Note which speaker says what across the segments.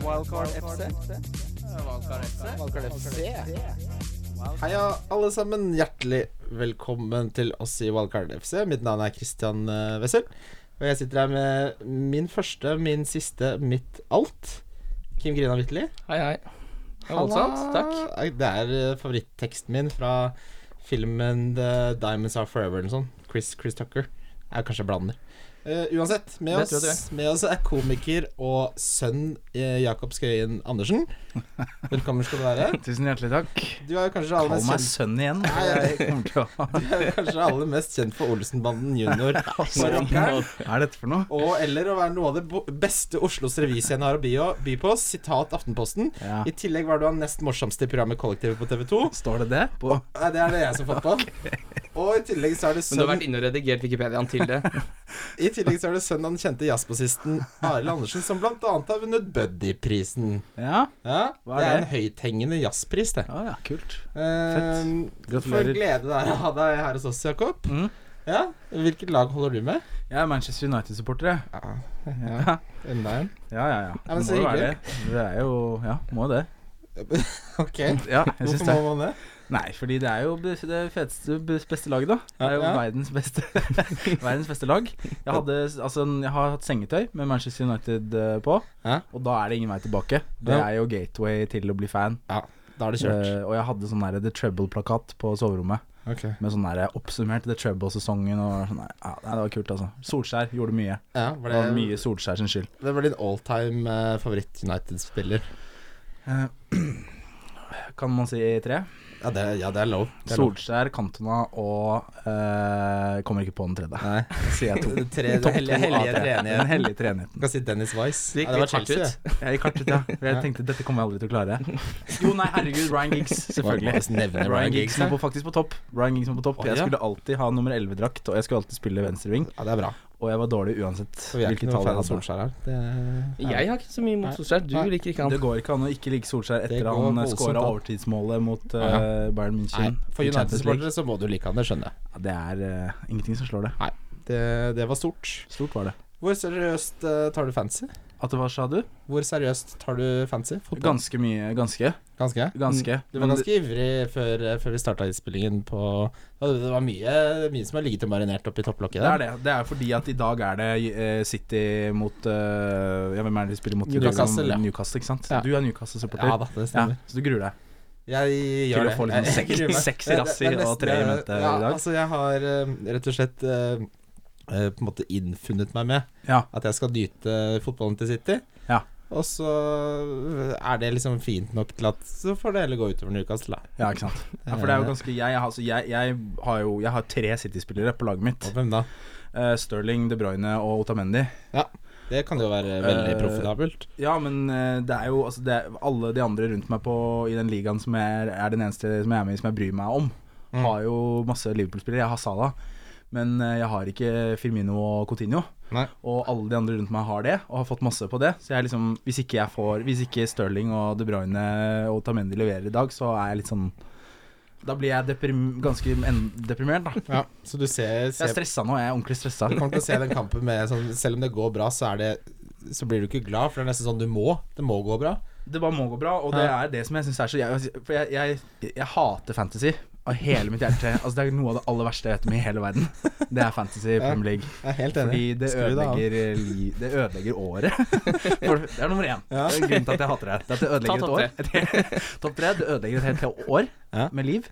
Speaker 1: Wildcard FC. Wildcard FC.
Speaker 2: Heia, alle sammen. Hjertelig velkommen til oss i Wildcard FC. Mitt navn er Christian eh, Wessel. Og jeg sitter her med min første, min siste, mitt alt. Kim Grina Witteli.
Speaker 3: Hei, hei. Det var voldsomt. Takk.
Speaker 2: Det er eh, favorittteksten min fra filmen The Diamonds Are Forever eller noe sånt. Chris, Chris Tucker. Jeg kanskje blander. Eh, uansett, med
Speaker 3: Det tror jeg
Speaker 2: oss, med oss er komiker og sønn eh, Jakob Skøyen Andersen. Velkommen skal du være.
Speaker 4: Tusen hjertelig takk.
Speaker 2: Du er jo kanskje aller mest
Speaker 4: Kall meg
Speaker 2: kjent
Speaker 4: sønn igjen.
Speaker 2: Nei, jeg-
Speaker 4: Jeg kommer til å
Speaker 2: Du er kanskje aller mest kjent for Olsenbanden junior. Marokkeren,
Speaker 4: Hva er dette for noe?
Speaker 2: Og eller å være noe av det bo- beste Oslos revyscene har å by by på. Sitat Aftenposten.
Speaker 4: Ja.
Speaker 2: I tillegg var du han nest morsomste i programmet Kollektivet på TV2.
Speaker 4: Står det det? På
Speaker 2: Nei, det er det jeg som fant på. Og i tillegg så er du
Speaker 3: Men du har vært
Speaker 2: sønn
Speaker 3: inne og redigert Wikipediaen til det.
Speaker 2: I tillegg så er du sønn av den kjente jazzbassisten Arild Andersen, som blant annet har vunnet Buddy-prisen.
Speaker 4: Ja?
Speaker 2: Ja,
Speaker 4: Hva
Speaker 2: det
Speaker 4: er
Speaker 2: er en høythengende jazzpris, det.
Speaker 4: Ja, ja, kult.
Speaker 2: Ehm, For
Speaker 4: Gratulerer.
Speaker 2: glede det er å ha deg her hos oss, Jakob.
Speaker 4: Mhm.
Speaker 2: Ja, Hvilket lag holder du med?
Speaker 4: Jeg er Manchester United-supporter, jeg.
Speaker 2: Ja,
Speaker 4: Ja,
Speaker 2: enda en.
Speaker 4: ja, ja. ja.
Speaker 2: Ja, men så
Speaker 4: må jo være
Speaker 2: hyggelig.
Speaker 4: det. Det er jo Ja, må jo det.
Speaker 2: Ok,
Speaker 4: Ja, jeg syns
Speaker 2: hvorfor
Speaker 4: det.
Speaker 2: må man det?
Speaker 4: Nei, fordi det er jo det feteste, beste laget, da. Det er jo
Speaker 2: Ja.
Speaker 4: verdens beste Verdens beste lag. Jeg, hadde, altså, jeg har hatt sengetøy med Manchester United eh, på,
Speaker 2: Ja.
Speaker 4: og da er det ingen vei tilbake. Det
Speaker 2: Ja.
Speaker 4: er jo gateway til å bli fan.
Speaker 2: Da er det kjørt.
Speaker 4: Eh, og jeg hadde sånn der The Trouble-plakat på soverommet. Med sånn der oppsummert The Trouble-sesongen og sånn der. Ja, nei, det var kult, altså. Solskjær gjorde mye.
Speaker 2: Ja,
Speaker 4: Det
Speaker 2: var
Speaker 4: var
Speaker 2: det,
Speaker 4: mye Solskjær sin skyld.
Speaker 2: det var din alltime uh, favoritt-United-spiller.
Speaker 4: Eh, kan man si tre?
Speaker 2: Ja, det ja, det er lov. Det er lov.
Speaker 4: Solskjær, Cantona og eh, Kommer ikke på den tredje.
Speaker 2: Nei.
Speaker 4: Sier jeg to.
Speaker 2: Tre,
Speaker 4: Topp to
Speaker 2: hellige,
Speaker 4: av
Speaker 2: hellige
Speaker 4: tre.
Speaker 2: treenigheten.
Speaker 4: Den hellige treenigheten.
Speaker 2: Du kan si Dennis Weiss.
Speaker 3: Det gikk
Speaker 2: Ja, det var
Speaker 3: litt hardt
Speaker 2: Chelsea,
Speaker 3: ut.
Speaker 2: det.
Speaker 4: Jeg gikk hardt ut, ja. For jeg tenkte dette kommer jeg aldri til å klare. Jo, nei, herregud, Ryan Giggs. Selvfølgelig.
Speaker 2: Bare nevne
Speaker 4: Ryan Giggs
Speaker 2: her.
Speaker 4: var på, faktisk på topp. Ryan Giggs var på topp
Speaker 2: Å,
Speaker 4: Jeg
Speaker 2: ja.
Speaker 4: skulle alltid ha nummer 11-drakt, og jeg skulle alltid spille venstreving.
Speaker 2: Ja, det er bra.
Speaker 4: Og jeg var dårlig uansett
Speaker 2: For vi er ikke
Speaker 4: hvilket
Speaker 2: noe
Speaker 4: tall
Speaker 2: fan
Speaker 4: jeg
Speaker 2: av
Speaker 4: hadde.
Speaker 2: Solskjær her. Det, ja.
Speaker 3: Jeg har ikke så mye
Speaker 2: Nei.
Speaker 3: mot Solskjær. Du
Speaker 2: Nei.
Speaker 3: liker ikke
Speaker 4: Det
Speaker 3: han.
Speaker 4: går ikke an å ikke like Solskjær
Speaker 2: Det går
Speaker 4: etter han
Speaker 2: voldsomt
Speaker 4: skåra
Speaker 2: an.
Speaker 4: overtidsmålet mot eh,
Speaker 2: Ja.
Speaker 4: Bayern München.
Speaker 2: Nei,
Speaker 4: i
Speaker 2: for
Speaker 4: Champions League.
Speaker 2: United-supportere så må du like han, det skjønner jeg.
Speaker 4: Ja, det er eh, ingenting som slår det.
Speaker 2: Det, det var stort.
Speaker 4: Stort var det.
Speaker 2: Hvor seriøst eh, tar du fancy?
Speaker 4: At det var, sa du?
Speaker 2: Hvor seriøst tar du fancy? Fotball?
Speaker 4: Ganske mye. Ganske.
Speaker 2: Ganske.
Speaker 4: Ganske.
Speaker 2: Du Mm, var
Speaker 4: Men
Speaker 2: ganske ivrig før, eh, før vi starta innspillingen på ja, Det var mye, mye som har ligget og marinert oppi topplokket
Speaker 4: Det er
Speaker 2: der.
Speaker 4: det. Det er fordi at i dag er det eh, City mot eh, Ja, hvem er det de spiller mot? Liksom
Speaker 2: Newcastle, ja.
Speaker 4: Newcastle, ikke sant?
Speaker 2: Ja.
Speaker 4: Du er
Speaker 2: Ja
Speaker 4: Newcastle-supporter.
Speaker 2: da, det
Speaker 4: Ja,
Speaker 2: stemmer.
Speaker 4: så du gruer deg.
Speaker 2: Jeg
Speaker 4: å
Speaker 2: gjør det.
Speaker 4: få
Speaker 2: Jeg-
Speaker 4: liksom
Speaker 2: jeg
Speaker 4: seks-
Speaker 2: gruer meg.
Speaker 4: seks
Speaker 2: Det- det-
Speaker 4: rassi
Speaker 2: det er nesten-
Speaker 4: og tre i møte
Speaker 2: ja,
Speaker 4: i dag.
Speaker 2: Altså, jeg har eh, rett og slett eh, eh, på en måte innfunnet meg med
Speaker 4: Ja.
Speaker 2: at jeg skal nyte eh, fotballen til City.
Speaker 4: Ja.
Speaker 2: Og så er det liksom fint nok til at så får det heller gå utover Newcastle, da.
Speaker 4: Ja, ikke sant. Ja, for det er jo ganske Jeg, jeg, har- altså, jeg, jeg har jo Jeg har tre City-spillere på laget mitt.
Speaker 2: Og hvem da?
Speaker 4: Eh, Sterling, De Bruyne og Otamendi.
Speaker 2: Det kan jo være veldig
Speaker 4: Eh,
Speaker 2: profitabelt.
Speaker 4: Ja, men eh, det er jo altså, det er, Alle de andre rundt meg på, i den ligaen som jeg er, er den eneste som jeg er med i som jeg bryr meg om,
Speaker 2: Mm.
Speaker 4: har jo masse Liverpool-spillere. Jeg har Salah, men eh, jeg har ikke Firmino og Coutinho.
Speaker 2: Nei.
Speaker 4: Og alle de andre rundt meg har det, og har fått masse på det. Så jeg er liksom, hvis ikke jeg får Hvis ikke Sterling og De Bruyne og Tamendi leverer i dag, så er jeg litt sånn Da blir jeg deprim, ganske en- deprimert, da.
Speaker 2: Ja, så du ser,
Speaker 4: Jeg er
Speaker 2: ser
Speaker 4: stressa nå, jeg er ordentlig stressa.
Speaker 2: Du kommer til å se den kampen med sånn Selv om det går bra, så er det så blir du ikke glad, for det er nesten sånn du må. Det må gå bra.
Speaker 4: Det bare må gå bra, og det
Speaker 2: Ja.
Speaker 4: er det som jeg syns er så jeg, For jeg, jeg, jeg hater fantasy av hele mitt hjerte. Altså Det er noe av det aller verste jeg vet om i hele verden. Det er fantasy i Premier League.
Speaker 2: Jeg er helt
Speaker 4: Fordi
Speaker 2: enig.
Speaker 4: det
Speaker 2: Skru det av.
Speaker 4: ødelegger, eh, li, det ødelegger året. For det er nummer én. Det er grunnen til at jeg hater det. Det er at det
Speaker 3: Ta
Speaker 4: ødelegger
Speaker 3: topp
Speaker 4: et år. Et- Topp tre. Det ødelegger et helt år
Speaker 2: Ja.
Speaker 4: med liv.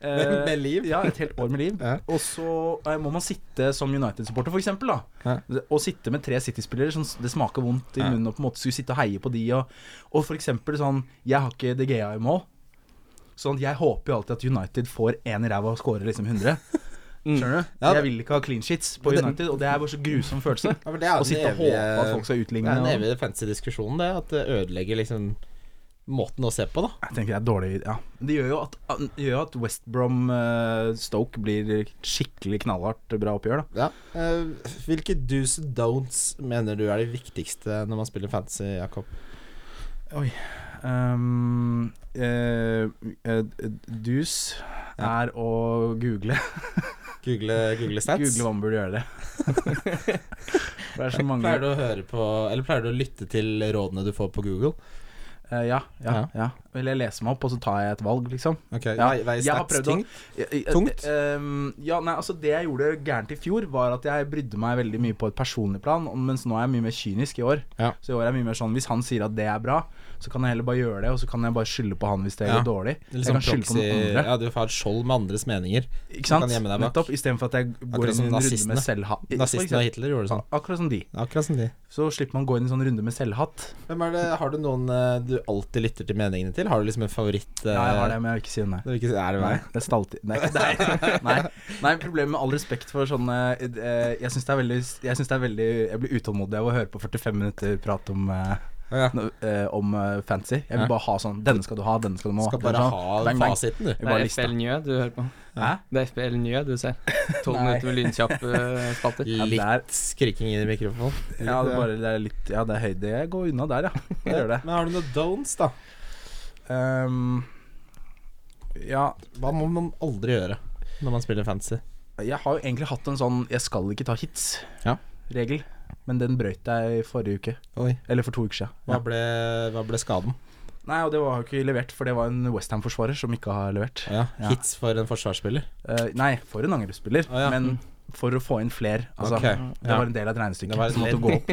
Speaker 2: Med- med liv?
Speaker 4: Ja, et helt år med liv.
Speaker 2: Ja.
Speaker 4: Og så eh, må man sitte som United-supporter, for eksempel, da. Og sitte med tre City-spillere, som s- det smaker vondt i
Speaker 2: Ja.
Speaker 4: munnen, og på en måte skulle sitte og heie på de, og, og for eksempel sånn Jeg har ikke DGA i mål, sånn at jeg håper jo alltid at United får én i ræva og scorer liksom 100. Skjønner du?
Speaker 2: Mm. Ja.
Speaker 4: Jeg vil ikke ha clean sheets på
Speaker 2: Men det-
Speaker 4: United, og det er bare så grusom følelse.
Speaker 2: Ja, men det er jo den
Speaker 4: Å sitte og
Speaker 2: evige-
Speaker 4: håpe at folk skal
Speaker 2: Det
Speaker 4: utligne.
Speaker 2: er en
Speaker 4: og-
Speaker 2: evig fancy diskusjon, det. At det ødelegger liksom måten å se på, da.
Speaker 4: Jeg tenker det er dårlig ja. Det gjør jo at, det gjør jo at West Brom eh, Stoke blir skikkelig knallhardt bra oppgjør, da.
Speaker 2: Eh, hvilke do's and don'ts mener du er de viktigste når man spiller fancy, Jakob?
Speaker 4: Um, eh, eh, dus
Speaker 2: Ja.
Speaker 4: er å google.
Speaker 2: Google, Google stats.
Speaker 4: Google hva man burde gjøre det. For det er så mange
Speaker 2: Pleier du å høre på Eller pleier du å lytte til rådene du får på Google?
Speaker 4: Eh, Ja, ja, ja. Eller jeg leser meg opp, og så tar jeg et valg, liksom.
Speaker 2: Ok,
Speaker 4: Ja,
Speaker 2: vei, vei
Speaker 4: jeg har prøvd å-
Speaker 2: stats-ting.
Speaker 4: Jeg- jeg-
Speaker 2: Tungt?
Speaker 4: ehm, ja, nei, altså Det jeg gjorde gærent i fjor, var at jeg brydde meg veldig mye på et personlig plan, mens nå er jeg mye mer kynisk i år.
Speaker 2: Ja.
Speaker 4: Så i år er jeg mye mer sånn hvis han sier at det er bra, så kan jeg heller bare gjøre det, og så kan jeg bare skylde på han hvis det
Speaker 2: Ja.
Speaker 4: går dårlig.
Speaker 2: Det er
Speaker 4: jeg kan
Speaker 2: Liksom
Speaker 4: skylde på
Speaker 2: proxy,
Speaker 4: noen andre.
Speaker 2: ja, du har et skjold med andres meninger.
Speaker 4: Ikke
Speaker 2: kan
Speaker 4: sant?
Speaker 2: gjemme deg bak.
Speaker 4: Nettopp. Istedenfor at jeg går
Speaker 2: Akkurat
Speaker 4: inn i
Speaker 2: som
Speaker 4: en runde
Speaker 2: nazistene.
Speaker 4: med selvhat. For
Speaker 2: Nazistene og
Speaker 4: eksempel.
Speaker 2: Hitler gjorde det sånn.
Speaker 4: Akkurat som de.
Speaker 2: Akkurat som de.
Speaker 4: Så slipper man å gå inn i en sånn runde med selvhatt.
Speaker 2: Hvem er det, har du noen eh, du alltid lytter til meningene til? Har du liksom en favoritt? eh,
Speaker 4: Ja, jeg har det, men jeg vil ikke si nei.
Speaker 2: når du ikke, er det
Speaker 4: Nei,
Speaker 2: meg?
Speaker 4: det er stalltid Nei, nei, nei, nei problemet med all respekt for sånne eh, Jeg syns det er veldig Jeg, synes det er veldig, jeg blir utålmodig av å høre på 45 minutter prat om eh,
Speaker 2: Å ja.
Speaker 4: no- eh, Om eh, fantasy. Jeg
Speaker 2: Ja.
Speaker 4: vil bare ha sånn Denne skal du ha, denne skal du må
Speaker 2: Skal
Speaker 4: Det er
Speaker 2: bare
Speaker 4: sånn,
Speaker 2: ha
Speaker 4: bang, bang.
Speaker 2: fasiten, du.
Speaker 4: Jeg
Speaker 3: Det
Speaker 4: bare
Speaker 3: er
Speaker 4: lista.
Speaker 3: FL Njø du hører på.
Speaker 4: Hæ?
Speaker 3: Det er FL Njø du ser. Tolv
Speaker 4: Nei.
Speaker 3: minutter med lynkjapp eh, spatter.
Speaker 4: Ja, det er,
Speaker 2: Litt skriking inn i mikrofonen.
Speaker 4: ja, det er bare det er litt Ja, det er høyde. Jeg går unna der, ja. Jeg gjør det.
Speaker 2: Men har du noen don'ts, da?
Speaker 4: Ehm, ja,
Speaker 2: Hva må man aldri gjøre når man spiller fantasy?
Speaker 4: jeg har jo egentlig hatt en sånn 'jeg skal ikke ta hits'-regel.
Speaker 2: Ja.
Speaker 4: Men den brøyt jeg i forrige uke.
Speaker 2: Oi.
Speaker 4: Eller for to uker siden.
Speaker 2: Hva ble, hva ble skaden?
Speaker 4: Nei, og det var jo ikke levert, for det var en Westham-forsvarer som ikke har levert.
Speaker 2: Ja.
Speaker 4: Ja.
Speaker 2: Hits for en forsvarsspiller?
Speaker 4: Eh, nei, for en angrepsspiller,
Speaker 2: Å, ja. Mm.
Speaker 4: men for å få inn fler. Altså,
Speaker 2: Ok,
Speaker 4: Det
Speaker 2: ja.
Speaker 4: var en del av et regnestykke.
Speaker 2: Det var et
Speaker 4: som måtte
Speaker 2: ledd.
Speaker 4: gå opp.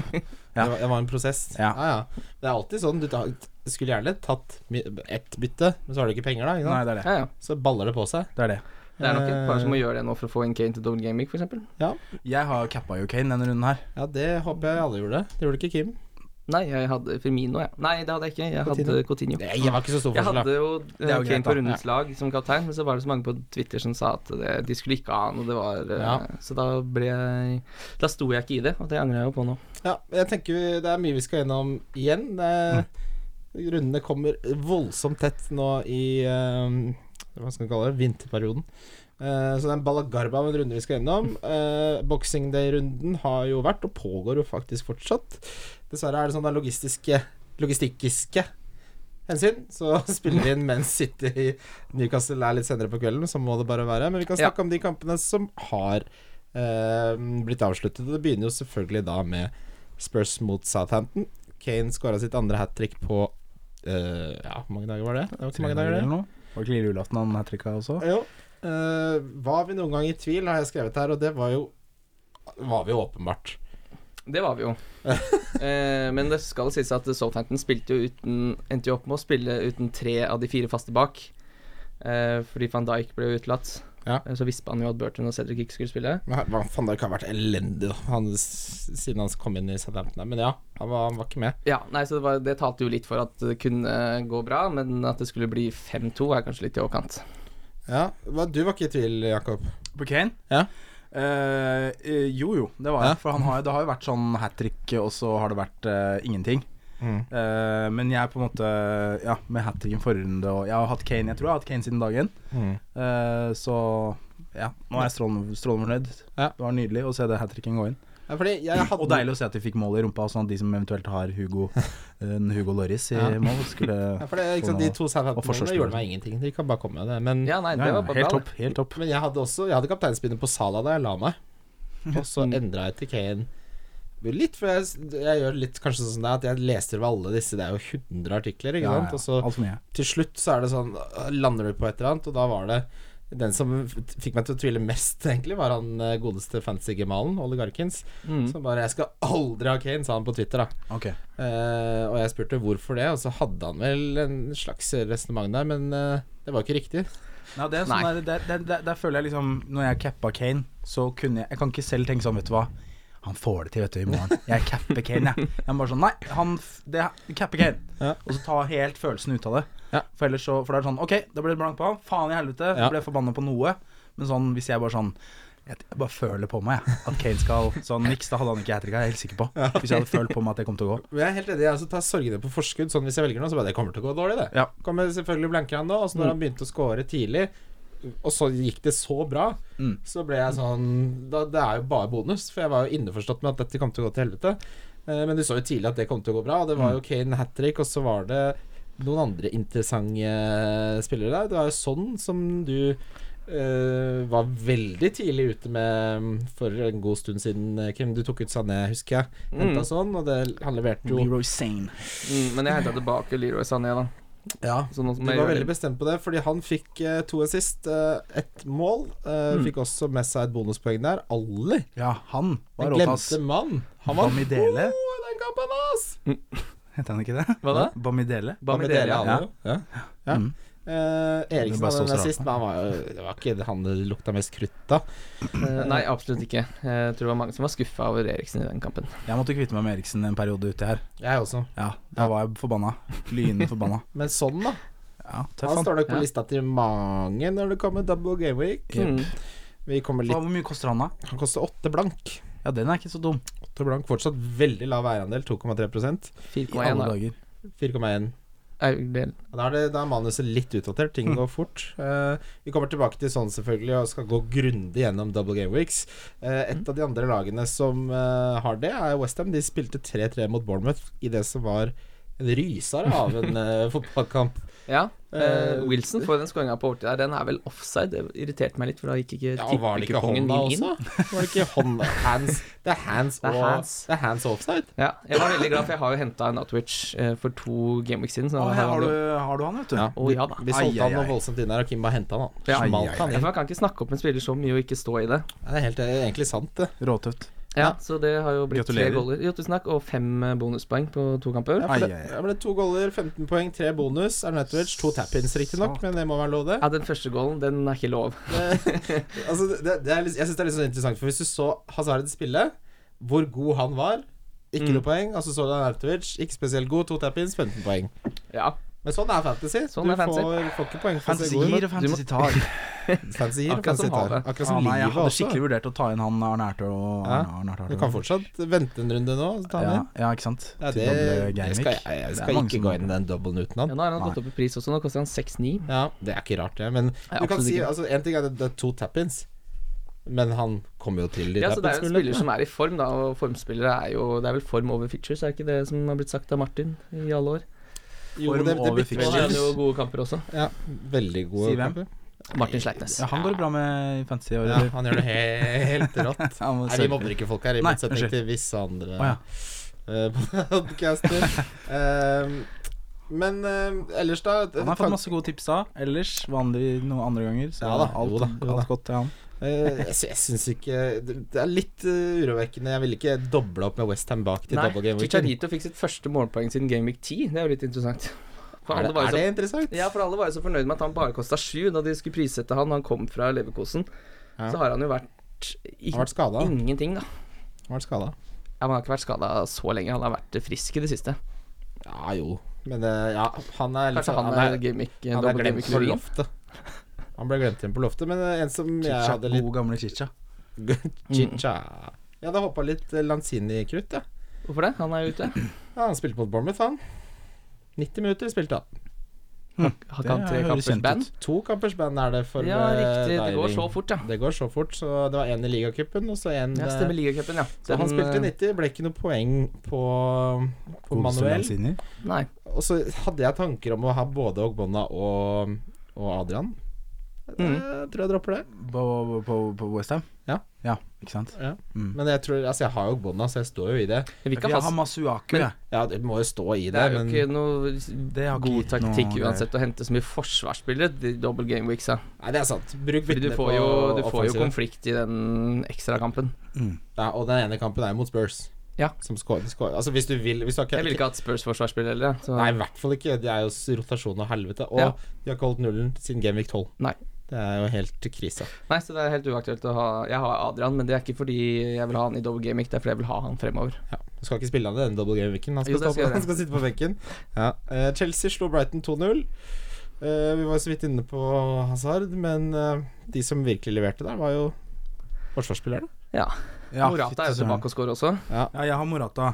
Speaker 4: Ja.
Speaker 2: Det, var, det var en prosess?
Speaker 4: Ja.
Speaker 2: ja. Det er alltid sånn. Du tar, skulle gjerne tatt my- ett bytte, men så har du ikke penger, da. Ikke
Speaker 4: Nei,
Speaker 2: sant?
Speaker 4: det er det.
Speaker 3: Ja, ja.
Speaker 2: Så baller det på seg. Eh,
Speaker 4: det er det.
Speaker 3: Det er nok et par som må gjøre det nå for å få en Kane til double gaming, f.eks.
Speaker 4: Jeg har cappa jo Kane denne runden her.
Speaker 2: Ja, det håper jeg alle gjorde. Det gjorde ikke Kim.
Speaker 3: Nei, jeg hadde Firmino, jeg. Nei, det hadde jeg ikke. Jeg hadde Coutinho.
Speaker 2: Nei, det var ikke så stor
Speaker 3: Jeg
Speaker 2: forskjell, da.
Speaker 3: hadde jo eh,
Speaker 4: er jo
Speaker 3: Kane
Speaker 4: greit, da.
Speaker 3: på rundens lag som kaptein, men så var det så mange på Twitter som sa at det, de skulle ikke ha noe, det var eh,
Speaker 2: Ja.
Speaker 3: Så da ble jeg Da sto jeg ikke i det, og det angrer jeg jo på nå.
Speaker 2: Ja, jeg tenker vi- det er mye vi skal gjennom igjen. Det, Rundene kommer voldsomt tett nå i eh, Hva skal vi kalle det? Vinterperioden. Eh, så det er en balagarba av en runde vi skal gjennom. Uh, Boxing Day-runden har jo vært, og pågår jo faktisk fortsatt. Dessverre er det sånn det er logistiske Logistikkiske hensyn. Så spiller vi inn mens City i Newcastle er litt senere på kvelden, så må det bare være. Men vi kan
Speaker 3: Ja.
Speaker 2: snakke om de kampene som har eh, blitt avsluttet. Og det begynner jo selvfølgelig da med Spurs mot Southampton. Kane skåra sitt andre hat trick på eh, Ja, hvor mange dager var det? Det var ikke mange dager, det.
Speaker 4: Eller noe. Var det ikke lille julaften han her trykka også?
Speaker 2: Jo. eh, var vi noen gang i tvil, har jeg skrevet her, og det var jo Var vi jo åpenbart.
Speaker 3: Det var vi jo. eh, men det skal sies at Southampton spilte jo uten endte jo opp med å spille uten tre av de fire faste bak. Eh, fordi van Dijk ble jo utelatt.
Speaker 2: Ja.
Speaker 3: Eh, Så visste han jo at Burton og Cedric ikke skulle spille.
Speaker 2: Men her- hva faen, det kan ha vært elendig da, han, s- siden han kom inn i Southampton. her, Men ja, han var, han var ikke med.
Speaker 3: Ja, nei, så det, var, det talte jo litt for at det kunne gå bra, men at det skulle bli 5-2 er kanskje litt i overkant.
Speaker 2: Ja, hva- Du var ikke i tvil, Jakob.
Speaker 4: På Kane?
Speaker 2: Ja.
Speaker 4: Eh, eh, jo, jo, det var
Speaker 2: Ja.
Speaker 4: jeg. For han har, det har jo vært sånn hat trick, og så har det vært eh, ingenting.
Speaker 2: Mm.
Speaker 4: Eh, men jeg er på en måte Ja, med hat tricken forrige runde, og jeg har hatt Kane Jeg tror jeg har hatt Kane siden dag én.
Speaker 2: Mm.
Speaker 4: Eh, så ja, nå er jeg strålende, strålende fornøyd.
Speaker 2: Ja.
Speaker 4: Det var nydelig å se det hat tricken gå inn.
Speaker 2: Ja, fordi jeg hadde
Speaker 4: Og deilig å se at de fikk mål i rumpa, sånn at de som eventuelt har Hugo en Hugo Lorris i
Speaker 2: Ja.
Speaker 4: mål, skulle
Speaker 2: ja, for det, ikke sant, De to Southampton-målene
Speaker 4: forsvarsspillere.
Speaker 2: gjorde meg ingenting. De kan bare komme med det. Men,
Speaker 3: Ja, nei, det
Speaker 4: Ja, ja,
Speaker 3: var bare
Speaker 4: Helt
Speaker 3: bra.
Speaker 4: topp. Helt topp.
Speaker 2: men jeg hadde også Jeg hadde kapteinspinnet på Salah da jeg la meg, og så endra jeg til Kane. Litt, for jeg, jeg gjør litt kanskje sånn som deg, at jeg leser over alle disse. Det er jo 100 artikler, ikke
Speaker 4: Ja, ja,
Speaker 2: sant. Og så
Speaker 4: Altfor mye.
Speaker 2: til slutt så er det sånn øh, Lander du på et eller annet, og da var det den som f- fikk meg til å tvile mest, egentlig, var han eh, godeste fantasy-gemalen, Ole Garkins.
Speaker 3: Mm.
Speaker 2: Som bare 'Jeg skal aldri ha Kane', sa han på Twitter, da.
Speaker 4: Ok.
Speaker 2: Eh, og jeg spurte hvorfor det, og så hadde han vel en slags resonnement der, men eh, det var ikke riktig.
Speaker 4: Nei, det er sånn
Speaker 3: Nei.
Speaker 4: der, der, der, der, der føler jeg liksom Når jeg cappa Kane, så kunne jeg Jeg kan ikke selv tenke sånn, vet du hva Han får det til, vet du, i morgen. Jeg capper Kane, jeg. Jeg er bare sånn Nei, han f- det, du capper Kane.
Speaker 2: Ja.
Speaker 4: Og så ta helt følelsen ut av det.
Speaker 2: Ja.
Speaker 4: For ellers så For da er det sånn OK, da ble det blank på han. Faen i helvete.
Speaker 2: Ja.
Speaker 4: Jeg Ble forbanna på noe. Men sånn hvis jeg bare sånn jeg jeg bare føler på meg jeg, at Kane skal Sånn niks, da hadde han ikke hat trick, jeg er helt sikker på. Hvis jeg hadde følt på meg at det kom til å gå.
Speaker 2: Men jeg er helt enig, jeg også tar sorgene på forskudd. Sånn Hvis jeg velger noe, så bare Det kommer til å gå dårlig, det.
Speaker 4: Ja.
Speaker 2: Kommer selvfølgelig blanke han nå. Og så når han begynte å score tidlig, og så gikk det så bra,
Speaker 4: Mm.
Speaker 2: så ble jeg sånn da, Det er jo bare bonus, for jeg var jo innforstått med at dette kom til å gå til helvete. Eh, Men du så jo tidlig at det kom til å gå bra, og det var jo Kane hat trick, og så var eh, det noen andre interessante spillere der. Det var jo sånn som du eh, var veldig tidlig ute med mm, for en god stund siden, eh, Kim. Du tok ut Sané, husker jeg. Henta sånn, og det, han leverte jo
Speaker 4: Leroy Sane.
Speaker 3: Mm, men jeg henta tilbake Leroy Sané, da.
Speaker 2: Ja,
Speaker 3: Så nå som
Speaker 2: Du
Speaker 3: jeg
Speaker 2: var
Speaker 3: gjør-
Speaker 2: veldig bestemt på det, fordi han fikk eh, to assist, eh, ett mål. eh,
Speaker 3: Mm.
Speaker 2: Fikk også med seg et bonuspoeng der. Ali,
Speaker 4: Ja, han var
Speaker 2: den
Speaker 4: råtass.
Speaker 2: glemte mann. Han var god
Speaker 4: Bamidele.
Speaker 2: i den kampen, ass!
Speaker 4: Heter han ikke det?
Speaker 3: Hva da?
Speaker 4: Bamidele.
Speaker 3: Bamidele, ja.
Speaker 2: Ali, ja. Ja.
Speaker 4: Mm.
Speaker 2: Eh,
Speaker 4: Det
Speaker 2: Eriksen
Speaker 4: bare
Speaker 2: hadde en
Speaker 4: så
Speaker 2: assist,
Speaker 4: rart.
Speaker 2: men han var jo Det var ikke han det lukta mest krutt av.
Speaker 3: Eh, Nei, absolutt ikke. Jeg tror det var mange som var skuffa over Eriksen i den kampen.
Speaker 4: Jeg måtte kvitte meg med Eriksen en periode uti her.
Speaker 2: Jeg også.
Speaker 4: Ja, Da var jeg forbanna. Lynforbanna.
Speaker 2: Men sånn, da.
Speaker 4: Ja, tøff,
Speaker 2: Han
Speaker 4: han.
Speaker 2: står nok på
Speaker 3: Ja.
Speaker 2: lista til mange når det kommer double game week.
Speaker 4: Jep.
Speaker 3: Mm.
Speaker 2: Vi kommer
Speaker 4: Faen,
Speaker 2: litt
Speaker 4: Hvor mye koster han, da?
Speaker 2: Han koster åtte blank.
Speaker 4: Ja, den er ikke så dum.
Speaker 2: Åtte blank, Fortsatt veldig lav eierandel, 2,3
Speaker 4: I alle
Speaker 3: 4,1 da.
Speaker 4: dager.
Speaker 2: 4,1
Speaker 3: Aurdel.
Speaker 2: Da er, det, da er manuset litt utdatert, ting
Speaker 3: Mm.
Speaker 2: går fort. Eh, vi kommer tilbake til sånn selvfølgelig og skal gå grundig gjennom double game weeks. Eh, et
Speaker 3: Mm.
Speaker 2: av de andre lagene som eh, har det, er Westham. De spilte 3-3 mot Bournemouth i det som var en rysere av en eh, fotballkamp.
Speaker 3: Ja. eh,
Speaker 2: Eh,
Speaker 3: Wilson får den skåringa på overtid der. Den er vel offside. Det irriterte meg litt, for da gikk ikke
Speaker 2: Ja, var det ikke
Speaker 3: tippekupongen
Speaker 2: hånda
Speaker 3: min inn.
Speaker 2: også? Var det ikke hånda hands, Det er hands
Speaker 3: Det er
Speaker 2: og
Speaker 3: hands.
Speaker 2: Det er hands offside.
Speaker 3: Ja, jeg var veldig glad, for jeg har jo henta en Outwitch eh, for to gameweeks siden. Så
Speaker 4: Å, her har,
Speaker 3: han-
Speaker 4: du, har du han, vet du?
Speaker 2: Ja.
Speaker 3: Å, ja da.
Speaker 2: Vi
Speaker 4: Ai,
Speaker 2: solgte
Speaker 4: ai,
Speaker 2: han noe
Speaker 4: ai.
Speaker 2: voldsomt inn der, og Kim bare henta han.
Speaker 3: Ja.
Speaker 2: Smalt
Speaker 4: Ai, ai,
Speaker 2: han
Speaker 3: Ja,
Speaker 2: inn.
Speaker 3: for Man kan ikke snakke opp en spiller så mye og ikke stå i det.
Speaker 2: Ja, Det er helt, det er egentlig sant, det.
Speaker 4: Råtøft.
Speaker 3: Ja, Så det har jo blitt
Speaker 4: Gratulerer.
Speaker 3: tre goller. Jo, tusen takk. Og fem eh, bonuspoeng på to kamper.
Speaker 2: Ja,
Speaker 3: Ja.
Speaker 2: for
Speaker 4: Ai,
Speaker 2: det,
Speaker 4: ai, ai.
Speaker 2: det ble to goller, 15 poeng, tre bonus. Arnautovic, to tap-ins, riktignok, men det må være lov, det.
Speaker 3: den første goalen, den er ikke lov.
Speaker 2: Det- altså, det, det er, litt- jeg syns det er litt sånn interessant, for hvis du så Hazard spille, hvor god han var Ikke
Speaker 4: Mm.
Speaker 2: noe poeng. Altså så du Arnautovic, ikke spesielt god, to tap-ins, 15 poeng.
Speaker 3: Ja.
Speaker 2: Men sånn er fantasy.
Speaker 3: Sånn
Speaker 2: du
Speaker 3: er fantasy.
Speaker 2: Får, får ikke poeng for å se
Speaker 4: Fantasy
Speaker 2: god
Speaker 4: gir
Speaker 2: ut.
Speaker 4: og fantasy tar.
Speaker 2: Fantasy gir,
Speaker 3: Akkurat
Speaker 2: fantasy
Speaker 3: som
Speaker 2: tar.
Speaker 3: havet.
Speaker 2: Akkurat
Speaker 4: Ja,
Speaker 2: som
Speaker 4: nei, jeg
Speaker 2: livet
Speaker 4: hadde
Speaker 2: også.
Speaker 4: skikkelig vurdert å ta inn han Arne Ertø og
Speaker 2: Ja.
Speaker 4: Arne Ertø.
Speaker 2: Du kan fortsatt vente en runde nå. Ta han
Speaker 4: ja,
Speaker 2: inn.
Speaker 4: ja, ikke sant?
Speaker 2: Ja,
Speaker 4: Til
Speaker 2: det,
Speaker 4: doble
Speaker 2: det
Speaker 4: Gameweek.
Speaker 2: skal jeg, jeg
Speaker 4: Det er
Speaker 2: skal
Speaker 4: mange
Speaker 2: ikke
Speaker 4: som-
Speaker 2: gå inn i den dobbelen uten
Speaker 3: ja
Speaker 2: han.
Speaker 3: nå har han gått opp i pris også. Nå koster han 6,9.
Speaker 2: Ja, Det er ikke rart, det. Men
Speaker 3: Nei,
Speaker 2: du kan
Speaker 3: absolutt
Speaker 2: si
Speaker 3: ikke.
Speaker 2: altså, En ting er at det er to tap-ins, men han kommer jo til de
Speaker 3: Ja, så Det er jo en spiller
Speaker 2: tap-ins-mulighetene.
Speaker 3: som er i form, da. Og formspillere er jo Det er vel form over features, er ikke det som har blitt sagt av Martin i alle år?
Speaker 2: Jo,
Speaker 4: Form
Speaker 2: det, det
Speaker 4: over
Speaker 2: bytter
Speaker 4: fikk-
Speaker 3: Og han har
Speaker 2: vel
Speaker 3: jo
Speaker 2: litt.
Speaker 3: gode kamper også.
Speaker 2: Ja, veldig gode
Speaker 4: Si hvem?
Speaker 2: kamper.
Speaker 3: Martin Sleipnes.
Speaker 4: Ja, han går det bra med i fantasy i år,
Speaker 2: Ja,
Speaker 4: eller?
Speaker 2: han gjør det he helt rått.
Speaker 4: Han må
Speaker 2: Nei, vi
Speaker 4: sørge.
Speaker 2: mobber ikke folk her, i
Speaker 4: Nei,
Speaker 2: motsetning
Speaker 4: unnskyld.
Speaker 2: til visse andre
Speaker 4: Å, ja.
Speaker 2: eh, podcaster. Ehm, men eh, ellers, da
Speaker 4: Han har fått masse gode tips da. Ellers vanlig noen andre ganger. Så
Speaker 2: Ja da,
Speaker 4: alt,
Speaker 2: jo da, jo da.
Speaker 4: alt godt til han.
Speaker 2: Eh, jeg, sy- jeg syns ikke Det det er litt eh, urovekkende. Jeg ville ikke doble opp med Westham bak til
Speaker 3: Nei,
Speaker 2: double game weekend.
Speaker 3: Chicharito fikk sitt første målpoeng siden Game Week 10. Det er jo litt interessant. For
Speaker 2: Er
Speaker 3: alle
Speaker 2: det,
Speaker 3: var jo
Speaker 2: er
Speaker 3: så-
Speaker 2: det interessant?
Speaker 3: Ja, for alle var jo så fornøyd med at han bare kosta sju da de skulle prissette han. Han kom fra Leverkosen.
Speaker 2: Ja.
Speaker 3: Så har han jo vært i-
Speaker 2: Han har vært skada.
Speaker 3: ingenting, da.
Speaker 2: Han har vært skada.
Speaker 3: Ja, men Han har ikke vært skada så lenge. Han har vært frisk i det siste.
Speaker 2: Ja jo, men eh, ja, han er litt
Speaker 3: Kanskje
Speaker 2: sånn-
Speaker 3: han er gimmick
Speaker 2: han er
Speaker 3: double
Speaker 2: glemt på
Speaker 3: gimmick-luring.
Speaker 2: loftet. Han ble glemt igjen på loftet, men eh, en som jeg
Speaker 4: Chicha,
Speaker 2: hadde litt
Speaker 4: gode gamle chicha.
Speaker 2: Chicha. Jeg hadde hoppa litt eh, Lanzini-krutt, jeg. Ja.
Speaker 3: Hvorfor det? Han er jo ute.
Speaker 2: Ja, han spilte mot Bournemouth, han. 90 minutter spilte han.
Speaker 3: Har
Speaker 4: Det
Speaker 3: ikke han tre
Speaker 4: høres
Speaker 3: kampers
Speaker 4: kjent
Speaker 3: band?
Speaker 4: ut.
Speaker 2: To kampers band er det for
Speaker 3: Ja,
Speaker 2: eh,
Speaker 3: riktig. Det
Speaker 2: diving.
Speaker 3: går så fort, ja.
Speaker 2: Det går så fort, så det var én i ligacupen, og så én
Speaker 3: Ja, stemmer ligacupen, ja.
Speaker 2: Så han
Speaker 3: Den,
Speaker 2: spilte
Speaker 3: eh,
Speaker 2: 90, ble ikke noe poeng på, på
Speaker 4: Godeste
Speaker 2: Manuel.
Speaker 4: Lanzini.
Speaker 3: Nei.
Speaker 2: Og så hadde jeg tanker om å ha både Ogbonna og, og Adrian.
Speaker 3: Mm.
Speaker 2: Jeg tror jeg dropper det.
Speaker 4: På, på, på Westham?
Speaker 2: Ja.
Speaker 4: ja. Ikke sant?
Speaker 2: Ja.
Speaker 4: Mm.
Speaker 2: Men jeg tror Altså, jeg har jo Ogbonna, så jeg står jo i det.
Speaker 3: Vi
Speaker 4: Jeg
Speaker 3: kan
Speaker 4: har
Speaker 3: fast...
Speaker 4: Masuaku,
Speaker 3: Men-
Speaker 4: jeg.
Speaker 2: Ja, du må jo stå i
Speaker 3: Det
Speaker 2: det,
Speaker 3: er jo
Speaker 2: men
Speaker 3: ikke noe
Speaker 4: Det har ikke
Speaker 3: god
Speaker 4: gitt noe
Speaker 3: taktikk
Speaker 4: greier.
Speaker 3: uansett å hente så mye forsvarsspillere til double game weeks. Ja.
Speaker 2: Nei, det er sant. Bruk
Speaker 3: Fordi du
Speaker 2: byttene på
Speaker 3: får, jo, du får jo
Speaker 2: offensiven.
Speaker 3: konflikt i den ekstrakampen.
Speaker 2: Ja, og den ene kampen er jo mot Spurs.
Speaker 3: Ja.
Speaker 2: Som skår, skår. Altså, hvis du vil hvis du har ikke,
Speaker 3: Jeg ville ikke hatt Spurs forsvarsspiller heller. Så.
Speaker 2: Nei, i hvert fall ikke. Det er jo s- rotasjon og helvete. Og
Speaker 3: Ja.
Speaker 2: de har ikke holdt nullen siden Gamevik 12.
Speaker 3: Nei.
Speaker 2: Det er jo helt krise.
Speaker 3: Nei, så det er helt uaktuelt å ha Jeg har Adrian, men det er ikke fordi jeg vil ha han i double game week, det er fordi jeg vil ha han fremover.
Speaker 2: Ja. Du skal ikke spille han i den double game-viken. Han,
Speaker 3: Jo,
Speaker 2: skal
Speaker 3: det skal
Speaker 2: stå på-
Speaker 3: jeg.
Speaker 2: han skal sitte på benken. Ja. Eh, Chelsea slo Brighton 2-0. Eh, vi var så vidt inne på Hazard, men eh, de som virkelig leverte der, var jo forsvarsspillerne.
Speaker 3: Ja.
Speaker 4: Ja,
Speaker 3: Morata er
Speaker 4: fytti
Speaker 3: jo
Speaker 4: søren.
Speaker 3: tilbake og scorer også.
Speaker 4: Ja, jeg har Morata.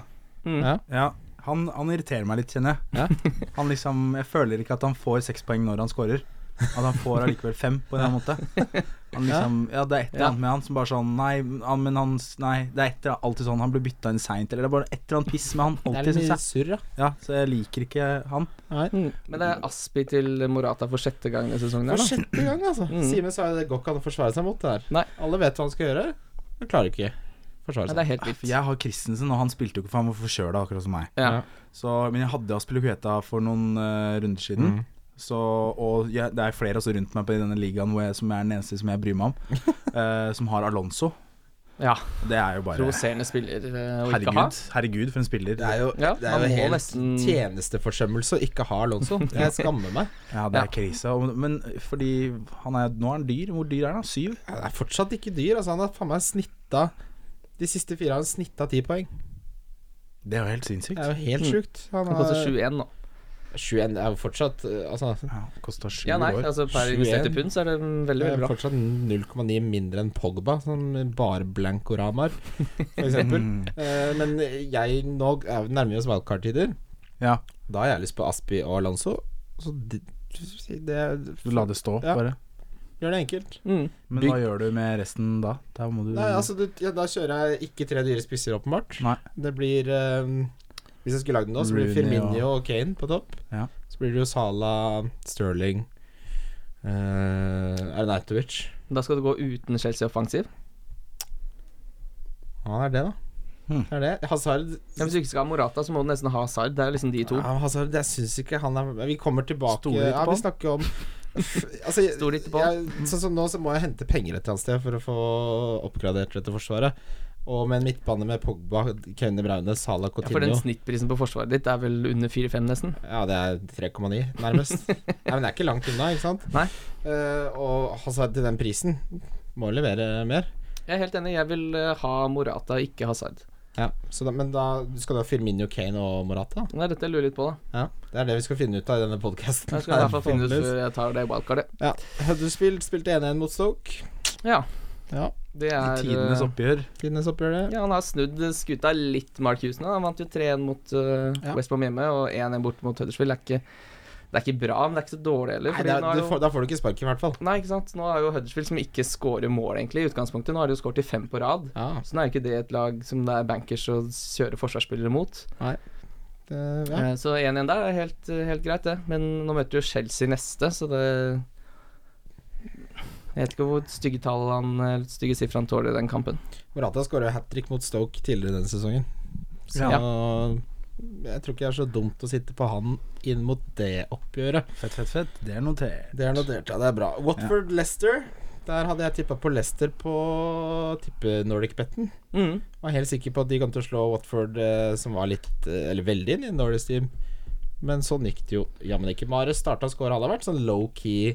Speaker 3: Mm.
Speaker 2: Ja.
Speaker 4: Ja. Han, han irriterer meg litt, kjenner jeg. Han liksom, jeg føler ikke at han får seks poeng når han scorer. At han får allikevel fem, på en eller annen måte. Han liksom, ja, det er et eller annet med han som bare sånn Nei, han- men han Nei, det er et eller annet alltid sånn. Han blir bytta inn seint, eller det er bare et eller annet piss med han.
Speaker 2: Det er
Speaker 4: Alltid,
Speaker 2: litt mye
Speaker 4: syns jeg.
Speaker 2: surr, ja.
Speaker 4: Ja, så jeg liker ikke han.
Speaker 3: Mm. Men det er Aspi til Morata for sjette gang denne sesongen. her,
Speaker 2: For
Speaker 3: da.
Speaker 2: sjette gang, altså.
Speaker 3: Mm.
Speaker 2: Simen sa jo det går ikke an å forsvare seg mot det der.
Speaker 3: Nei.
Speaker 2: Alle vet hva han skal gjøre, men klarer ikke forsvare
Speaker 3: Nei,
Speaker 2: seg.
Speaker 3: det er helt vilt.
Speaker 4: For Jeg har Christensen, og han spilte jo ikke, for han var forkjøla, akkurat som meg.
Speaker 3: Ja.
Speaker 4: Så, men jeg hadde Aspilicueta for noen eh, runder siden.
Speaker 2: Mm.
Speaker 4: Så, og jeg, det er flere også rundt meg på i denne ligaen hvor jeg, som er den eneste som jeg bryr meg om, eh, som har Alonso.
Speaker 3: ja.
Speaker 4: Det er jo bare
Speaker 3: Provoserende spiller eh, å ikke ha.
Speaker 4: Herregud, herregud for en spiller.
Speaker 2: Det er jo,
Speaker 3: Ja,
Speaker 2: det
Speaker 3: man
Speaker 2: er jo
Speaker 3: må
Speaker 2: helt
Speaker 3: nesten-
Speaker 2: tjenesteforsømmelse å ikke ha Alonso. Jeg skammer meg.
Speaker 4: Ja, det
Speaker 3: Ja.
Speaker 4: er krise. Og- Men fordi han er, nå er han dyr. Hvor dyr er han? Syv?
Speaker 2: Ja, Det er fortsatt ikke dyr. Altså, han har faen meg snitta De siste fire har han snitta ti poeng.
Speaker 4: Det er jo helt sinnssykt.
Speaker 2: Det er jo helt
Speaker 3: Mm.
Speaker 2: sjukt. Han
Speaker 3: Han koster 7-1 nå.
Speaker 2: 21 er jo fortsatt eh, Altså,
Speaker 4: Ja, Kosta sju
Speaker 3: Ja, nei,
Speaker 4: år.
Speaker 3: altså per investerte
Speaker 2: 7-1.
Speaker 3: pund så er det mm,
Speaker 2: det
Speaker 3: veldig,
Speaker 2: er
Speaker 3: veldig bra.
Speaker 2: fortsatt 0,9 mindre enn Pogba, som bare blankoramaer, for eksempel.
Speaker 4: Mm.
Speaker 2: Eh, Men jeg nå er vi nærmer oss valgkarttider.
Speaker 4: Ja,
Speaker 2: Da har jeg lyst på Aspi og Alonso. Så det, det
Speaker 4: du la det stå,
Speaker 2: Ja.
Speaker 4: bare.
Speaker 2: gjør det enkelt.
Speaker 3: Mm.
Speaker 4: Men
Speaker 2: Bygg-
Speaker 4: hva gjør du med resten da? Da må du
Speaker 2: Nei, altså, du, ja, da kjører jeg ikke tre dyre spisser, åpenbart.
Speaker 4: Nei.
Speaker 2: Det blir eh, Hvis jeg skulle lagd den nå, så blir det
Speaker 4: Rooney
Speaker 2: Firminio og
Speaker 4: og-
Speaker 2: Kane på topp.
Speaker 4: Ja.
Speaker 2: Så blir det jo Salah, Sterling uh, Arnautovic.
Speaker 3: Da skal du gå uten Chelsea offensiv.
Speaker 2: Ja, det er det, da.
Speaker 3: Hm.
Speaker 4: Hmm.
Speaker 2: Det er det. Hazard
Speaker 3: Ja, hvis du ikke skal ha Morata, så må du nesten ha Hazard. Det er liksom de to.
Speaker 2: Ja, men Hazard, jeg syns ikke han er Vi kommer tilbake
Speaker 4: Stoler ikke
Speaker 2: ja,
Speaker 4: på
Speaker 2: Vi
Speaker 4: han.
Speaker 2: snakker om altså, jeg-
Speaker 3: Stoler ikke på han.
Speaker 2: jeg, Sånn som nå, så må jeg hente penger et eller annet sted for å få oppgradert dette forsvaret. Og med en midtbane med Pogba, Kevin De Braune, Salah
Speaker 3: Ja, for den
Speaker 2: Coutinho
Speaker 3: snittprisen på forsvaret ditt er vel under 4-5 nesten.
Speaker 2: Ja, det er 3,9, nærmest. Nei, men det er ikke langt unna, ikke sant?
Speaker 3: Nei.
Speaker 2: Eh, og Hazard til den prisen må levere mer.
Speaker 3: Jeg er helt enig, jeg vil eh, ha Morata, ikke Hazard.
Speaker 2: Ja, så da, Men da skal du ha Firmino, Kane og Morata?
Speaker 3: Det er dette jeg lurer litt på, da.
Speaker 2: Ja, Det er det vi skal finne ut av i denne podkasten.
Speaker 3: Jeg skal i hvert fall finne ut før jeg tar det wildcardet.
Speaker 2: Ja, Huddersfield spilte 1-1 mot Stoke.
Speaker 3: Ja,
Speaker 2: Ja,
Speaker 3: det er
Speaker 4: Tidenes
Speaker 3: eh,
Speaker 4: oppgjør.
Speaker 2: Tidenes oppgjør, det.
Speaker 3: Ja, han har snudd skuta litt, Mark Houston. Han vant jo 3-1 mot eh,
Speaker 2: Ja.
Speaker 3: West Brom hjemme, og 1-1 bort mot Huddersfield. Det, er ikke- det er ikke bra, men det er ikke så dårlig heller.
Speaker 2: Nei,
Speaker 3: fordi
Speaker 2: da,
Speaker 3: nå er
Speaker 2: du
Speaker 3: det jo-
Speaker 2: får, da får du ikke spark, i hvert fall.
Speaker 3: Nei, ikke sant. Nå er jo Huddersfield, som ikke scorer mål, egentlig, i utgangspunktet. Nå har de jo skåret i fem på rad.
Speaker 2: Ja,
Speaker 3: Så nå Sånn er jo ikke det et lag som det er bankers å kjøre forsvarsspillere mot.
Speaker 2: det, ja.
Speaker 3: Eh, Så 1-1 der er helt, helt greit, det. Men nå møter jo Chelsea neste, så det Jeg vet ikke hvor stygge tall han eller stygge sifre han tåler i den kampen.
Speaker 2: Morata skåra hat trick mot Stoke tidligere denne sesongen. Så jeg tror ikke det er så dumt å sitte på han inn mot det oppgjøret.
Speaker 4: Fett, fett, fett. Det er notert.
Speaker 2: Det er notert, ja. Det er bra. Watford Leicester. Der hadde jeg tippa på Leicester på tippe-Nordic-betten.
Speaker 3: Mm.
Speaker 2: Var helt sikker på at de kom til å slå Watford, eh, som var litt eh, Eller veldig inn i Nordic Team. Men sånn gikk det jo jammen ikke. Mares starta å score, han har vært sånn low-key.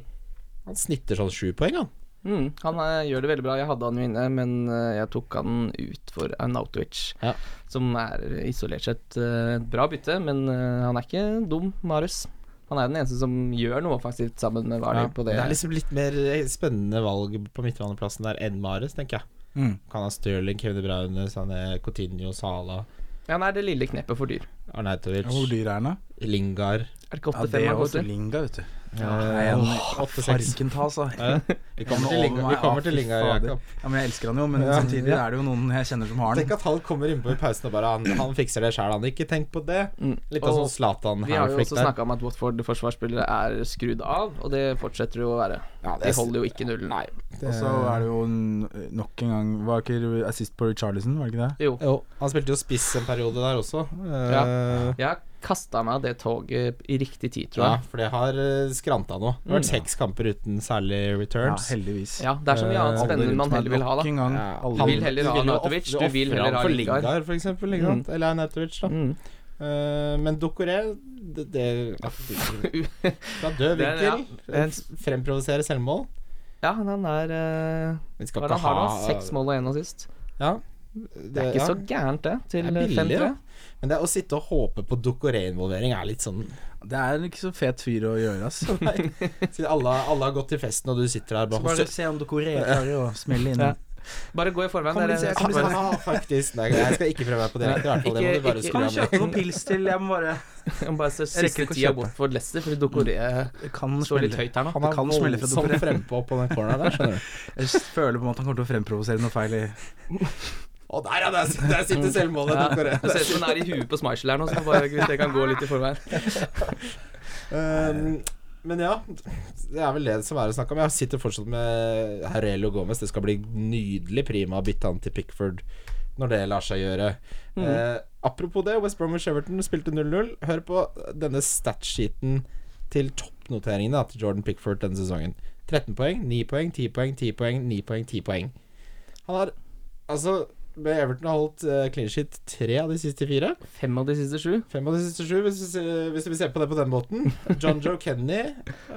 Speaker 2: Han snitter sånn sju poeng, han.
Speaker 3: Mm. Han eh, gjør det veldig bra. Jeg hadde han jo inne, men eh, jeg tok han ut for Arnautovic.
Speaker 2: Ja.
Speaker 3: Som er isolert sett eh, et bra bytte, men eh, han er ikke dum, Marius. Han er den eneste som gjør noe offensivt sammen med Vardy
Speaker 2: Ja,
Speaker 3: på det.
Speaker 2: er liksom litt mer spennende valg på midtbaneplassen der enn Mares, tenker jeg.
Speaker 4: Mm.
Speaker 2: Kan ha Stirling, Kevin De Bruyne, Sané, Coutinho, Sala,
Speaker 3: Ja, nei, det lille kneppet for dyr.
Speaker 2: Arnautovic,
Speaker 4: Hvor dyr er den, da?
Speaker 2: Lingard
Speaker 3: Er det ikke
Speaker 4: Ja, det
Speaker 3: 8-5
Speaker 4: er
Speaker 3: han går
Speaker 4: også
Speaker 3: til?
Speaker 4: Linga, vet du.
Speaker 2: eh, åh, farken.
Speaker 4: Farken ta, altså.
Speaker 2: Ja, Vi kommer til Lingard, vi kommer til Lingard Jakob.
Speaker 4: Ja, men jeg elsker han jo, men
Speaker 2: Ja.
Speaker 4: samtidig er det jo noen jeg kjenner som har
Speaker 2: Tenk
Speaker 4: den.
Speaker 2: at han kommer innpå i pausen og bare Han, han fikser det sjæl, han. Ikke tenk på det.
Speaker 3: Mm.
Speaker 2: Litt av
Speaker 3: Og
Speaker 2: sånn Zlatan
Speaker 3: vi har jo
Speaker 2: Halflick
Speaker 3: også
Speaker 2: der.
Speaker 3: snakka om at Watford-forsvarsspillere er skrudd av, og det fortsetter jo å være.
Speaker 2: Ja, det
Speaker 3: De
Speaker 2: er-
Speaker 3: holder jo ikke nullen.
Speaker 2: Nei.
Speaker 4: Og så er det jo n- nok en gang Var ikke assist på Richarlison, var det ikke det?
Speaker 3: Jo.
Speaker 2: Jo, han spilte jo spiss en periode der også. Eh,
Speaker 3: Ja. Jeg har kasta meg av det toget i riktig tid, tror
Speaker 2: Ja,
Speaker 3: jeg.
Speaker 2: for det har eh, skranta nå. Det har vært seks kamper uten særlig
Speaker 4: Ja,
Speaker 2: returns.
Speaker 4: heldigvis.
Speaker 3: Ja, Det er så mye annet
Speaker 2: Eh,
Speaker 3: spennende man heller vil ha, da.
Speaker 4: Nok en gang.
Speaker 2: Ja.
Speaker 4: alle-
Speaker 3: Du vil heller ha
Speaker 2: Du vil jo
Speaker 3: Arnautovic,
Speaker 2: ofre-
Speaker 3: du vil
Speaker 2: ofre
Speaker 3: heller
Speaker 2: han
Speaker 3: ha
Speaker 2: for
Speaker 3: Lingard.
Speaker 2: Lingard, for eksempel. Ikke sant? Eller Arnautovic, da.
Speaker 3: Mm.
Speaker 2: Eh, men Dokoré det, det ja, Fra død
Speaker 3: Det er-
Speaker 2: vinkel
Speaker 3: ja.
Speaker 2: f- fremprovosere selvmål.
Speaker 3: Ja, han er eh,
Speaker 2: Vi skal
Speaker 3: Hva er
Speaker 2: ikke
Speaker 3: det han har
Speaker 2: ha
Speaker 3: nå? Seks mål og én assist.
Speaker 2: Ja.
Speaker 3: Det er ikke
Speaker 2: ja.
Speaker 3: så gærent, det. Til
Speaker 2: Det er billig,
Speaker 3: 5-3.
Speaker 2: da. Men det å sitte og håpe på Dokoré-involvering er litt sånn
Speaker 4: Det er ikke så fet fyr å gjøre, ass.
Speaker 2: Siden alle, alle har gått til festen, og du sitter der
Speaker 4: Så
Speaker 2: bare
Speaker 4: bare
Speaker 2: hos
Speaker 4: se om Dokoré klarer å smelle inn
Speaker 3: Ja. Bare gå i forveien.
Speaker 4: Kom,
Speaker 3: dere-
Speaker 4: Lise, jeg
Speaker 2: Ah,
Speaker 4: kommer
Speaker 3: bare-
Speaker 4: til å
Speaker 2: ah, faktisk. Nei, jeg skal ikke prøve meg på direkte. I hvert fall, det må
Speaker 3: Ikke-
Speaker 2: du bare
Speaker 3: ikke-
Speaker 2: skru
Speaker 4: Kan
Speaker 2: av
Speaker 4: du
Speaker 2: med.
Speaker 4: kjøpe noen pils til? Jeg må bare
Speaker 3: Jeg må bare se
Speaker 4: Jeg rekker
Speaker 3: siste
Speaker 4: ikke å
Speaker 3: tida
Speaker 4: kjøpe.
Speaker 3: bort for Leicester, for Dokoré
Speaker 4: Det kan
Speaker 3: står litt
Speaker 4: smelle.
Speaker 3: høyt her nå.
Speaker 2: Mm. Han
Speaker 4: Det
Speaker 2: er
Speaker 4: kan smelle fra
Speaker 2: voldsomt
Speaker 4: doper.
Speaker 2: frempå på den corneren der, skjønner du.
Speaker 4: Jeg føler på en måte han kommer til å fremprovosere noe feil i
Speaker 2: Å, der, ja! Der, der sitter selvmålet.
Speaker 3: Ja,
Speaker 2: Dokoré.
Speaker 3: det ser ut som den er i huet på Schmeichel her nå, så bare gud, det kan gå litt i forveien.
Speaker 2: Um, men ja, det er vel det som er å snakke om. Jeg sitter fortsatt med Herrelo Gomez. Det skal bli nydelig prima å bytte han til Pickford når det lar seg gjøre. Eh, apropos det, West Bromwich Everton spilte 0-0. Hør på denne statsheeten til toppnoteringene da, til Jordan Pickford denne sesongen. 13 poeng, 9 poeng, 10 poeng, 10 poeng, 9 poeng, 10 poeng. Han har altså med Everton har holdt eh, clean sheet tre av de siste fire.
Speaker 3: Fem av de siste sju.
Speaker 2: Fem av de siste sju, hvis, vi ser- hvis vi ser på det på den måten. John Joe Kenny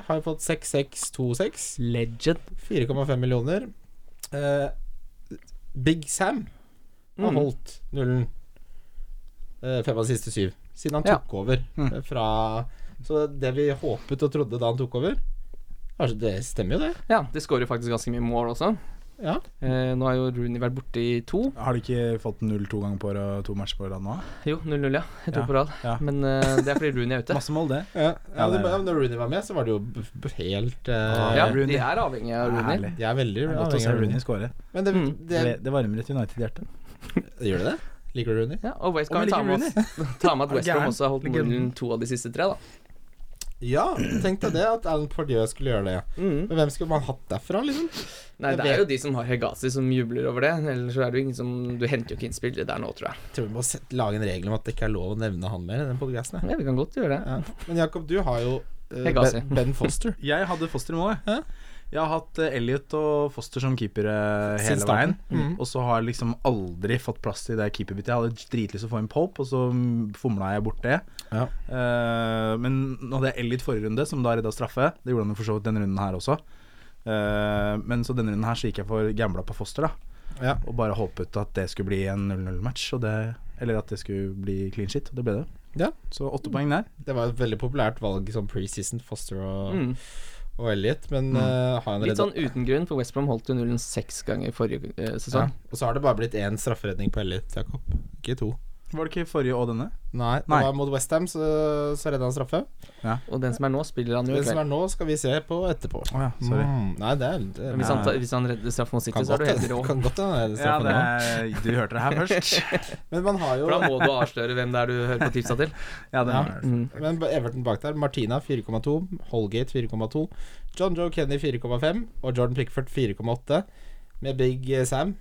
Speaker 2: har jo fått 6626.
Speaker 3: Legend.
Speaker 2: 4,5 millioner. Eh, Big Sam har
Speaker 3: Mm.
Speaker 2: holdt nullen eh, fem av de siste syv, siden han
Speaker 3: Ja.
Speaker 2: tok over
Speaker 4: Mm.
Speaker 2: eh, fra Så det vi håpet og trodde da han tok over altså, Det stemmer jo, det.
Speaker 3: Ja, de skårer jo faktisk ganske mye mål også.
Speaker 2: Ja.
Speaker 3: Eh, nå har jo Rooney vært borte i to.
Speaker 4: Har du ikke fått 0-2 ganger på året og to matcher på rad nå?
Speaker 3: Jo, 0-0, ja. To
Speaker 4: Ja,
Speaker 3: på rad.
Speaker 4: ja.
Speaker 3: Men eh, det er fordi Rooney er ute.
Speaker 4: Masse mål, det.
Speaker 2: Ja,
Speaker 4: Ja, det er
Speaker 2: men-
Speaker 4: det.
Speaker 2: ja, men Når Rooney var med, så var det jo b b helt eh,
Speaker 3: Ah, Ja,
Speaker 4: Rooney.
Speaker 3: De er avhengig av Rooney.
Speaker 4: Herlig.
Speaker 2: De er veldig
Speaker 4: Det er godt å
Speaker 2: avhengig
Speaker 4: se
Speaker 2: av Rooney.
Speaker 4: Rooney skåre.
Speaker 2: Men det,
Speaker 3: Mm.
Speaker 2: det,
Speaker 4: Det, det varmer et United-hjerte.
Speaker 2: Gjør det det? Liker du Rooney?
Speaker 3: Ja, og West,
Speaker 4: Om
Speaker 3: kan vi
Speaker 4: jeg
Speaker 3: ta
Speaker 4: liker
Speaker 3: med, oss, ta med at
Speaker 4: Er
Speaker 3: West Brom
Speaker 4: gæren.
Speaker 3: også har holdt
Speaker 4: Legenden.
Speaker 3: nullen to av de siste tre, da.
Speaker 2: Ja, tenk deg det, at Alan Pardieu skulle gjøre det.
Speaker 3: Mm.
Speaker 2: Men hvem skulle man hatt derfra, liksom?
Speaker 3: Nei,
Speaker 2: Jeg
Speaker 3: det er jo
Speaker 2: vet-
Speaker 3: de som har Hegazi som jubler over det. Ellers så er det jo ingen som Du henter jo ikke inn spillere der nå, tror jeg.
Speaker 2: Tror vi må sette, lage en regel om at det ikke er lov å nevne han mer i den podkasten.
Speaker 3: Ja, vi kan godt gjøre det.
Speaker 2: Ja. Men Jakob, du har jo eh,
Speaker 3: Hegazi.
Speaker 2: ben, ben Foster.
Speaker 4: Jeg hadde Foster i mål, jeg.
Speaker 2: Hæ?
Speaker 4: Jeg har hatt eh, Elliot og Foster som
Speaker 2: Siden
Speaker 4: keepere hele veien.
Speaker 2: starten. Mhm.
Speaker 4: Og så har jeg liksom aldri fått plass til det keeperbyttet. Jeg hadde dritlyst til å få en Pope, og så mm, fomla jeg bort det.
Speaker 2: Ja.
Speaker 4: Eh, men nå hadde jeg Elliot forrige runde, som da redda straffe. Det gjorde han jo for så vidt denne runden her også. Eh, men så denne runden her så gikk jeg for gambla på Foster, da.
Speaker 2: Ja.
Speaker 4: Og bare håpet at det skulle bli en 0-0-match, og det- eller at det skulle bli clean shit, og det ble det.
Speaker 2: Ja.
Speaker 4: Så åtte poeng der.
Speaker 2: Det var et veldig populært valg som preseason, Foster og,
Speaker 3: Mm.
Speaker 2: og Elliot, men eh, har han
Speaker 3: Litt
Speaker 2: redda
Speaker 3: sånn uten grunn, for West Brom holdt jo nullen seks ganger forrige eh,
Speaker 2: ja.
Speaker 3: sesong.
Speaker 2: Og så har det bare blitt én strafferedning på Elliot, Jakob. Ikke to.
Speaker 4: Var det ikke forrige og denne?
Speaker 2: Nei, det
Speaker 4: Nei.
Speaker 2: var mot Westham, så, så redda han straffe.
Speaker 3: Og den som er nå, spiller han jo i
Speaker 2: Det som
Speaker 3: kveld.
Speaker 2: er nå, skal vi se på etterpå.
Speaker 4: Å ja, sorry.
Speaker 2: Mm. Nei, det er, det
Speaker 3: Men Hvis han, ta- hvis han redder straff mot City,
Speaker 2: kan
Speaker 3: så er
Speaker 2: godt
Speaker 3: du helt rå.
Speaker 2: kan godt hende det er
Speaker 4: Ja,
Speaker 2: straffen
Speaker 4: det
Speaker 2: nå.
Speaker 4: er, du hørte det her først.
Speaker 2: Men man har jo
Speaker 3: For da må du avsløre hvem det er du hører på tipsa til.
Speaker 4: Ja, det
Speaker 2: Ja.
Speaker 4: var det.
Speaker 3: Mm.
Speaker 2: Men ba- Everton bak der. Martina 4,2. Holgate 4,2. John Joe Kenny 4,5. Og Jordan Pickford 4,8. Med Big eh, Sam.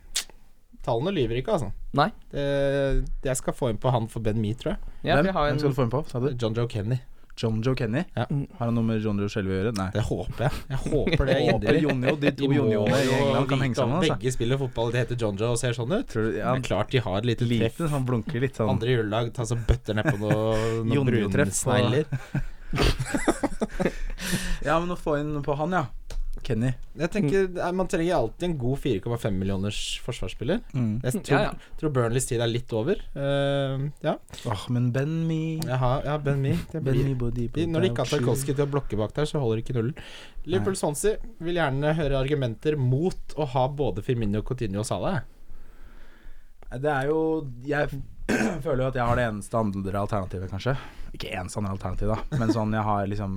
Speaker 2: Tallene lyver ikke, altså.
Speaker 3: Nei.
Speaker 2: Det, jeg skal få inn på han for Ben Me, tror jeg.
Speaker 3: Ja,
Speaker 4: Hvem?
Speaker 3: vi har
Speaker 4: Hvem
Speaker 3: en
Speaker 4: skal
Speaker 3: Mm.
Speaker 4: du få inn på? Sa du?
Speaker 2: John Joe Kenny.
Speaker 4: John Joe Kenny?
Speaker 2: Ja.
Speaker 4: Har han noe med John Joe Shelby å gjøre? Nei.
Speaker 2: Det håper jeg. Jeg håper det
Speaker 4: Og
Speaker 2: inderlig.
Speaker 4: Jonjo, de to
Speaker 2: De må
Speaker 4: Jonjoene i
Speaker 2: jo
Speaker 4: England kan
Speaker 2: vite om
Speaker 4: henge sammen. Altså.
Speaker 2: Begge spiller fotball, de heter John Joe og ser sånn ut.
Speaker 4: Tror du, ja,
Speaker 2: Men klart de har et lite treff.
Speaker 4: liten, han blunker litt sånn.
Speaker 2: Andre juledag tar så bøtter nedpå noen, noen
Speaker 4: Jonjo-treff på-
Speaker 2: brunsnegler.
Speaker 4: Ja, men å få inn på han, ja. Kenny.
Speaker 2: Jeg tenker, nei, Man trenger alltid en god 4,5 millioners forsvarsspiller.
Speaker 4: Mm.
Speaker 2: Jeg tror,
Speaker 3: Ja, ja.
Speaker 2: tror Burnleys tid er litt over. Eh, ja.
Speaker 4: Åh, men Ben Me
Speaker 2: Jeg har, jeg har Ben Me. Det
Speaker 4: Ben
Speaker 2: blir,
Speaker 4: Me Body
Speaker 2: de, når de ikke har Tarkovskij til å blokke bak der, så holder ikke nullen. Liverpool Swansea vil gjerne høre argumenter mot å ha både Firmino, Coutinho og Salah. eh.
Speaker 4: Det er jo Jeg føler jo at jeg har det eneste andre alternativet, kanskje. Ikke eneste andre alternativ, da, men sånn jeg har liksom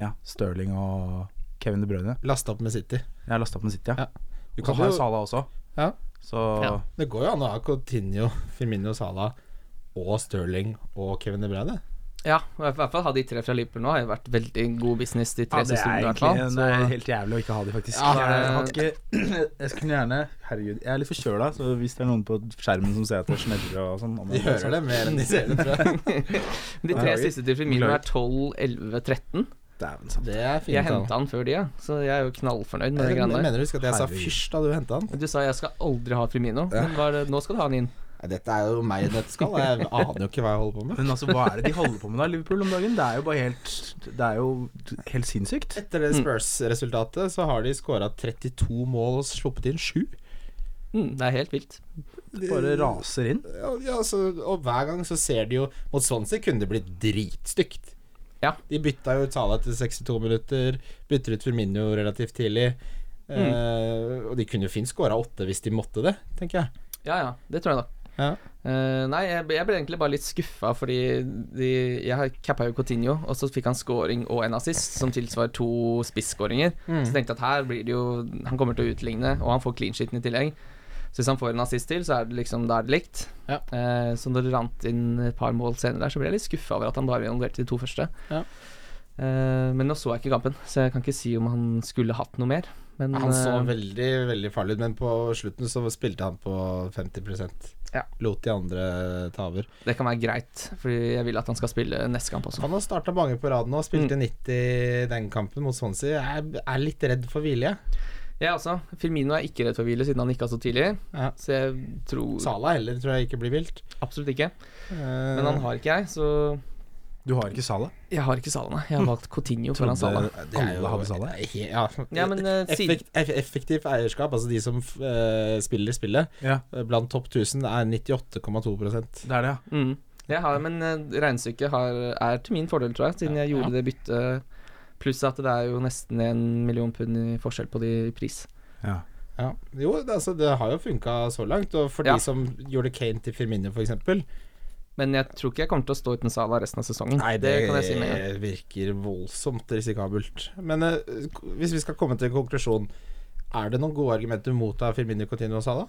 Speaker 4: Ja, Stirling og Kevin De Bruyne.
Speaker 2: Laste opp med City.
Speaker 4: Jeg har lasta opp med City,
Speaker 2: Ja.
Speaker 4: ja.
Speaker 2: Du
Speaker 4: Og så
Speaker 2: kan
Speaker 4: har jeg
Speaker 2: jo,
Speaker 4: Salah også.
Speaker 2: Ja.
Speaker 4: Så
Speaker 3: Ja.
Speaker 2: det går jo an å ha Coutinho, Firmino, Salah og Sterling og Kevin De Bruyne.
Speaker 3: Ja, og i hvert fall ha de tre fra Liverpool nå. Har jo vært veldig god business de
Speaker 4: Ja,
Speaker 3: tre
Speaker 4: det
Speaker 3: siste
Speaker 4: er
Speaker 3: rundene, i hvert
Speaker 4: egentlig eh,
Speaker 3: fall.
Speaker 4: det er
Speaker 3: Så-
Speaker 4: helt jævlig å ikke ha de,
Speaker 3: eh,
Speaker 4: faktisk.
Speaker 3: Ja,
Speaker 4: jeg,
Speaker 3: det-
Speaker 4: har ikke, jeg skulle gjerne Herregud, jeg er litt forkjøla, så hvis det er noen på skjermen som ser at det smeller og sånn
Speaker 2: De hører det mer enn de ser det, tror jeg.
Speaker 3: De tre
Speaker 4: Beklager.
Speaker 3: siste til Firmino er
Speaker 4: Beklager.
Speaker 3: 12, 11, 13.
Speaker 4: Dæven sant.
Speaker 2: Det er
Speaker 3: Jeg
Speaker 2: fint.
Speaker 3: henta
Speaker 2: da.
Speaker 3: han før de, ja. så jeg er jo knallfornøyd med det
Speaker 2: Jeg
Speaker 3: greiene der.
Speaker 2: mener du husker at jeg sa
Speaker 4: Herregud.
Speaker 2: fysj da du henta han?
Speaker 3: Du sa jeg skal aldri ha Firmino, men hva er det, nå skal du ha han inn.
Speaker 2: Nei, Dette er jo meg i et nøtteskall. Jeg aner jo ikke hva jeg holder på med.
Speaker 4: Men altså, hva er det de holder på med da, Liverpool om dagen? Det er jo bare helt Det er jo helt sinnssykt.
Speaker 2: Etter
Speaker 3: Mm.
Speaker 2: det Spurs-resultatet så har de skåra 32 mål og sluppet inn 7.
Speaker 3: Mm, det er helt vilt.
Speaker 4: Det bare raser inn.
Speaker 2: Ja, ja, altså, og hver gang så ser de jo Mot Swansea kunne det blitt dritstygt.
Speaker 3: Ja.
Speaker 2: De bytta jo ut Salah til 62 minutter, bytter ut Firmino relativt tidlig.
Speaker 3: Mm.
Speaker 2: Eh, og de kunne jo fint skåra åtte hvis de måtte det, tenker jeg.
Speaker 3: Ja, ja, det tror jeg nok.
Speaker 2: Ja.
Speaker 3: Eh, nei, jeg, ble- jeg ble egentlig bare litt skuffa, fordi de, jeg cappa jo Coutinho, og så fikk han scoring og en assist, som tilsvarer to spisskåringer. Så
Speaker 2: Mm.
Speaker 3: jeg tenkte jeg at her blir det jo Han kommer til å utligne, og han får clean sheeten i tillegg. Så hvis han får en assist til, så er det liksom da er det likt.
Speaker 2: Ja.
Speaker 3: Eh, så når det rant inn et par mål senere der, så ble jeg litt skuffa over at han bare involverte de to første.
Speaker 2: Ja.
Speaker 3: Eh, men nå så jeg ikke kampen, så jeg kan ikke si om han skulle hatt noe mer. Men
Speaker 2: Han
Speaker 3: eh,
Speaker 2: så veldig veldig farlig ut, men på slutten så spilte han på 50
Speaker 3: Ja.
Speaker 2: Lot de andre ta over.
Speaker 3: det kan være greit, Fordi jeg vil at han skal spille neste kamp også.
Speaker 2: Han har starta mange på rad nå, spilte
Speaker 3: Mm.
Speaker 2: 90 i den kampen mot Swansea. Jeg er litt redd for hvile. jeg.
Speaker 3: Jeg også. Firmino er ikke redd for hvile siden han ikke har så tidlig.
Speaker 2: Ja.
Speaker 3: Så jeg tror
Speaker 2: Sala heller tror jeg ikke blir vilt.
Speaker 3: absolutt ikke.
Speaker 2: Eh,
Speaker 3: Men han har ikke jeg, så Mm.
Speaker 4: Du har ikke Sala?
Speaker 3: Jeg har ikke Sala, nei. Jeg har valgt Coutinho foran Sala.
Speaker 2: det er jo-
Speaker 4: alle hadde Sala?
Speaker 2: Ja,
Speaker 3: Ja, men eh, siden
Speaker 2: Effekt, eff effektivt eierskap, altså de som f- eh, spiller spillet,
Speaker 4: Ja,
Speaker 2: eh, blant topp 1000 er 98,2
Speaker 4: det er det, ja.
Speaker 3: mm, jeg har, Men eh, regnestykket har, er til min fordel, tror jeg, siden jeg gjorde det byttet. Pluss at det er jo nesten en million pund i forskjell på de i pris.
Speaker 4: ja.
Speaker 2: ja. Jo, det, altså, det har jo funka så langt, og for
Speaker 3: Ja.
Speaker 2: de som gjorde Kane til Firmino, for eksempel
Speaker 3: Men jeg tror ikke jeg kommer til å stå uten Sala resten av sesongen.
Speaker 2: Nei,
Speaker 3: det, kan jeg si med en gang.
Speaker 2: virker voldsomt risikabelt. Men eh, k- hvis vi skal komme til en konklusjon, er det noen gode argumenter mot å ha Firmino Coutinho og Salah?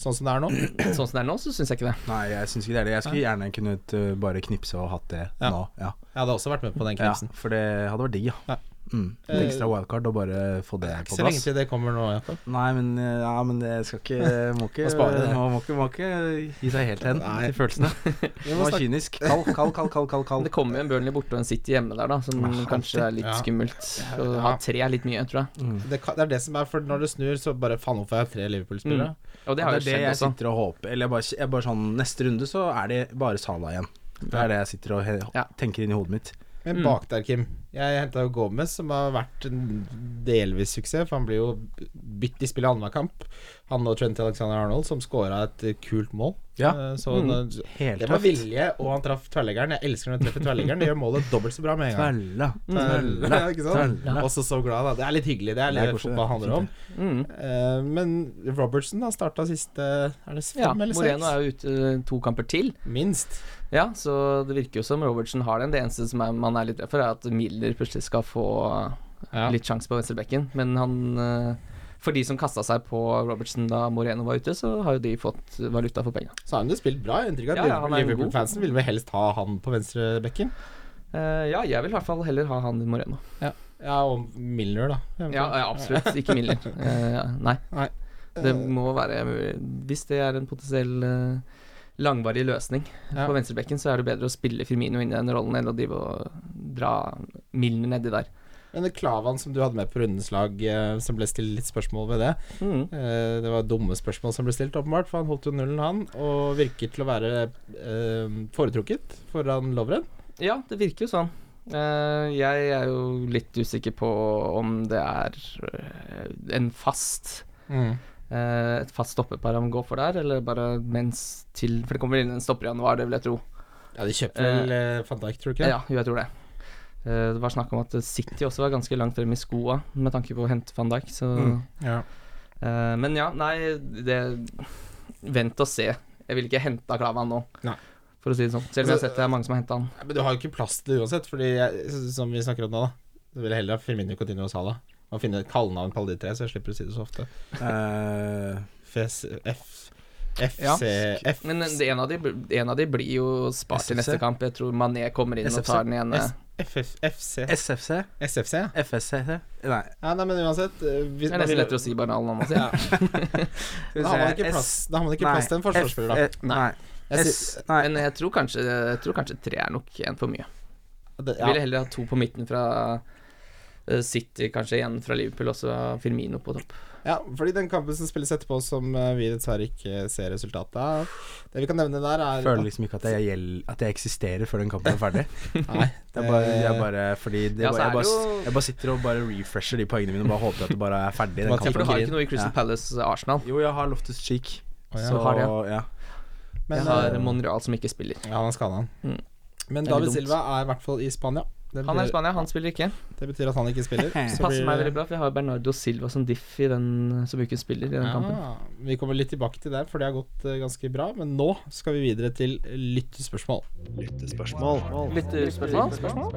Speaker 2: Sånn som det er nå?
Speaker 3: Sånn som det er nå, så syns jeg ikke det.
Speaker 4: Nei, jeg syns ikke det er det. Jeg skulle gjerne kunnet uh, bare knipse og hatt det
Speaker 2: Ja.
Speaker 4: nå. Ja.
Speaker 2: Jeg hadde også vært med på den
Speaker 4: ja,
Speaker 2: knipsen.
Speaker 4: For det hadde vært digg, ja.
Speaker 2: Ja.
Speaker 4: Mm. Et
Speaker 2: Eh,
Speaker 4: ekstra wildcard og bare få det
Speaker 2: Ikke
Speaker 4: på
Speaker 2: så lenge
Speaker 4: plass.
Speaker 2: til det kommer nå, Jakob.
Speaker 4: Nei, men, eh, ja, men det skal ikke eh, Må ikke,
Speaker 2: Må spare det.
Speaker 4: må, må ikke, må ikke gi seg helt hen
Speaker 2: Nei.
Speaker 4: til følelsene.
Speaker 2: Vi må
Speaker 4: Var
Speaker 2: snakke-
Speaker 4: kynisk. Kald, kald, kald, kald. kald,
Speaker 3: Men
Speaker 4: kald.
Speaker 3: det kommer jo en Burnley borte og en City hjemme der, da, som kanskje er litt
Speaker 2: Ja.
Speaker 3: skummelt. Så å ha tre er litt mye, tror jeg.
Speaker 2: Det, kan, det er det som er, for når det snur, så bare faen, hvorfor har jeg tre Liverpool-spillere?
Speaker 3: Og det
Speaker 4: Det
Speaker 3: har
Speaker 4: er
Speaker 3: jo
Speaker 4: det
Speaker 3: skjedd
Speaker 4: jeg
Speaker 3: også.
Speaker 4: sitter og håper. Eller jeg bare, jeg bare sånn Neste runde så er det bare Sala igjen. Det er det jeg sitter og he
Speaker 3: Ja.
Speaker 4: tenker inn i hodet mitt.
Speaker 2: Men bak der, Kim. Jeg henta jo Gomez, som har vært en delvis suksess, for han blir jo bytt i spillet annenhver kamp. Han og Trent Alexander Arnold, som scora et eh, kult mål.
Speaker 4: Ja.
Speaker 2: Eh, Så det-
Speaker 4: Helt
Speaker 2: det var
Speaker 4: tøft.
Speaker 2: vilje, og han traff tverrleggeren. Jeg elsker når han treffer tverrleggeren. Det gjør målet dobbelt så bra med en gang. Eh,
Speaker 4: Tvella.
Speaker 2: Ja, ikke sant?
Speaker 4: Tvella.
Speaker 2: Også så glad, da. Det er litt hyggelig. Det er
Speaker 4: Det er
Speaker 2: det
Speaker 4: koselig,
Speaker 2: fotball handler om.
Speaker 3: Mm.
Speaker 2: Eh, Men Robertson har starta siste Er det fem
Speaker 3: Ja,
Speaker 2: eller
Speaker 3: Moreno
Speaker 2: seks?
Speaker 3: er jo ute eh, to kamper til,
Speaker 2: Minst.
Speaker 3: Ja, så det virker jo som Robertson har den. Det eneste som er, man er litt redd for, er at Miller plutselig skal få
Speaker 2: Ja.
Speaker 3: litt sjanse på venstrebekken. Men han eh, For de som kasta seg på Robertson da Moreno var ute, så har jo de fått valuta for penga.
Speaker 2: Så har han jo spilt bra. Jeg har inntrykk av
Speaker 3: Ja,
Speaker 2: at
Speaker 3: ja, han er jo god.
Speaker 2: Liverpool-fansen ville vel helst ha han på venstrebekken.
Speaker 3: Eh, ja, jeg vil i hvert fall heller ha han enn Moreno.
Speaker 2: Ja, og Milner, da.
Speaker 3: Ja, ja, absolutt. Ikke Miller. Eh, ja, nei.
Speaker 2: Nei.
Speaker 3: Det må være Hvis det er en potensiell eh, langvarig løsning
Speaker 2: Ja.
Speaker 3: på venstrebekken, så er det bedre å spille Firmino inn i den rollen enn å drive og dra Milner nedi der.
Speaker 2: Men det Klavan som du hadde med på rundens lag, eh, som ble stilt litt spørsmål ved det
Speaker 3: Mm.
Speaker 2: eh, Det var dumme spørsmål som ble stilt, åpenbart, for han holdt jo nullen, han, og virket til å være eh, foretrukket foran Lovren.
Speaker 3: Ja, det virker jo sånn. Eh, jeg er jo litt usikker på om det er eh, en fast eh, et fast stoppepar han går for der, eller bare mens til For det kommer inn en stopper i januar, det vil jeg tro.
Speaker 2: Ja, de kjøpte vel eh, van Dijk, tror du ikke?
Speaker 3: Ja, jo, jeg tror det. Eh, det var snakk om at City også var ganske langt frem i skoa med tanke på å hente van Dijk, så
Speaker 2: Ja.
Speaker 3: Eh, Men ja, nei, det Vent og se. Jeg ville ikke henta Klavan nå,
Speaker 2: Nei.
Speaker 3: for å si det sånn. Selv om jeg har
Speaker 2: Altså,
Speaker 3: sett det er mange som har henta han.
Speaker 2: Men du har jo ikke plass til det uansett, Fordi jeg, som vi snakker om nå, da. Du vil heller ha Firmino Coutinho og Salah. Må finne et kallenavn på alle de tre, så jeg slipper å si det så ofte.
Speaker 4: Eh,
Speaker 2: FS, F, FC,
Speaker 3: Ja.
Speaker 2: F,
Speaker 3: Men eh, det- en av, de, en av de blir jo spart til
Speaker 4: SFC.
Speaker 3: neste kamp. Jeg tror Mané kommer inn og
Speaker 4: SFC.
Speaker 3: tar den eh. ene.
Speaker 2: S- FF, FC,
Speaker 4: SFC?
Speaker 2: SFC. ja.
Speaker 4: FSC? Nei.
Speaker 2: Ja, nei, men uansett eh, hvis,
Speaker 3: Det er nesten lettere å si bare navnet hans.
Speaker 2: Ja. Da har man ikke plass, da har man ikke plass til en forsvarsspiller,
Speaker 3: eh,
Speaker 2: da.
Speaker 4: Nei.
Speaker 2: Jeg
Speaker 4: S,
Speaker 2: sier-
Speaker 4: nei.
Speaker 3: Men jeg tror kanskje, jeg tror kanskje tre er nok en for mye.
Speaker 2: det,
Speaker 3: Jeg ville
Speaker 2: ja.
Speaker 3: heller ha to på midten fra eh, City, kanskje en fra Liverpool, og så Firmino på topp.
Speaker 2: ja, fordi den kampen som spilles etterpå, som eh, vi dessverre ikke ser resultatet av Det vi kan nevne der, er
Speaker 4: Føler liksom ikke at jeg, gjel- at jeg eksisterer før den kampen er ferdig.
Speaker 2: Nei,
Speaker 4: Det er bare, jeg bare fordi det,
Speaker 3: Ja, så er
Speaker 4: bare- jeg,
Speaker 3: det
Speaker 4: bare,
Speaker 3: jo-
Speaker 4: jeg bare sitter og bare refresher de poengene mine og bare håper at det bare er ferdig. Den
Speaker 2: Bare
Speaker 4: kampen.
Speaker 3: For du har ikke noe i Crystal
Speaker 4: Ja.
Speaker 3: Palace Arsenal.
Speaker 4: Jo, jeg har Loftus Cheek.
Speaker 2: Å, ja.
Speaker 4: Så
Speaker 3: Du har det,
Speaker 4: ja.
Speaker 2: men,
Speaker 3: Jeg har
Speaker 2: eh,
Speaker 3: Monreal som ikke spiller.
Speaker 2: Ja, han er skada, han.
Speaker 3: Mm.
Speaker 2: Men
Speaker 3: Det er litt
Speaker 2: David
Speaker 3: dumt.
Speaker 2: Silva er i hvert fall i Spania. Det
Speaker 3: Han er i
Speaker 2: betyr,
Speaker 3: Spania, han spiller ikke.
Speaker 2: det betyr at han ikke spiller.
Speaker 3: Det
Speaker 2: så
Speaker 3: passer
Speaker 2: blir-
Speaker 3: meg veldig bra, for jeg har Bernardo Silva som diff i den eh, som ikke spiller i den kampen.
Speaker 2: Ja, vi kommer litt tilbake til det, for det har gått eh, ganske bra. Men nå skal vi videre til lyttespørsmål.
Speaker 3: Lyttespørsmål?
Speaker 2: Lyttespørsmål?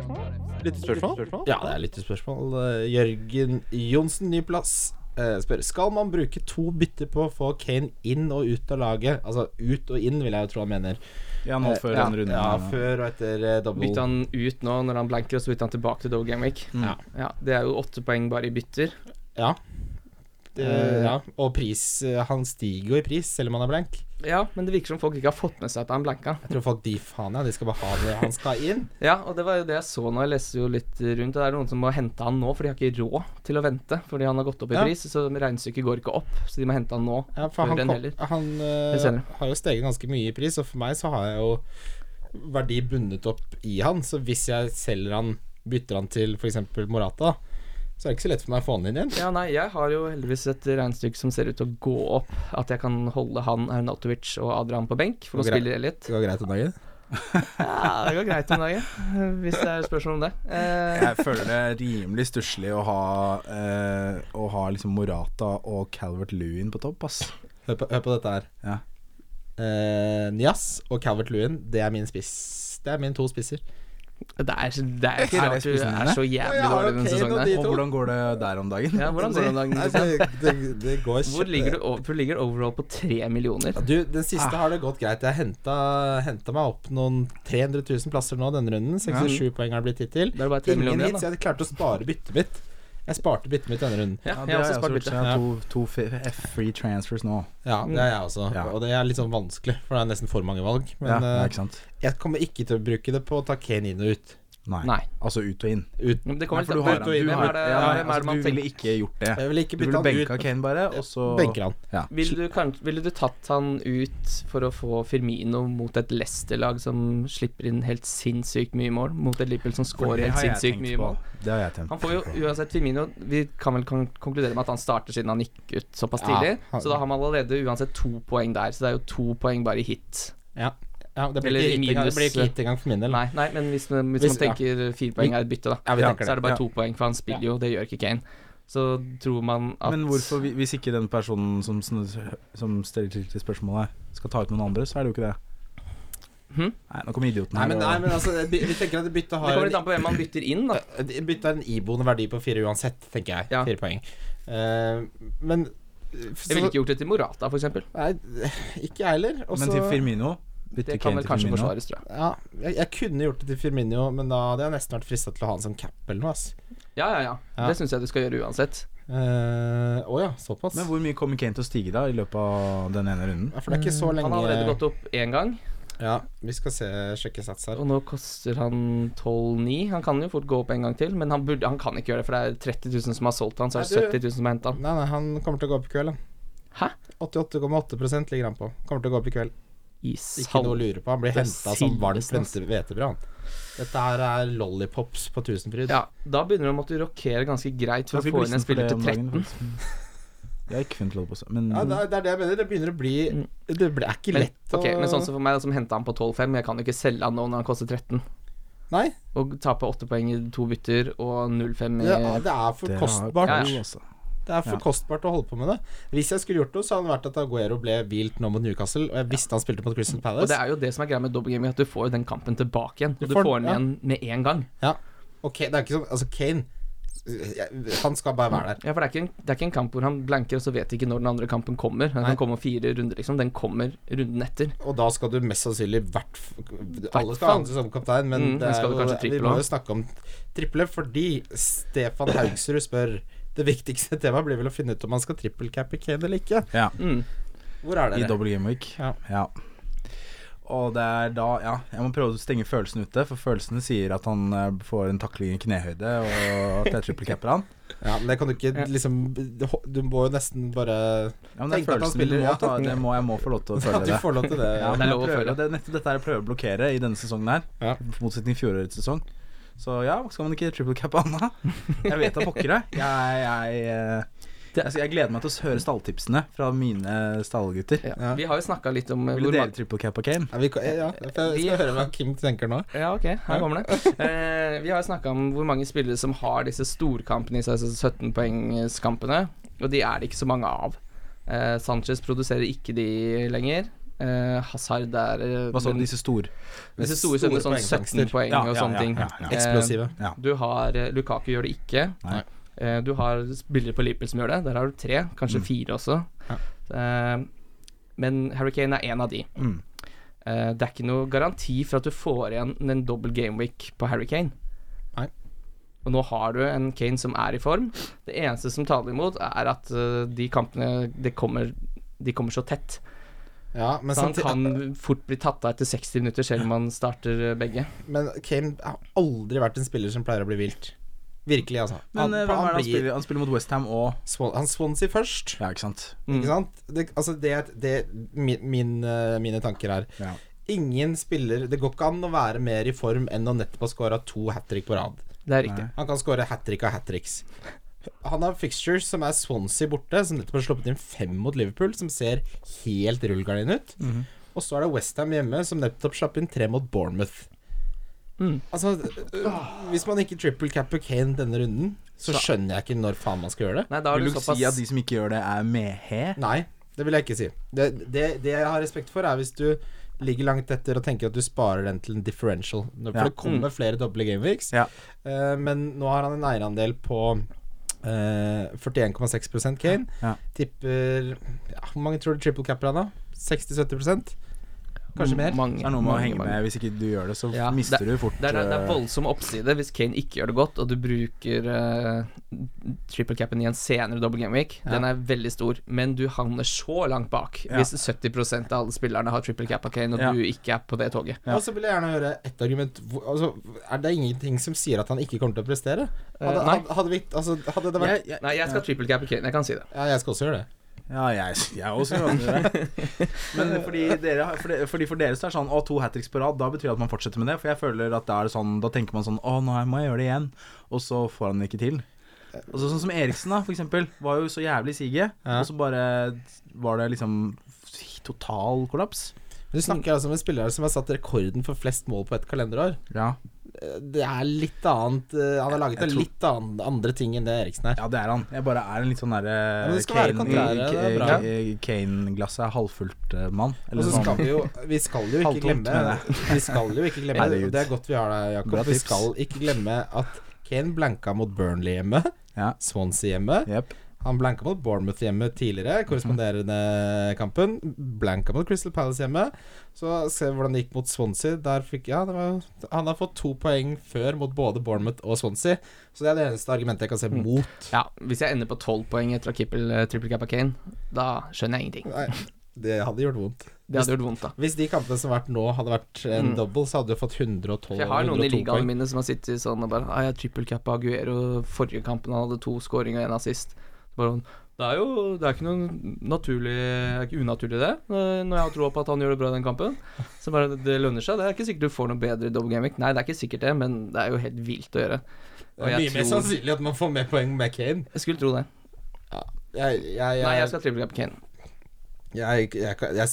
Speaker 2: Ja, det er lyttespørsmål. Eh, Jørgen Johnsen, ny plass. eh, Spør, skal man bruke to bytter på å få Kane inn og ut av laget? Altså ut og inn, vil jeg jo tro han mener.
Speaker 4: Ja, nå
Speaker 2: Eh,
Speaker 4: før
Speaker 2: ja,
Speaker 4: en runde.
Speaker 2: Ja,
Speaker 4: her nå.
Speaker 2: før og etter eh, double.
Speaker 3: Bytte han ut nå når han blanker, og så bytter han tilbake til Dog Game Week.
Speaker 2: Ja.
Speaker 3: Ja, det er jo åtte poeng bare i bytter.
Speaker 2: Ja. Det-
Speaker 3: Eh.
Speaker 2: ja. Og pris eh, Han stiger jo i pris, selv om han er blank.
Speaker 3: Ja, men det virker som folk ikke har fått med seg at han blanka.
Speaker 2: Jeg tror folk de faen, ja. De skal bare ha det han skal inn.
Speaker 3: Ja, og det var jo det jeg så nå. Jeg leste jo litt rundt. og Det er noen som må hente han nå, for de har ikke råd til å vente. Fordi han har gått opp i
Speaker 2: Ja.
Speaker 3: pris, så regnestykket går ikke opp. Så de må hente han nå.
Speaker 2: Ja, for
Speaker 3: Før
Speaker 2: han,
Speaker 3: den
Speaker 2: kom,
Speaker 3: heller.
Speaker 2: han eh,
Speaker 3: Eller senere.
Speaker 2: har jo steget ganske mye i pris, og for meg så har jeg jo verdi bundet opp i han. Så hvis jeg selger han, bytter han til f.eks. Morata, da, så er det ikke så lett for meg å få han inn igjen.
Speaker 3: Ja, nei, jeg har jo heldigvis et regnestykke som ser ut til å gå opp. At jeg kan holde han Arnautovic og Adrian på benk, for nå
Speaker 2: Greit.
Speaker 3: spiller jeg litt.
Speaker 2: Det går greit om dagen?
Speaker 3: Ja, det går greit om dagen, hvis det er spørsmål om det. Eh,
Speaker 4: Jeg føler det er rimelig stusslig å ha eh, Å ha liksom Morata og Calvert Lewin på topp, ass.
Speaker 2: Hør på, hør på dette her.
Speaker 4: Ja.
Speaker 2: Eh, Nias og Calvert Lewin, det er min spiss. Det er mine to spisser.
Speaker 3: det, er, det er ikke
Speaker 4: Er det
Speaker 3: rart du
Speaker 4: spissene
Speaker 3: er
Speaker 4: dine?
Speaker 3: så
Speaker 2: Ja,
Speaker 3: jævlig
Speaker 2: ja,
Speaker 3: dårlig denne
Speaker 2: ok, nå
Speaker 3: sesongen.
Speaker 2: de-
Speaker 3: her.
Speaker 4: Og hvordan går det der om dagen?
Speaker 3: Ja, hvordan går det om dagen? Christian?
Speaker 2: går
Speaker 3: Hvor ligger du, over- hvor ligger du overall på tre millioner?
Speaker 2: Du, Den siste har det gått greit. Jeg henta, henta meg opp noen 300 000 plasser nå denne runden. 67 poeng har det blitt hittil.
Speaker 3: Da er det bare tre
Speaker 2: Ingen
Speaker 3: millioner igjen,
Speaker 2: hits. Jeg klarte å spare byttet mitt. Jeg sparte byttet mitt denne runden.
Speaker 3: Ja,
Speaker 4: Ja,
Speaker 3: jeg har
Speaker 4: det har
Speaker 3: også
Speaker 4: jeg
Speaker 3: spart
Speaker 4: også gjort,
Speaker 3: bytte.
Speaker 4: så jeg har to, to fe- f- free transfers nå.
Speaker 2: Ja, det er jeg også.
Speaker 4: Ja.
Speaker 2: Og det er litt sånn vanskelig, for det er nesten for mange valg. Men
Speaker 4: ja, ja,
Speaker 2: eh,
Speaker 4: ikke sant?
Speaker 2: jeg kommer ikke til å bruke det på å ta Kane inn og ut.
Speaker 4: Nei.
Speaker 3: Nei.
Speaker 4: Altså ut og inn.
Speaker 2: ut.
Speaker 3: Men Det
Speaker 4: Nei,
Speaker 3: kommer
Speaker 4: for
Speaker 3: litt
Speaker 4: du
Speaker 3: an
Speaker 4: har,
Speaker 3: på
Speaker 4: du
Speaker 3: hvem
Speaker 4: har,
Speaker 3: er det,
Speaker 4: ja,
Speaker 3: hvem er
Speaker 4: altså,
Speaker 3: det man
Speaker 4: du ville
Speaker 3: tenker
Speaker 4: ikke gjort det.
Speaker 2: Jeg vil ikke
Speaker 4: Du ville
Speaker 2: bytte han
Speaker 4: benka
Speaker 2: ut.
Speaker 4: Kane bare, og så
Speaker 2: Benker han.
Speaker 4: Ja.
Speaker 3: ville du, kanskje- ville du tatt han ut for å få Firmino mot et Leicester-lag som slipper inn helt sinnssykt mye mål, mot et Liverpool som
Speaker 4: For
Speaker 3: scorer
Speaker 4: det
Speaker 3: helt
Speaker 4: har jeg
Speaker 3: sinnssykt
Speaker 4: tenkt
Speaker 3: mye
Speaker 4: på.
Speaker 3: mål?
Speaker 4: Det har jeg tenkt
Speaker 3: Han får jo uansett Firmino Vi kan vel kon konkludere med at han starter siden han gikk ut såpass
Speaker 2: Ja,
Speaker 3: tidlig.
Speaker 2: han-
Speaker 3: Så da har man allerede uansett to poeng der. Så det er jo to poeng bare i hit.
Speaker 2: Ja, det blir
Speaker 3: Eller
Speaker 2: ikke hit engang- det blir
Speaker 3: minus-
Speaker 2: ikke hit engang for min del.
Speaker 3: Nei, nei men hvis, man- hvis
Speaker 2: Hvis-
Speaker 3: man tenker fire poeng er et bytte, da,
Speaker 2: Ja, vi
Speaker 4: Ja,
Speaker 2: tenker
Speaker 3: så er det bare
Speaker 4: Ja.
Speaker 3: to poeng, for han spiller jo, det gjør ikke Kane. Så tror man
Speaker 4: på.
Speaker 3: at
Speaker 4: Men hvorfor, vi- hvis ikke den personen som, som stiller til til spørsmålet, skal ta ut noen andre, så er det jo ikke det.
Speaker 3: Hm?
Speaker 4: Nei, nå kommer idioten
Speaker 2: Nei,
Speaker 4: her.
Speaker 2: men, nei,
Speaker 4: og-
Speaker 2: men altså, det- vi tenker at byttet
Speaker 3: Det
Speaker 2: har
Speaker 3: kommer litt
Speaker 2: en
Speaker 3: an på hvem man bytter inn, da.
Speaker 2: De bytta en iboende verdi på fire uansett, tenker jeg.
Speaker 3: Ja.
Speaker 2: Fire poeng. Eh, men så,
Speaker 3: Jeg ville ikke gjort det til Morata, f.eks.
Speaker 2: Nei, ikke jeg heller. Og
Speaker 4: men
Speaker 2: så
Speaker 4: til Firmino bytte
Speaker 3: Det kan vel
Speaker 4: Kane til
Speaker 3: kanskje
Speaker 4: Firmino.
Speaker 3: forsvares, tror jeg.
Speaker 2: ja, jeg, jeg kunne gjort det til Firmino, men da hadde jeg nesten vært frista til å ha han som cap eller noe. ass.
Speaker 3: Ja, ja, ja.
Speaker 2: Ja.
Speaker 3: Det syns jeg du skal gjøre uansett.
Speaker 2: Eh, Å ja, såpass.
Speaker 4: Men hvor mye kommer Kane til å stige da i løpet av den ene runden?
Speaker 2: ja, for det er ikke så lenge
Speaker 3: Mm, Han har allerede gått opp én gang,
Speaker 2: Ja, Vi skal se, sjekke sats her.
Speaker 3: og nå koster han 12,9. Han kan jo fort gå opp en gang til, men han, burde, han kan ikke gjøre det, for det er 30 000 som har solgt han, så er det
Speaker 2: Nei, du-
Speaker 3: 70 000 som har henta han.
Speaker 2: Nei, nei, han kommer til å gå opp i kveld, han.
Speaker 3: Hæ?
Speaker 2: 88,8 ligger han på. Kommer til å gå opp i kveld.
Speaker 3: I
Speaker 2: Ikke noe å
Speaker 3: salt.
Speaker 2: lure på. Han blir
Speaker 3: Det
Speaker 2: henta som varmt
Speaker 3: sildes, ass.
Speaker 2: hvete- hvetebrød, han. Dette her er lollipops på Tusenfryd.
Speaker 3: Ja, da begynner du å måtte rokere ganske greit for å
Speaker 4: Ganske
Speaker 3: få inn
Speaker 4: glissen
Speaker 3: en
Speaker 4: for
Speaker 3: spiller
Speaker 4: det
Speaker 3: til
Speaker 4: om
Speaker 3: 13.
Speaker 4: dagen, faktisk. Jeg er ikke flink til å holde på sånn, men
Speaker 2: Ja, det, er, det er det jeg mener. Det begynner å bli Det blir- er ikke
Speaker 3: Mm. Men,
Speaker 2: lett å
Speaker 3: ok, men sånn som for meg, da, som henta han på 12,5, jeg kan jo ikke selge han nå når han koster 13.
Speaker 2: Nei,
Speaker 3: Og tape 8 poeng i to bytter og 0,5 i
Speaker 2: det er, det er for
Speaker 4: det har-
Speaker 2: kostbart.
Speaker 3: Ja,
Speaker 4: Jo, altså.
Speaker 2: Det er for
Speaker 4: Ja.
Speaker 2: kostbart å holde på med det. Hvis jeg skulle gjort noe, så hadde det vært at Aguero ble hvilt nå mot Newcastle, og jeg visste han spilte mot Crystal
Speaker 3: Og det
Speaker 2: Palace.
Speaker 3: er jo det som er greia med dobbeltgaming, at du får jo den kampen tilbake igjen.
Speaker 2: Du
Speaker 3: Og du
Speaker 2: får
Speaker 3: får
Speaker 2: den,
Speaker 3: den
Speaker 2: ja.
Speaker 3: igjen med en gang.
Speaker 2: Ja. Ok, det er ikke sånn Altså, Kane øh, jeg- Han skal bare være der.
Speaker 3: Ja, for det er, ikke en, det er ikke en kamp hvor han blanker, og så vet de ikke når den andre kampen kommer. Den kan
Speaker 2: Nei.
Speaker 3: komme om fire runder, liksom. Den kommer runden etter.
Speaker 2: Og da skal du mest sannsynlig hvert f- Alle skal
Speaker 3: fall.
Speaker 2: anses som kaptein,
Speaker 3: Mm,
Speaker 2: men det
Speaker 3: men
Speaker 2: er
Speaker 3: skal du
Speaker 2: jo,
Speaker 3: kanskje
Speaker 2: vi
Speaker 3: triple
Speaker 2: må
Speaker 3: også?
Speaker 2: jo snakke om triple, fordi Stefan Haugsrud spør Det viktigste temaet blir vel å finne ut om man skal trippelcappe Kane eller ikke.
Speaker 4: Ja,
Speaker 3: Mm.
Speaker 2: Hvor er
Speaker 4: I
Speaker 2: dere?
Speaker 4: double game week.
Speaker 2: Ja.
Speaker 4: Og det er da Ja, jeg må prøve å stenge følelsen ute, for følelsen sier at han eh, får en takling i knehøyde, og at jeg trippelcapper han.
Speaker 2: Ja, men det kan du ikke
Speaker 3: Ja.
Speaker 2: liksom Du må jo nesten bare
Speaker 4: Ja, men det
Speaker 2: Tenkte at
Speaker 4: er
Speaker 2: han
Speaker 4: følelsen du
Speaker 2: spiller,
Speaker 4: må
Speaker 2: ja.
Speaker 4: ta. Det må, jeg må få lov til å føle
Speaker 2: At du
Speaker 4: det.
Speaker 2: får lov til det.
Speaker 4: Ja,
Speaker 3: Det er
Speaker 4: men jeg
Speaker 3: lov å
Speaker 4: prøver,
Speaker 3: føle.
Speaker 4: og det, er nettopp dette er jeg prøver å blokkere i denne sesongen her.
Speaker 2: Ja.
Speaker 4: I motsetning til fjorårets sesong. Så ja, skal man ikke triple cappe Anna? Jeg vet da pokker det. Jeg, jeg, eh, Jeg, skal- jeg gleder meg til å høre stalltipsene fra mine stallgutter.
Speaker 3: Ja.
Speaker 2: Ja.
Speaker 3: Vi har jo snakka litt om eh,
Speaker 4: Ville
Speaker 3: hvor
Speaker 4: dere
Speaker 3: mange
Speaker 4: triple cap og Kane?
Speaker 2: Ja, vi, kan- ja, jeg skal høre hva Kim tenker nå.
Speaker 3: Ja, ok, her kommer det. Eh, vi har jo snakka om hvor mange spillere som har disse storkampene i seg, altså 17-poengskampene, og de er det ikke så mange av. Eh, Sanchez produserer ikke de lenger. Eh, Hazard er eh,
Speaker 4: Hva så
Speaker 3: men-
Speaker 4: du disse store?
Speaker 3: disse store, store sånn
Speaker 2: poengfangster.
Speaker 3: 17 poeng
Speaker 4: Ja,
Speaker 3: og
Speaker 4: ja,
Speaker 3: sånne
Speaker 4: ja,
Speaker 3: ting.
Speaker 4: ja, ja.
Speaker 3: Eh,
Speaker 2: Eksplosive.
Speaker 3: Du har eh, Lukaku gjør det ikke.
Speaker 4: Nei.
Speaker 3: Eh, du har spillere på Liverpool som gjør det. Der har du tre, kanskje
Speaker 4: Mm.
Speaker 3: fire også. Eh, men Harry Kane er én av de.
Speaker 4: Mm.
Speaker 3: Eh, det er ikke noe garanti for at du får igjen en dobbel gameweek på Harry Kane.
Speaker 2: Nei.
Speaker 3: Og nå har du en Kane som er i form. Det eneste som taler imot, er at eh, de kampene det kommer de kommer så tett.
Speaker 2: Eh, Ja, men,
Speaker 3: Så han
Speaker 2: samtidig,
Speaker 3: kan fort bli tatt av etter 60 minutter, selv om han starter eh, begge.
Speaker 2: men Kane har aldri vært en spiller som pleier å bli vilt. Virkelig, altså.
Speaker 4: Men eh, hvem er det han
Speaker 2: blir-
Speaker 4: spiller? Han spiller mot Westham og
Speaker 2: Swan- han Swansea først.
Speaker 4: Ja, ikke sant?
Speaker 2: Ikke sant? Det, altså det, er- det min, min, eh, Mine tanker er
Speaker 4: Ja.
Speaker 2: Ingen spiller Det går ikke an å være mer i form enn å nettopp ha skåra to hat trick på rad.
Speaker 3: Det er riktig.
Speaker 4: Nei.
Speaker 2: Han kan skåre hat trick av hat tricks. Han har fixtures som er Swansea borte, som nettopp har sluppet inn fem mot Liverpool, som ser helt rullegardin ut. Og så er det Westham hjemme, som nettopp slapp inn tre mot Bournemouth.
Speaker 3: Mm.
Speaker 2: Altså, øh, hvis man ikke triple capper Kane denne runden, så skjønner jeg ikke når faen man skal gjøre det.
Speaker 3: Nei, da har
Speaker 4: Vil
Speaker 3: du
Speaker 4: du
Speaker 3: såpass
Speaker 4: si at de som ikke gjør det, er mehe?
Speaker 2: Nei, det vil jeg ikke si. Det, det, det jeg har respekt for, er hvis du ligger langt etter og tenker at du sparer den til en differential. Når- For
Speaker 4: Ja. Mm.
Speaker 2: det kommer flere doble gameweeks.
Speaker 4: Ja.
Speaker 2: Eh, men nå har han en eierandel på eh, 41,6 Kane.
Speaker 4: Ja.
Speaker 2: Tipper ja, Hvor mange tror du triple capper han, da? 60-70
Speaker 4: Mm,
Speaker 2: Kanskje mer?
Speaker 3: Mange,
Speaker 4: Det er noe med å
Speaker 3: mange,
Speaker 4: henge
Speaker 3: mange.
Speaker 4: med. Hvis ikke du gjør det, så
Speaker 3: Ja,
Speaker 4: mister
Speaker 3: det-
Speaker 4: du fort
Speaker 3: Det er, det er
Speaker 4: eh,
Speaker 3: voldsom oppside hvis Kane ikke gjør det godt, og du bruker eh, triple capen i en senere double game week. Den er veldig stor, men du havner så langt bak
Speaker 4: Ja.
Speaker 3: hvis 70 av alle spillerne har triple cap av Kane, og
Speaker 4: Ja.
Speaker 3: du ikke er på det toget.
Speaker 4: Ja.
Speaker 2: Og så vil jeg gjerne høre ett argument. Hvor- Altså, er det ingenting som sier at han ikke kommer til å prestere? Hadde,
Speaker 3: nei.
Speaker 2: hadde, hadde, vi, altså, hadde det vært
Speaker 4: Eh, jeg, jeg,
Speaker 3: Nei, jeg skal triple cap av Kane, jeg kan si det.
Speaker 2: Ja, jeg skal også gjøre det.
Speaker 4: Ja, jeg, jeg er også gjør det. Men fordi, dere, har- fordi, fordi for dere så er det sånn Å, to hat tricks på rad, da betyr det at man fortsetter med det. For jeg føler at da er det sånn Da tenker man sånn Å, nå må jeg gjøre det igjen. Og så får han det ikke til. Og så, sånn som Eriksen, da, for eksempel. Var jo så jævlig i siget.
Speaker 2: Ja.
Speaker 4: Og så bare var det liksom total kollaps.
Speaker 2: Men Du snakker altså om en spiller som har satt rekorden for flest mål på et kalenderår.
Speaker 4: Ja,
Speaker 2: Eh, Det er litt annet eh, Han har laget
Speaker 4: Jeg
Speaker 2: en
Speaker 4: tror-
Speaker 2: litt annen, andre ting enn det Eriksen er.
Speaker 4: ja det er han. Jeg bare er en litt sånn derre
Speaker 2: men det skal være kontrære, det er bra.
Speaker 4: Kane-glasset er halvfullt eh, mann.
Speaker 2: Og så
Speaker 4: sånn.
Speaker 2: skal vi jo Vi skal jo ikke glemme
Speaker 4: Halvtomt, mener
Speaker 2: Vi skal jo ikke glemme
Speaker 4: Herregud.
Speaker 2: Det er godt vi har deg, Jakob.
Speaker 4: Bra
Speaker 2: Vi
Speaker 4: tips.
Speaker 2: skal ikke glemme at Kane blanka mot Burnley hjemme,
Speaker 4: Ja.
Speaker 2: Swansea hjemme.
Speaker 4: Jep.
Speaker 2: Han blanka mot Bournemouth hjemme tidligere, korresponderende kampen. Blanka mot Crystal Palace hjemme. Så ser vi hvordan det gikk mot Swansea. Der fikk, ja, det var, han har fått to poeng før mot både Bournemouth og Swansea, så det er det eneste argumentet jeg kan se mot.
Speaker 3: Ja, Hvis jeg ender på 12 poeng etter å ha kippel eh, triple cap av Kane, da skjønner jeg ingenting.
Speaker 2: Nei, det hadde gjort vondt.
Speaker 3: Det hadde gjort vondt, da.
Speaker 2: Hvis de kampene som har vært nå, hadde vært en
Speaker 3: Mm.
Speaker 2: double, så hadde du fått 112
Speaker 3: For jeg har noen i
Speaker 2: 102
Speaker 3: ligaene mine som har sittet sånn og bare ah, 'Jeg triple cap av Aguero forrige kampen, han hadde to scoring og én assist'. Så Bare, sånn, det er jo det er ikke noe naturlig det er ikke unaturlig, det, eh, når jeg har troa på at han gjør det bra i den kampen. Så bare Det lønner seg. Det er ikke sikkert du får noe bedre i double gaming. Nei, det er ikke sikkert det, men det er jo helt vilt å gjøre.
Speaker 2: Det er
Speaker 3: jeg
Speaker 2: mye mer
Speaker 3: tror-
Speaker 2: sannsynlig at man får mer poeng med Kane.
Speaker 3: Jeg skulle tro det.
Speaker 2: Jeg, jeg, jeg,
Speaker 3: Nei, jeg
Speaker 2: jeg,
Speaker 3: skal triple cap Kane.
Speaker 2: jeg,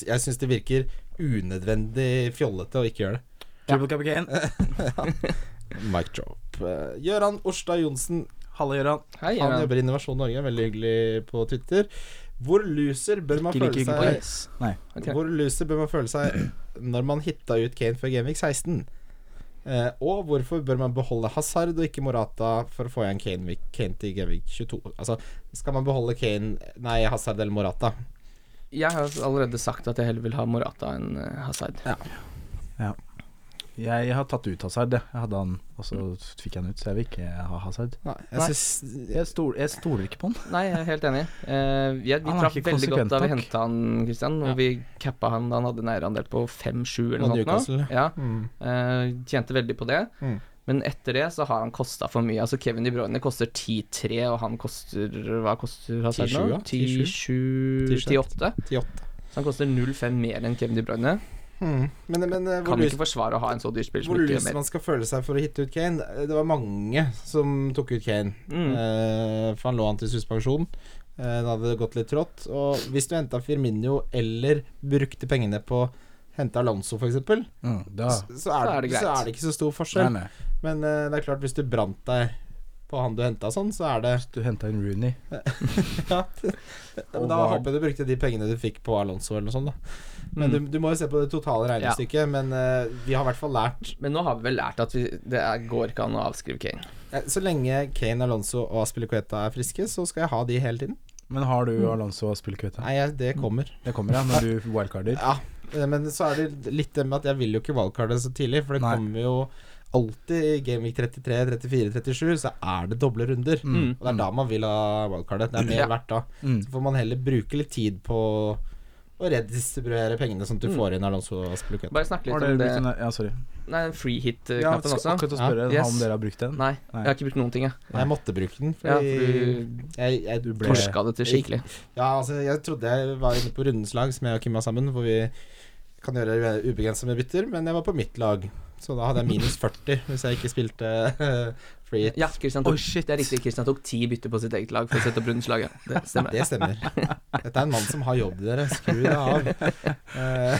Speaker 2: jeg, syns det virker unødvendig fjollete å ikke gjøre det.
Speaker 4: Triple cap of Kane.
Speaker 2: Mic drop. Eh, Gøran Orstad Johnsen,
Speaker 4: Halla, Gøran.
Speaker 3: Hei,
Speaker 2: han
Speaker 3: Jan.
Speaker 2: jobber i Innovasjon Norge, veldig hyggelig på Twitter. Hvor loser bør man
Speaker 4: Ikke like
Speaker 2: føle
Speaker 4: hyggelig på
Speaker 2: seg
Speaker 4: Yes. Nei.
Speaker 3: Ok.
Speaker 2: Hvor loser bør man føle seg når man hitta ut Kane før Gamevik 16? Eh, og hvorfor bør man beholde Hazard og ikke Morata for å få igjen Kane, Kane til Gamevik 22? Altså, skal man beholde Kane Nei, Hazard eller Morata?
Speaker 3: Jeg har allerede sagt at jeg heller vil ha Morata enn eh, Hazard.
Speaker 4: Jeg har tatt ut Hazard, jeg. Jeg hadde han, og så fikk jeg han ut, så jeg vil ikke ha Hazard.
Speaker 2: Nei,
Speaker 3: Nei.
Speaker 2: jeg syns
Speaker 4: Jeg, stol, jeg stoler ikke på han.
Speaker 3: Nei, jeg er helt enig. Eh, jeg, vi
Speaker 4: Han er
Speaker 3: traff
Speaker 4: ikke
Speaker 3: veldig godt
Speaker 4: konsekvent
Speaker 3: da vi
Speaker 4: nok.
Speaker 3: henta han, Christian. Og vi cappa han da han hadde en eierandel på 5-7 eller
Speaker 2: Og
Speaker 3: noe sånt. nå.
Speaker 2: Newcastle.
Speaker 3: Ja,
Speaker 2: mm.
Speaker 3: eh, tjente veldig på det.
Speaker 2: Mm.
Speaker 3: Men etter det så har han kosta for mye. Altså Kevin De Bruyne koster 10-3, og han koster Hva koster Hazard
Speaker 2: 10-7, ja.
Speaker 3: nå? 10-7 10-8.
Speaker 2: 10-8.
Speaker 3: Så han koster 0-5 mer enn Kevin De Bruyne.
Speaker 2: Hmm. Men, men eh, hvor
Speaker 3: Kan
Speaker 2: lyst
Speaker 3: ikke forsvare å ha en så dyr spiller som
Speaker 2: hvor
Speaker 3: ikke
Speaker 2: lyst
Speaker 3: gjør mer.
Speaker 2: man skal føle seg for å hitte ut Kane. Eh, Det var mange som tok ut Kane,
Speaker 3: Mm.
Speaker 2: eh, for han lå an til suspensjon. Eh, da hadde det gått litt trått. Og hvis du henta Firmino eller brukte pengene på å hente Alonso, f.eks., eksempel
Speaker 4: Mm, da
Speaker 2: så, så, er
Speaker 3: Da er
Speaker 2: det,
Speaker 3: det
Speaker 2: så
Speaker 3: greit.
Speaker 2: er det ikke så stor
Speaker 4: Nei,
Speaker 2: forskjell.
Speaker 4: nei.
Speaker 2: Men eh, det er klart, hvis du brant deg på han du henta sånn, så er det
Speaker 4: Hvis du henta en Rooney
Speaker 2: ja, men Da
Speaker 4: Howard.
Speaker 2: håper jeg du brukte de pengene du fikk på Alonso eller noe sånt, da. Men
Speaker 3: Mm.
Speaker 2: du, du må jo se på det totale regnestykket. Men eh, vi har i hvert fall lært
Speaker 3: Men nå har vi vel lært at vi, det er, går ikke an å avskrive Kane.
Speaker 2: Eh, Så lenge Kane, Alonso og Aspilicueta er friske, så skal jeg ha de hele tiden.
Speaker 4: Men har du Alonso og spillkvete?
Speaker 2: Nei, jeg, det kommer.
Speaker 4: Det kommer, ja, når du wildcarder.
Speaker 2: Ja, eh, men så er det litt det med at jeg vil jo ikke valgkarde så tidlig, for det
Speaker 4: Nei.
Speaker 2: kommer jo alltid i Gameweek 33, 34, 37, så er det doble runder.
Speaker 3: Mm.
Speaker 2: Og det er da man vil ha valgkardet. Det er mer
Speaker 3: Ja.
Speaker 2: verdt da.
Speaker 4: Mm.
Speaker 2: Så får man heller bruke litt tid på å redistribuere pengene, sånn at du
Speaker 3: Mm.
Speaker 2: får inn Alonso og Aspilicueta.
Speaker 3: Bare snakke
Speaker 4: Har
Speaker 3: litt om
Speaker 4: dere
Speaker 3: sånn det.
Speaker 4: brukt den? Ja, sorry.
Speaker 3: Nei, den free
Speaker 4: Ja, jeg
Speaker 3: hit-knappen
Speaker 4: skal
Speaker 3: også.
Speaker 4: akkurat å spørre
Speaker 3: Ja.
Speaker 4: om
Speaker 3: Yes.
Speaker 4: dere har brukt den.
Speaker 3: Nei,
Speaker 4: Nei.
Speaker 3: jeg har ikke brukt noen ting, jeg.
Speaker 2: Jeg måtte bruke den,
Speaker 3: Ja,
Speaker 2: fordi
Speaker 3: for du
Speaker 2: jeg, jeg,
Speaker 4: Du ble-
Speaker 3: torska det til skikkelig.
Speaker 2: Ja, altså, jeg trodde jeg var inne på rundens lag, som jeg og Kim var sammen, hvor vi kan gjøre ubegrenset med bytter, men jeg var på mitt lag, så da hadde jeg minus 40 hvis jeg ikke spilte eh, free hit.
Speaker 3: Ja, Christian tok,
Speaker 4: Oi, shit.
Speaker 3: det er riktig. Kristian tok ti bytter på sitt eget lag for å sette opp rundens lag. Ja. Det stemmer.
Speaker 2: Det stemmer. Dette er en mann som har jobb, dere. Skru det av. Eh,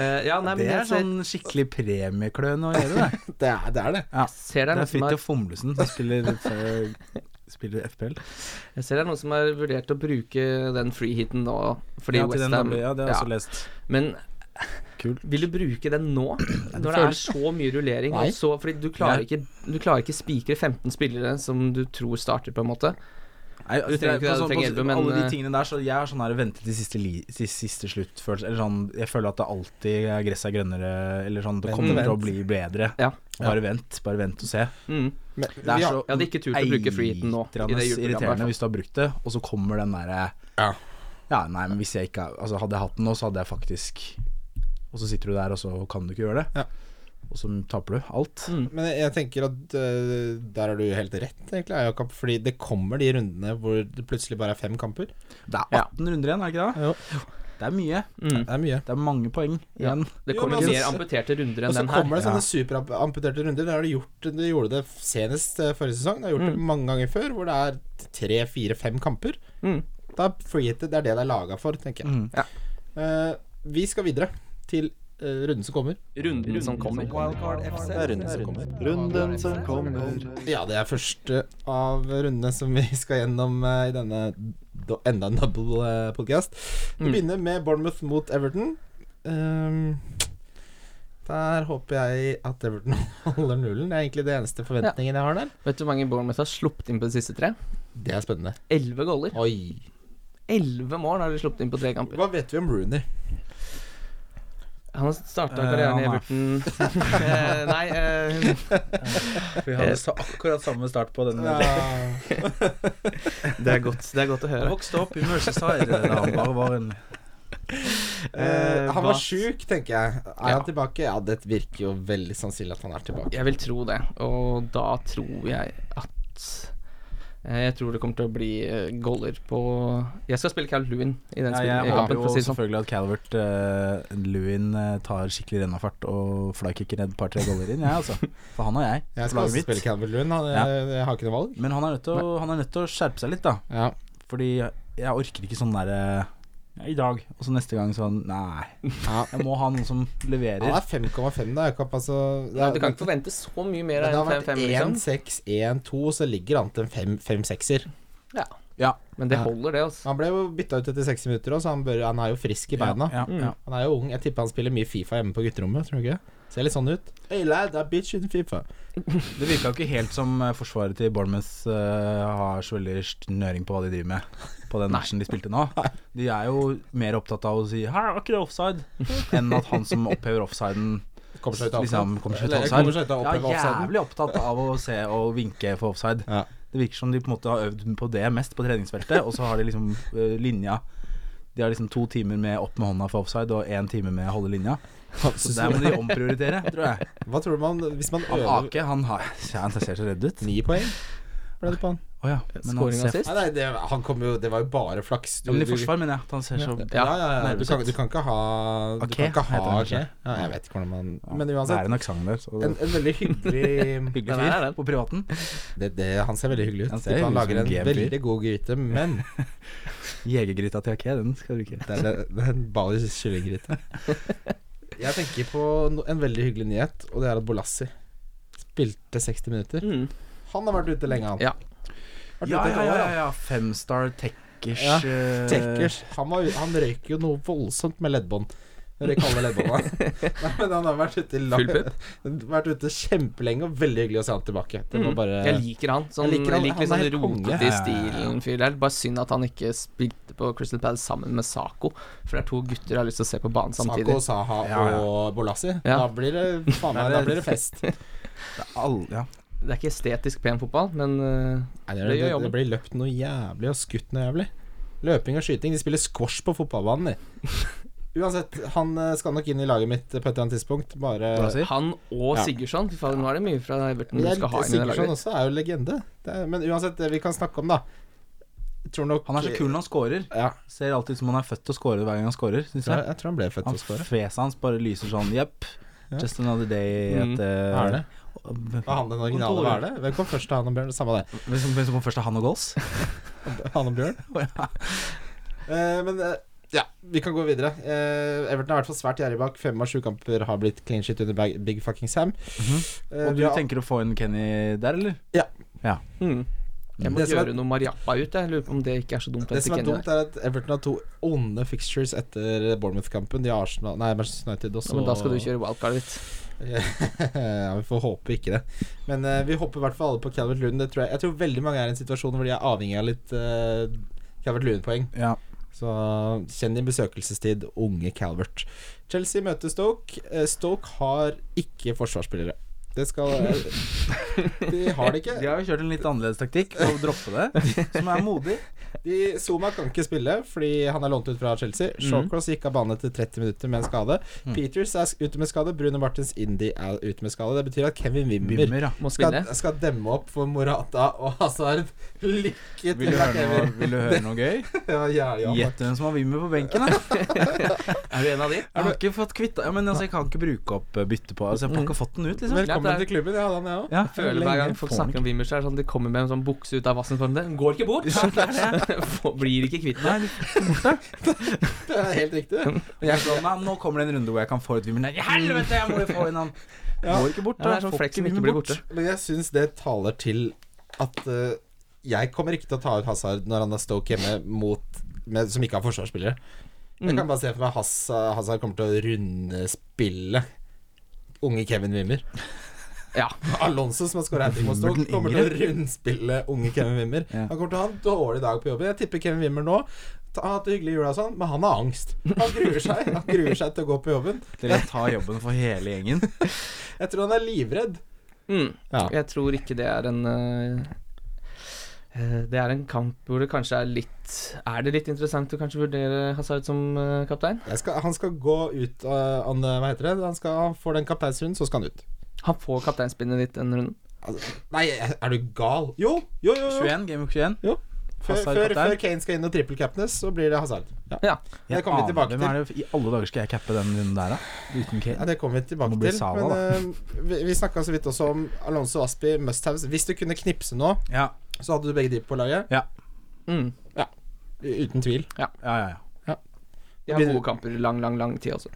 Speaker 3: Eh, ja, nei, men
Speaker 4: det
Speaker 3: jeg
Speaker 4: er sånn skikkelig premiekløn å gjøre, det.
Speaker 2: det, er, det er det.
Speaker 3: ser, ser det er
Speaker 4: Det er
Speaker 3: noen som har
Speaker 4: Fridtjof Fomlesen som spiller, eh, spiller FPL.
Speaker 3: Jeg ser det er noen som har vurdert å bruke den freehiten nå, fordi
Speaker 4: ja, til
Speaker 3: West
Speaker 4: den
Speaker 3: Ham
Speaker 4: doble- ja, det har jeg også lest.
Speaker 3: Men
Speaker 4: Kult.
Speaker 3: vil du bruke den nå, når det
Speaker 4: føler-
Speaker 3: er så mye rullering?
Speaker 2: Nei.
Speaker 3: Og så, fordi du klarer
Speaker 4: Nei.
Speaker 3: ikke Du klarer ikke spikre 15 spillere som du tror starter, på en måte.
Speaker 4: Nei, altså,
Speaker 3: Du trenger ikke det, du
Speaker 4: på
Speaker 3: trenger
Speaker 4: på
Speaker 3: elleve, men,
Speaker 4: Alle de
Speaker 3: eh,
Speaker 4: tingene der, så jeg er sånn her ventet til siste, li, siste, siste sluttfølelse Eller sånn, jeg føler at det alltid er gresset er grønnere, eller sånn Det
Speaker 2: Vent
Speaker 4: kommer
Speaker 2: og
Speaker 4: til å
Speaker 2: vent.
Speaker 4: bli bedre.
Speaker 3: Ja.
Speaker 4: Bare vent, bare vent og se.
Speaker 3: Mm.
Speaker 2: Men,
Speaker 4: Det er
Speaker 2: vi
Speaker 4: så
Speaker 3: Jeg hadde ikke turt å bruke freehiten nå. I det
Speaker 4: eitrende irriterende
Speaker 3: juleprogrammet.
Speaker 4: hvis du har brukt det, og så kommer den derre
Speaker 2: Ja.
Speaker 4: Ja, nei, men hvis jeg ikke Altså, hadde jeg hatt den nå, så hadde jeg faktisk Og så sitter du der, og så kan du ikke gjøre det.
Speaker 2: Ja.
Speaker 4: Og så taper du alt.
Speaker 3: Mm.
Speaker 2: Men jeg- jeg tenker at eh, der har du helt rett, egentlig, Jakob. Fordi det kommer de rundene hvor det plutselig bare er fem kamper.
Speaker 4: Det er
Speaker 3: Ja.
Speaker 4: 18 runder igjen, er det ikke det?
Speaker 2: Jo.
Speaker 4: Det er mye.
Speaker 3: Mm.
Speaker 2: Det er mye.
Speaker 4: Det er mange poeng
Speaker 3: Ja.
Speaker 4: igjen.
Speaker 3: Det
Speaker 2: Jo,
Speaker 3: kommer
Speaker 2: men
Speaker 3: mer
Speaker 2: altså-
Speaker 3: amputerte runder
Speaker 2: Og
Speaker 3: enn
Speaker 2: så
Speaker 3: den her.
Speaker 2: kommer det
Speaker 4: Ja.
Speaker 2: sånne superamputerte runder. Det har de gjort De gjorde det senest eh, forrige sesong. De har gjort det mange ganger før, hvor det er tre, fire, fem kamper.
Speaker 3: Mm.
Speaker 2: Da er freehitet det er det det er laga for, tenker jeg.
Speaker 4: Mm.
Speaker 3: Ja.
Speaker 2: Eh, vi skal videre til eh, runden som kommer.
Speaker 3: Runden som kommer.
Speaker 2: Det er runden som kommer.
Speaker 1: Runden som kommer.
Speaker 2: Ja, det er første av rundene som vi skal gjennom eh, i denne do, enda en double-podkast. Vi
Speaker 3: Mm.
Speaker 2: begynner med Bournemouth mot Everton. Ehm, der håper jeg at Everton holder nullen. Det er egentlig det eneste forventningen jeg har der.
Speaker 3: Vet du hvor mange Bournemouth har sluppet inn på de siste tre?
Speaker 2: Det er spennende.
Speaker 3: Elleve goller.
Speaker 2: Oi.
Speaker 3: Elleve mål har de sluppet inn på tre kamper.
Speaker 2: Hva vet vi om Rooney?
Speaker 3: Han starta
Speaker 4: Eh,
Speaker 3: karrieren i
Speaker 4: han er-
Speaker 3: Everton Eh, Nei, eh,
Speaker 4: Vi hadde sa- akkurat samme start på den.
Speaker 3: Eh, det, er godt, det er godt å høre.
Speaker 4: Vokste opp i Merceside. Han bare var en
Speaker 2: Eh, han
Speaker 3: hva-
Speaker 2: var sjuk, tenker jeg. Er
Speaker 3: Ja.
Speaker 2: han tilbake? Ja, det virker jo veldig sannsynlig at han er tilbake.
Speaker 3: Jeg vil tro det, og da tror jeg at eh, Jeg tror det kommer til å bli eh, goller på Jeg skal spille Cal Lewin i den
Speaker 4: ja,
Speaker 3: spillen.
Speaker 4: Jeg
Speaker 3: i
Speaker 4: håper
Speaker 3: kampen,
Speaker 4: jo
Speaker 3: for å si det sånn.
Speaker 4: selvfølgelig at Calvert eh, Lewin eh, tar skikkelig rennafart og flykicker et par-tre goller inn, jeg, altså. For han og jeg.
Speaker 2: Jeg skal
Speaker 4: laget
Speaker 2: også
Speaker 4: mitt.
Speaker 2: spille Calvin Lewin. Han, eh,
Speaker 4: Ja.
Speaker 2: jeg, jeg har ikke noe valg.
Speaker 4: Men han er, nødt til å, han er nødt til å skjerpe seg litt, da.
Speaker 2: Ja.
Speaker 4: Fordi jeg orker ikke sånn derre ja, I dag, og så neste gang sånn Nei.
Speaker 2: Ja.
Speaker 4: Jeg må ha noen som
Speaker 2: Han
Speaker 4: leverer.
Speaker 2: er 5,5 da, Jakob. Altså, det,
Speaker 3: Nei, Du
Speaker 2: det,
Speaker 3: kan ikke forvente så mye mer
Speaker 2: det
Speaker 3: enn
Speaker 2: har vært
Speaker 3: 5-5,
Speaker 2: 1,
Speaker 3: liksom.
Speaker 2: 6, 1, 2, så ligger han til en fem- 5-6-er.
Speaker 4: Ja.
Speaker 3: Men det holder, det. altså
Speaker 2: Han ble jo bytta ut etter 60 minutter, også, så han, bør, han er jo frisk i beina.
Speaker 4: Ja,
Speaker 3: Mm.
Speaker 4: ja, ja.
Speaker 2: Han er jo ung. Jeg tipper han spiller mye Fifa hjemme på gutterommet, tror du ikke? Ser litt sånn ut. Hey lad, that bitch in Fifa.
Speaker 4: Det virka jo ikke helt som eh, forsvaret til Bournemouth eh, har så veldig snøring på hva de driver med på den matchen de spilte nå. De er jo mer opptatt av å si 'her er ikke det offside', enn at han som opphever offsiden,
Speaker 2: Kommer seg ut av
Speaker 4: liksom
Speaker 2: offside.
Speaker 4: kommer seg ut
Speaker 2: Eller,
Speaker 4: av
Speaker 2: kommer
Speaker 4: offside.
Speaker 2: seg ut av
Speaker 4: Ja,
Speaker 2: oppheve offsiden.
Speaker 4: jævlig opptatt av å se og vinke for offside.
Speaker 2: Ja.
Speaker 4: Det virker som de på en måte har øvd på det mest på treningsfeltet, og så har de liksom eh, linja De har liksom to timer med opp med hånda for offside og én time med å holde linja. Så der må de omprioritere, tror jeg.
Speaker 2: Hva tror du man Hvis man
Speaker 4: Han
Speaker 2: øver
Speaker 4: Ake, han har ja, Han ser så redd ut.
Speaker 2: ni poeng, ble det på han.
Speaker 4: Å ja. Men han
Speaker 3: Scoring
Speaker 4: ser-
Speaker 3: assist?
Speaker 2: Nei, nei, det, han kom jo, det var jo bare flaks.
Speaker 4: Ja, men i forsvar, mener jeg. At han ser så
Speaker 2: Ja,
Speaker 3: Ja.
Speaker 2: ja, ja. Du, kan,
Speaker 4: Nervesett.
Speaker 2: du kan ikke ha Du
Speaker 4: Ake,
Speaker 2: kan ikke ha
Speaker 4: heter han
Speaker 2: Ake.
Speaker 4: ikke?
Speaker 2: Ja, jeg vet ikke hvordan man Men
Speaker 4: Det
Speaker 2: uansett,
Speaker 4: er en aksent der. Så
Speaker 2: en, en veldig hyggelig
Speaker 4: hyggelig
Speaker 3: Den er den.
Speaker 4: fyr på privaten.
Speaker 2: det, det, Han ser veldig hyggelig ut. Han,
Speaker 4: Han ser
Speaker 2: han
Speaker 4: ut som
Speaker 2: lager en
Speaker 4: en GM-fyr.
Speaker 2: veldig god gryte, men
Speaker 4: Jegergryta til Ake, den skal du ikke
Speaker 2: det er, det er en balisk kyllinggryte. Jeg tenker på no, en veldig hyggelig nyhet, og det er at Bolassi spilte 60 minutter.
Speaker 3: Mm.
Speaker 2: Han har vært ute lenge, han.
Speaker 3: Ja.
Speaker 2: Vært ute
Speaker 4: Ja,
Speaker 2: et
Speaker 4: ja,
Speaker 2: år,
Speaker 4: ja,
Speaker 2: han.
Speaker 4: ja. Femstar Tekkers
Speaker 2: Ja,
Speaker 4: eh,
Speaker 2: Tekkers, han, var, han røyker jo noe voldsomt med leddbånd. Når jeg kaller leddbånda. Nei, men han har vært ute, i lang,
Speaker 3: Full pupp.
Speaker 2: vært ute kjempelenge, og veldig hyggelig å se han tilbake. Det var
Speaker 3: Mm.
Speaker 2: bare
Speaker 3: Jeg liker han. Sånn,
Speaker 2: Jeg
Speaker 3: jeg
Speaker 2: liker
Speaker 3: liker,
Speaker 2: han.
Speaker 3: litt
Speaker 2: Han er
Speaker 3: sånn
Speaker 2: helt konge.
Speaker 3: rotete
Speaker 4: Ja,
Speaker 3: i
Speaker 4: ja, ja.
Speaker 3: stilen fyr der. Bare synd at han ikke spilte på Crystal Palace sammen med Saco. For det er to gutter jeg har lyst til å se på banen samtidig.
Speaker 2: Sako, Saha
Speaker 4: Ja, ja.
Speaker 2: og Bolassi.
Speaker 3: Ja.
Speaker 2: Da blir det faen meg, da blir det fest. Nei,
Speaker 4: all, ja.
Speaker 3: Det er ikke estetisk pen fotball, men øh,
Speaker 2: det,
Speaker 3: Det
Speaker 2: det,
Speaker 3: gjør
Speaker 2: det,
Speaker 3: jobben.
Speaker 2: blir løpt noe jævlig og skutt noe jævlig. Løping og skyting. De spiller squash på fotballbanen, de. Uansett, han eh, skal nok inn i laget mitt eh, på et eller annet tidspunkt. Bare
Speaker 4: Bolassi?
Speaker 3: han og
Speaker 2: Ja.
Speaker 3: Sigurdsson Fy faen, nå er det mye fra Everton
Speaker 2: Men
Speaker 3: du
Speaker 2: jeg-
Speaker 3: skal ha inn i det
Speaker 2: Sigurdsson
Speaker 3: laget.
Speaker 2: også er jo legende. Det er, men uansett, det vi kan snakke om, da Jeg Tror nok
Speaker 4: Han er så kul når han scorer.
Speaker 2: Ja,
Speaker 4: Ser alltid ut som han er født til å score hver gang han scorer, syns
Speaker 2: jeg,
Speaker 4: jeg.
Speaker 2: jeg tror han ble født til
Speaker 4: Han
Speaker 2: å skåre.
Speaker 4: Fjeset hans bare lyser sånn Jepp.
Speaker 2: Ja.
Speaker 4: Just another day
Speaker 3: Mm.
Speaker 4: at eh,
Speaker 2: Hva er det?
Speaker 4: Hvem
Speaker 2: Var han den originale? Hva er det? Eh, Hvem kom først av han og Bjørn? Samme det.
Speaker 4: hvem som, hvem som kom først, er han og Goals?
Speaker 2: Han og Bjørn. Eh, men eh, ja, vi kan gå videre. Eh, Everton er i hvert fall svært gjerrig bak. Fem av sju kamper har blitt clean shit under bag- Big Fucking Sam.
Speaker 3: Mhm.
Speaker 2: Eh,
Speaker 4: Og
Speaker 2: vi
Speaker 4: du
Speaker 2: har-
Speaker 4: tenker å få en Kenny der, eller?
Speaker 3: Mm. Jeg må
Speaker 2: altså. Det som er-
Speaker 3: gjøre noe Mariappa ut. Jeg lurer på om det ikke er så dumt.
Speaker 2: det som er
Speaker 3: etter Kenny
Speaker 2: dumt, er at Everton har to onde fixtures etter Bournemouth-kampen. De har Arsenal Nei, Manchester United
Speaker 3: der.
Speaker 2: også.
Speaker 3: Ja, men da skal du kjøre wildcardet ditt.
Speaker 2: ja, vi får håpe ikke det. Men eh, vi håper i hvert fall alle på Calvert Lund. Det tror jeg. jeg tror veldig mange er i en situasjon hvor de er avhengig av litt eh, Calvert Lund-poeng.
Speaker 4: Ja.
Speaker 2: Så kjenn din besøkelsestid, unge Calvert. Chelsea møter Stoke. Eh, Stoke har ikke forsvarsspillere. Det skal De har det
Speaker 4: De
Speaker 2: ikke.
Speaker 4: har jo kjørt en litt annerledes taktikk for å droppe det, som er modig.
Speaker 2: De, Zuma kan ikke spille fordi han er lånt ut fra
Speaker 4: Mhm.
Speaker 2: Chelsea. Shawcross gikk av banen etter 30 minutter med en skade. Peters er ute med skade. Bruno Martins Indy er ute med skade. Det betyr at Kevin Wimmer
Speaker 4: Bimmer, ja.
Speaker 3: Må
Speaker 2: skal,
Speaker 3: spille.
Speaker 2: skal demme opp for Morata og Hazard. Lykke
Speaker 4: Vil
Speaker 2: til,
Speaker 4: du
Speaker 2: da,
Speaker 4: høre noe,
Speaker 2: Kevin.
Speaker 4: vil du høre noe gøy?
Speaker 2: Ja, ja, ja.
Speaker 4: Gjett hvem som har Wimmer på benken, da.
Speaker 3: Er du en av de?
Speaker 4: Jeg har ikke fått kvitta ja, men altså, Jeg kan ikke bruke opp eh, bytte på Altså, Jeg har ikke fått den ut, liksom.
Speaker 2: Velkommen til klubben. Jeg hadde han, jeg òg.
Speaker 4: Ja,
Speaker 3: Føler
Speaker 4: lenge
Speaker 3: hver gang folk
Speaker 4: får den
Speaker 3: snakker om Wimmers, så er det sånn de kommer med en sånn bukse ut av vassen form. Den går ikke bort! Får- Blir ikke kvitt den.
Speaker 2: Det er helt riktig.
Speaker 4: ikke. Jeg slår meg, Nå kommer det en runde hvor jeg kan få ut Wimmer. Nei, helvete, jeg må jo få inn han! Går ikke bort.
Speaker 3: Ja, det er
Speaker 4: da.
Speaker 3: sånn
Speaker 4: Får
Speaker 3: flekk som
Speaker 4: Wimmer
Speaker 3: ikke blir
Speaker 4: bort.
Speaker 3: borte.
Speaker 2: Men jeg syns det taler til at eh, jeg kommer ikke til å ta ut Hazard når han har Stoke hjemme mot med, som ikke har forsvarsspillere. Jeg kan bare se for meg Hazard, Hazard kommer til å rundespille unge Kevin Wimmer.
Speaker 3: Ja.
Speaker 2: Alonso, som har skåra hat trick mot
Speaker 4: Wimmer
Speaker 2: Stoke,
Speaker 4: den
Speaker 2: kommer til å rundspille unge Kevin Wimmer.
Speaker 4: Ja.
Speaker 2: Han kommer til å ha en dårlig dag på jobben. Jeg tipper Kevin Wimmer nå ta- har hatt det hyggelig i jula og sånn, men han har angst. Han gruer seg. Han gruer seg til å gå på jobben.
Speaker 4: Til å ta jobben for hele gjengen.
Speaker 2: Jeg tror han er livredd.
Speaker 3: Mm.
Speaker 2: Ja.
Speaker 3: Jeg tror ikke det er en eh, eh, Det er en kamp hvor det kanskje er litt Er det litt interessant å kanskje vurdere Hazard som eh, kaptein?
Speaker 2: Jeg skal, han skal gå ut av han, eh, Hva heter det? Han skal han får den kapteinshunden, så skal han ut.
Speaker 3: Han får kapteinspinnet ditt denne runden.
Speaker 2: Altså, nei, er du gal? Jo, jo, jo. jo.
Speaker 4: 21, Game of 21.
Speaker 2: Jo. Før,
Speaker 4: Hazard
Speaker 2: før,
Speaker 4: kaptein.
Speaker 2: før Kane skal inn og trippelcapnes, så blir det Hazard. Ja.
Speaker 3: Ja.
Speaker 2: Det kommer vi
Speaker 4: aner-
Speaker 2: tilbake
Speaker 4: hvem
Speaker 2: til.
Speaker 4: er det- I alle dager skal jeg cappe den runden der, da? Uten
Speaker 2: Ja,
Speaker 4: Kate?
Speaker 2: det kommer vi tilbake
Speaker 4: Må bli
Speaker 2: til.
Speaker 4: Sala,
Speaker 2: men eh, vi, vi snakka så vidt også om Alonso Aspi, musthaves. Hvis du kunne knipse nå,
Speaker 4: Ja,
Speaker 2: så hadde du begge de på laget.
Speaker 3: Mm.
Speaker 2: U- Uten tvil.
Speaker 4: ja, ja. ja.
Speaker 3: De har gode kamper i lang, lang, lang tid også.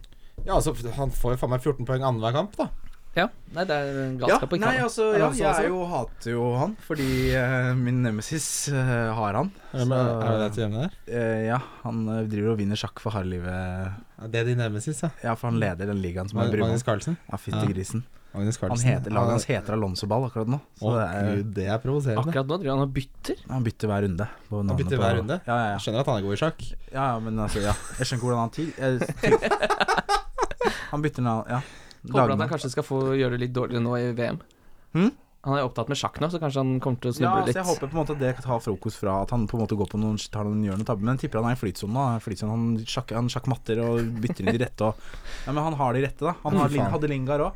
Speaker 2: Ja, altså, han får jo faen meg 14 poeng annenhver kamp, da.
Speaker 3: Ja. Nei, det er
Speaker 4: Ja,
Speaker 3: galskap å ikke
Speaker 4: nei,
Speaker 3: ha det.
Speaker 4: altså, ja,
Speaker 2: Alonso
Speaker 4: jeg
Speaker 2: også?
Speaker 4: er jo, hater jo han, fordi eh, min nemesis eh, har han.
Speaker 2: Er det,
Speaker 4: Så-
Speaker 2: er det det til hjemme der?
Speaker 4: Eh, ja, han eh, driver og vinner sjakk for harde livet.
Speaker 2: Ja, det er de nemesis, ja.
Speaker 4: Ja, for han leder den ligaen som er brun.
Speaker 2: Magnus Carlsen.
Speaker 4: Ja, fytti
Speaker 2: Ja.
Speaker 4: grisen.
Speaker 2: Magnus
Speaker 4: Han
Speaker 2: Carlsen.
Speaker 4: heter, laget hans heter Alonso Ball akkurat nå. Så
Speaker 2: Å,
Speaker 4: det er,
Speaker 2: Gud, det er provoserende.
Speaker 3: Akkurat nå driver han og bytter.
Speaker 4: han bytter hver runde. på navnet
Speaker 2: bytter
Speaker 4: på-
Speaker 2: hver runde?
Speaker 4: Ja, ja, ja.
Speaker 2: Jeg skjønner at han er god i sjakk.
Speaker 4: Ja, ja, men altså, ja. Jeg skjønner ikke hvordan han tid eh, tid- Han bytter navn, ja.
Speaker 3: Håper at
Speaker 4: Lagnavn.
Speaker 3: han kanskje skal få gjøre det litt dårligere nå i VM.
Speaker 4: Hm?
Speaker 3: Han er opptatt med sjakk nå, så kanskje han kommer til å
Speaker 4: Ja,
Speaker 3: snuble
Speaker 4: så
Speaker 3: litt.
Speaker 4: jeg håper på en måte at det tar fokus fra at han på en måte går på noen, tar noen gjør noen tabber. Men jeg tipper han er i flytsonen. da. Flytsonen, Han, sjakk, han sjakkmatter og bytter inn de rette. Og, ja, men han har de rette, da. Han har,
Speaker 2: Fy
Speaker 4: Lin-
Speaker 2: faen.
Speaker 4: hadde Lingard òg.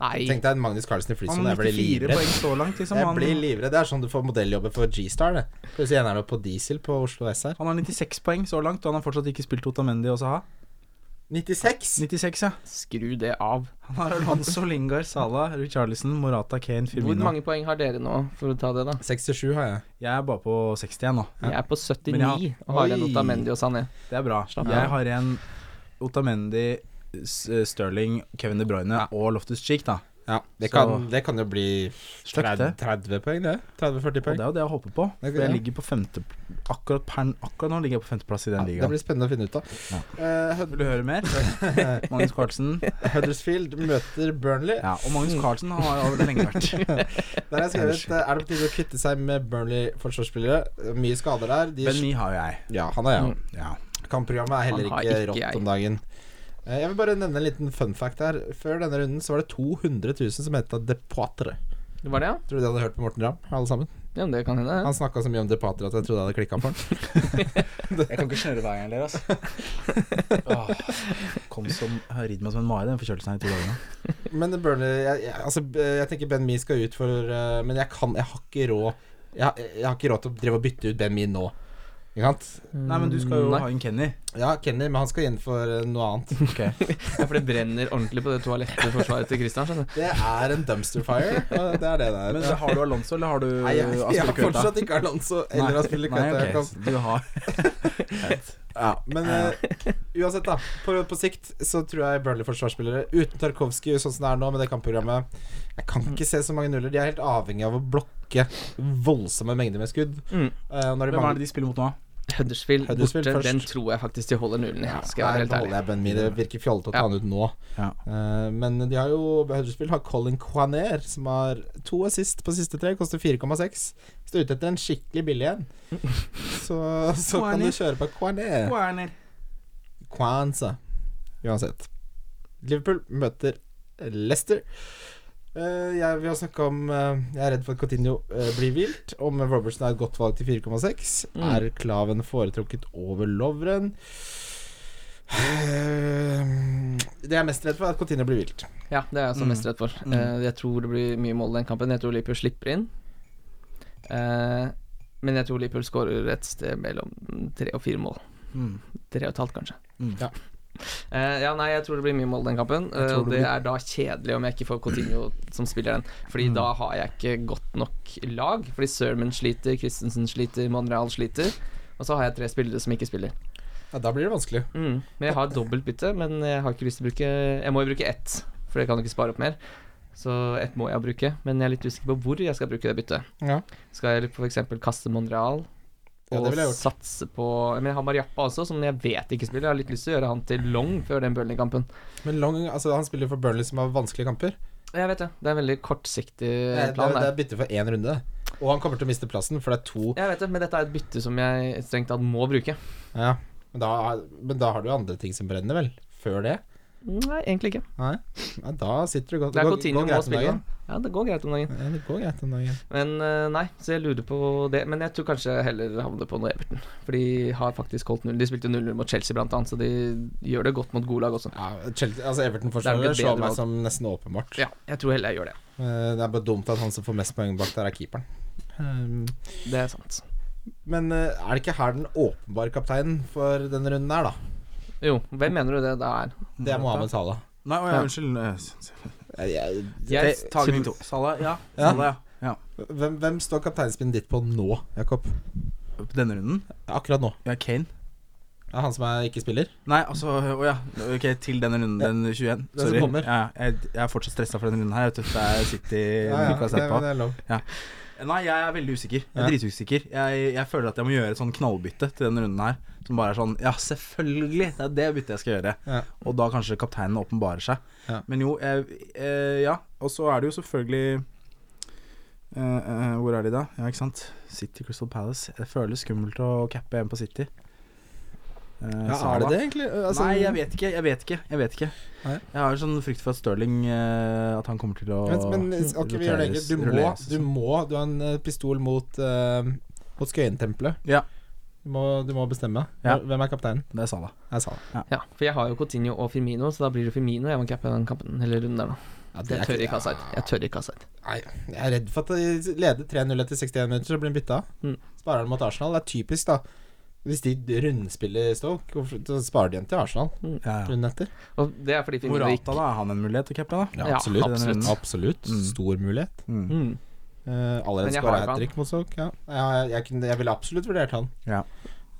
Speaker 3: Nei.
Speaker 2: Tenk deg en Magnus Carlsen i
Speaker 4: Han
Speaker 2: flysone.
Speaker 4: har
Speaker 2: Jeg blir
Speaker 4: 94
Speaker 2: livredd.
Speaker 4: poeng så langt, liksom.
Speaker 2: Jeg
Speaker 4: Han,
Speaker 2: blir livredd. Det er sånn du får modelljobber for G-Star. det. Plutselig ender du opp på diesel på Oslo S her.
Speaker 4: han har 96 poeng så langt, og han har fortsatt ikke spilt Otamendi og Saha.
Speaker 2: 96!
Speaker 4: 96, ja.
Speaker 3: Skru det av.
Speaker 4: Han har Alonso, Lingard, Salah, Richarlison, Morata, Kane,
Speaker 3: Hvor
Speaker 4: Firmino.
Speaker 3: mange poeng har dere nå, for å ta det, da?
Speaker 2: 67 har jeg.
Speaker 4: Jeg er bare på 61 nå.
Speaker 3: Jeg er på
Speaker 4: Men
Speaker 3: 79
Speaker 4: jeg
Speaker 3: og har en
Speaker 2: Oi.
Speaker 3: Otamendi og Sané.
Speaker 4: Det er bra.
Speaker 3: Slapp
Speaker 4: Jeg
Speaker 3: av.
Speaker 4: har en Otamendi, S- Sterling, Kevin De Bruyne og Loftus Cheek, da.
Speaker 2: Ja, det,
Speaker 4: Så-
Speaker 2: kan, det kan jo bli
Speaker 4: Støkt,
Speaker 2: 30,
Speaker 4: det.
Speaker 2: 30 poeng, det. 30-40
Speaker 4: Og det
Speaker 2: poeng.
Speaker 4: er jo det jeg håper på.
Speaker 2: Det er
Speaker 4: For jeg
Speaker 2: gøy.
Speaker 4: ligger på femte akkurat, per, akkurat nå ligger jeg på femteplass i
Speaker 2: Ja,
Speaker 4: den
Speaker 2: det
Speaker 4: ligaen.
Speaker 2: blir spennende å finne ut av. Eh, Hud-
Speaker 4: Vil du høre mer? Magnus Carlsen.
Speaker 2: Huddersfield møter Burnley.
Speaker 4: Ja, og Magnus Carlsen han har jo lenge vært
Speaker 2: Der har jeg skrevet eh, Er det på tide å kvitte seg med Burnley-forsvarsspillere? Mye skader der. De
Speaker 4: Ben Mee har jo jeg.
Speaker 2: ja, han er jeg.
Speaker 3: Mm.
Speaker 4: Ja.
Speaker 2: Kampprogrammet er heller
Speaker 3: Han har
Speaker 2: ikke
Speaker 3: ikke
Speaker 2: rått
Speaker 3: jeg.
Speaker 2: om dagen. Eh, Jeg vil bare nevne en liten fun fact her. Før denne runden så var det 200 000 som heta De Poitre.
Speaker 3: Det var det, ja?
Speaker 2: Tror du de hadde hørt på Morten Ramm, alle sammen?
Speaker 3: Ja, men det kan hende. det.
Speaker 2: Han snakka så mye om De Poitre at jeg trodde jeg hadde klikka på han.
Speaker 4: Jeg kan ikke snøre hver gang dere, altså. Kom som har ridd meg som en mare, den forkjølelsen her i to dager
Speaker 2: Mm,
Speaker 4: nå.
Speaker 2: Men Burnley jeg, jeg, altså, eh, jeg tenker Ben Mee skal ut for eh, Men jeg kan Jeg har ikke råd jeg, jeg har ikke råd til å drive og bytte ut Ben Mee nå. Ikke sant?
Speaker 4: Nei, men du skal jo
Speaker 3: Mm, Nei.
Speaker 4: ha en Kenny.
Speaker 2: Ja, Kenny, men han skal inn for eh, noe annet.
Speaker 3: Ja, for det brenner ordentlig på det toalettet i forsvaret til Christian. skjønner du.
Speaker 2: Det er en dumpster fire. og Det er det det er.
Speaker 4: Men har du Alonso, eller har du
Speaker 2: Nei, jeg, jeg, har
Speaker 4: Aspilicueta?
Speaker 2: fortsatt ikke Alonso eller Aspilicueta. jeg
Speaker 4: Nei, ok,
Speaker 2: kan-
Speaker 4: så du har Greit.
Speaker 2: Ja, men eh, uansett, da. På, på sikt så tror jeg Burnley-forsvarsspillere uten Tarkovskij, sånn som det er nå med det kampprogrammet Jeg kan ikke se så mange nuller. De er helt avhengig av å blokke voldsomme mengder med skudd.
Speaker 3: Mm.
Speaker 2: Eh, og når de
Speaker 4: Hvem er
Speaker 2: mangler
Speaker 4: det de spiller mot nå?
Speaker 3: Huddersfield
Speaker 2: Huddersfield
Speaker 3: borte,
Speaker 2: først.
Speaker 3: den tror jeg faktisk de holder nullen i. Skal jeg være
Speaker 2: Nei,
Speaker 3: helt ærlig.
Speaker 2: beholder jeg Ben Mee. Det virker fjollete å
Speaker 3: Ja.
Speaker 2: ta han ut nå.
Speaker 4: Ja.
Speaker 2: Eh, men de har jo Huddersfield har Colin Quaner, som har to assist på siste tre. Koster 4,6. Hvis du er ute etter en skikkelig billig en, så, så kan du
Speaker 4: Quaner.
Speaker 2: kjøre på Quaner. Kwanza. Uansett. Liverpool møter Leicester. Eh, jeg, vi har snakka om eh, Jeg er redd for at Coutinho eh, blir vilt. Om Robertson er et godt valg til 4,6.
Speaker 3: Mm.
Speaker 2: Er Klaven foretrukket over Lovren? Eh, det jeg er mest redd for, er at Coutinho blir vilt.
Speaker 3: Ja, det er jeg også
Speaker 4: Mm.
Speaker 3: mest redd for.
Speaker 4: Mm.
Speaker 3: Eh, jeg tror det blir mye mål i den kampen. Jeg tror Liverpool slipper inn. Eh, men jeg tror Liverpool skårer et sted mellom tre og fire mål.
Speaker 4: Mm.
Speaker 3: Tre og et halvt, kanskje.
Speaker 4: Mm.
Speaker 2: Ja.
Speaker 3: Eh, ja, nei, jeg tror det blir mye mål i den kampen.
Speaker 4: Jeg
Speaker 3: eh,
Speaker 4: tror
Speaker 3: og
Speaker 4: det
Speaker 3: det er da kjedelig om jeg ikke får Coutinho som spiller den. Fordi
Speaker 4: Mm.
Speaker 3: da har jeg ikke godt nok lag. Fordi Sermon sliter, Christensen sliter, Monreal sliter. Og så har jeg tre spillere som ikke spiller.
Speaker 2: Ja, da blir det vanskelig.
Speaker 3: Mm. Men jeg har et dobbelt bytte, men jeg har ikke lyst til å bruke Jeg må jo bruke ett, for jeg kan ikke spare opp mer. Så ett må jeg bruke, men jeg er litt usikker på hvor jeg skal bruke det byttet.
Speaker 2: Ja.
Speaker 3: Skal jeg f.eks. kaste Monreal
Speaker 2: Ja,
Speaker 3: og
Speaker 2: det ville jeg gjort.
Speaker 3: satse på Men jeg har Mariappa også, som jeg vet ikke spiller. Jeg har litt lyst til å gjøre han til long før den Burnley-kampen.
Speaker 2: Men Long altså, Han spiller for Burnley, som har vanskelige kamper.
Speaker 3: Jeg vet det. Det er en veldig kortsiktig
Speaker 2: Det, det,
Speaker 3: plan.
Speaker 2: det
Speaker 3: der.
Speaker 2: er bytte for én runde. Og han kommer til å miste plassen, for det er to
Speaker 3: Jeg vet det, men dette er et bytte som jeg strengt tatt må bruke.
Speaker 2: ja. men, da, men da har du andre ting som brenner, vel? Før det?
Speaker 3: Nei, egentlig ikke.
Speaker 2: Nei, Nei, da sitter du godt.
Speaker 3: Det er
Speaker 2: går-
Speaker 3: Coutinho
Speaker 2: går
Speaker 3: må
Speaker 2: greit om
Speaker 3: spille.
Speaker 2: dagen.
Speaker 3: Ja, det går greit om dagen.
Speaker 2: Ja, det går greit om dagen.
Speaker 3: Men eh, nei, så jeg lurer på det. Men jeg tror kanskje jeg heller havner på noe Everton. For de har faktisk holdt null. De spilte 0-0 mot Chelsea, blant annet, så de gjør det godt mot god lag også.
Speaker 2: Ja, Chelsea, altså Everton
Speaker 3: Det er
Speaker 2: forsvarer
Speaker 3: vel et
Speaker 2: slår
Speaker 3: bedre
Speaker 2: meg
Speaker 3: valg.
Speaker 2: som nesten åpenbart.
Speaker 3: Ja, jeg tror heller jeg gjør det.
Speaker 2: Eh, Det er bare dumt at han som får mest poeng bak der, er keeperen. Um,
Speaker 3: Det er sant.
Speaker 2: Men eh, er det ikke her den åpenbare kapteinen for denne runden her, da?
Speaker 3: Jo, hvem mener du det da er?
Speaker 2: Det er Mohammed Salah.
Speaker 4: Nei, å, ja,
Speaker 3: Ja.
Speaker 4: unnskyld. eh, s- s-
Speaker 2: Jeg- jeg-
Speaker 3: Jeg
Speaker 4: Te- Tagning
Speaker 3: tror-
Speaker 4: to. Salah, ja.
Speaker 2: Ja.
Speaker 4: Salah, ja.
Speaker 2: Hvem, hvem står kapteinspinnen ditt på nå, Jakob?
Speaker 4: På denne runden?
Speaker 2: Akkurat nå.
Speaker 4: Ja, Kane.
Speaker 2: Det er han som er ikke spiller?
Speaker 4: Nei, altså Å ja. Ok, til denne runden,
Speaker 2: Ja.
Speaker 4: den 21.
Speaker 2: Den som
Speaker 4: Sorry.
Speaker 2: kommer.
Speaker 4: Ja, jeg, jeg er fortsatt stressa for denne runden her. Jeg vet, du, det er City Nicolas
Speaker 2: det,
Speaker 4: Zappa.
Speaker 2: det er lov.
Speaker 4: Nei, jeg er veldig usikker. Jeg
Speaker 2: Ja.
Speaker 4: er dritusikker. Jeg, jeg føler at jeg må gjøre et sånn knallbytte til denne runden her. Som bare er sånn Ja, selvfølgelig! Det er det byttet jeg skal gjøre.
Speaker 2: Ja.
Speaker 4: Og da kanskje kapteinen åpenbarer seg.
Speaker 2: Ja.
Speaker 4: Men jo, jeg, eh, ja. Og så er det jo selvfølgelig eh, eh, Hvor er de, da? Ja, ikke sant? City Crystal Palace. Det føles skummelt å cappe en på City. Eh,
Speaker 2: Ja, er
Speaker 4: Salah.
Speaker 2: det det, egentlig? Altså,
Speaker 4: Nei, jeg vet ikke. Jeg vet ikke. Jeg vet ikke
Speaker 2: Nei.
Speaker 4: Jeg har jo sånn frykt for at Stirling eh, At han kommer til å
Speaker 2: Men, men ok, vi gjør det enkelt. Du må,
Speaker 4: rulleres,
Speaker 2: du må Du har en eh, pistol mot, uh, mot Skøyentempelet.
Speaker 4: Ja.
Speaker 2: Du må, du må bestemme.
Speaker 4: Ja.
Speaker 2: Hvem er kapteinen?
Speaker 4: Det er Salah.
Speaker 2: Jeg sa det.
Speaker 3: Ja, for jeg har jo Coutinho og Firmino, så da blir det Firmino jeg må cappe den kampen, eller runden der, da.
Speaker 2: Ja, det
Speaker 3: Jeg
Speaker 2: er
Speaker 3: tør
Speaker 2: ikke-
Speaker 3: ikke ha side. Jeg tør ikke ha side.
Speaker 2: Nei, jeg er redd for at de leder 3-0 etter 61 minutter, så blir de bytta.
Speaker 3: Mm.
Speaker 2: Sparer dem mot Arsenal. Det er typisk, da. Hvis de rundspiller Stoke, hvorfor- så sparer de igjen til Arsenal
Speaker 4: Ja, ja.
Speaker 2: runden etter.
Speaker 3: Og det er fordi Finnmark
Speaker 4: Morata, da. Er han en mulighet til å cappe, da?
Speaker 3: Ja, absolutt.
Speaker 2: absolutt. Absolutt.
Speaker 4: Mm.
Speaker 2: Stor mulighet.
Speaker 4: Mm.
Speaker 3: Mm.
Speaker 2: Eh, allerede
Speaker 3: Men jeg
Speaker 2: skåra
Speaker 3: har ikke
Speaker 2: hat trick mot Stoke. Ja. Ja, jeg, jeg, kunne- jeg ville absolutt vurdert han.
Speaker 4: Ja.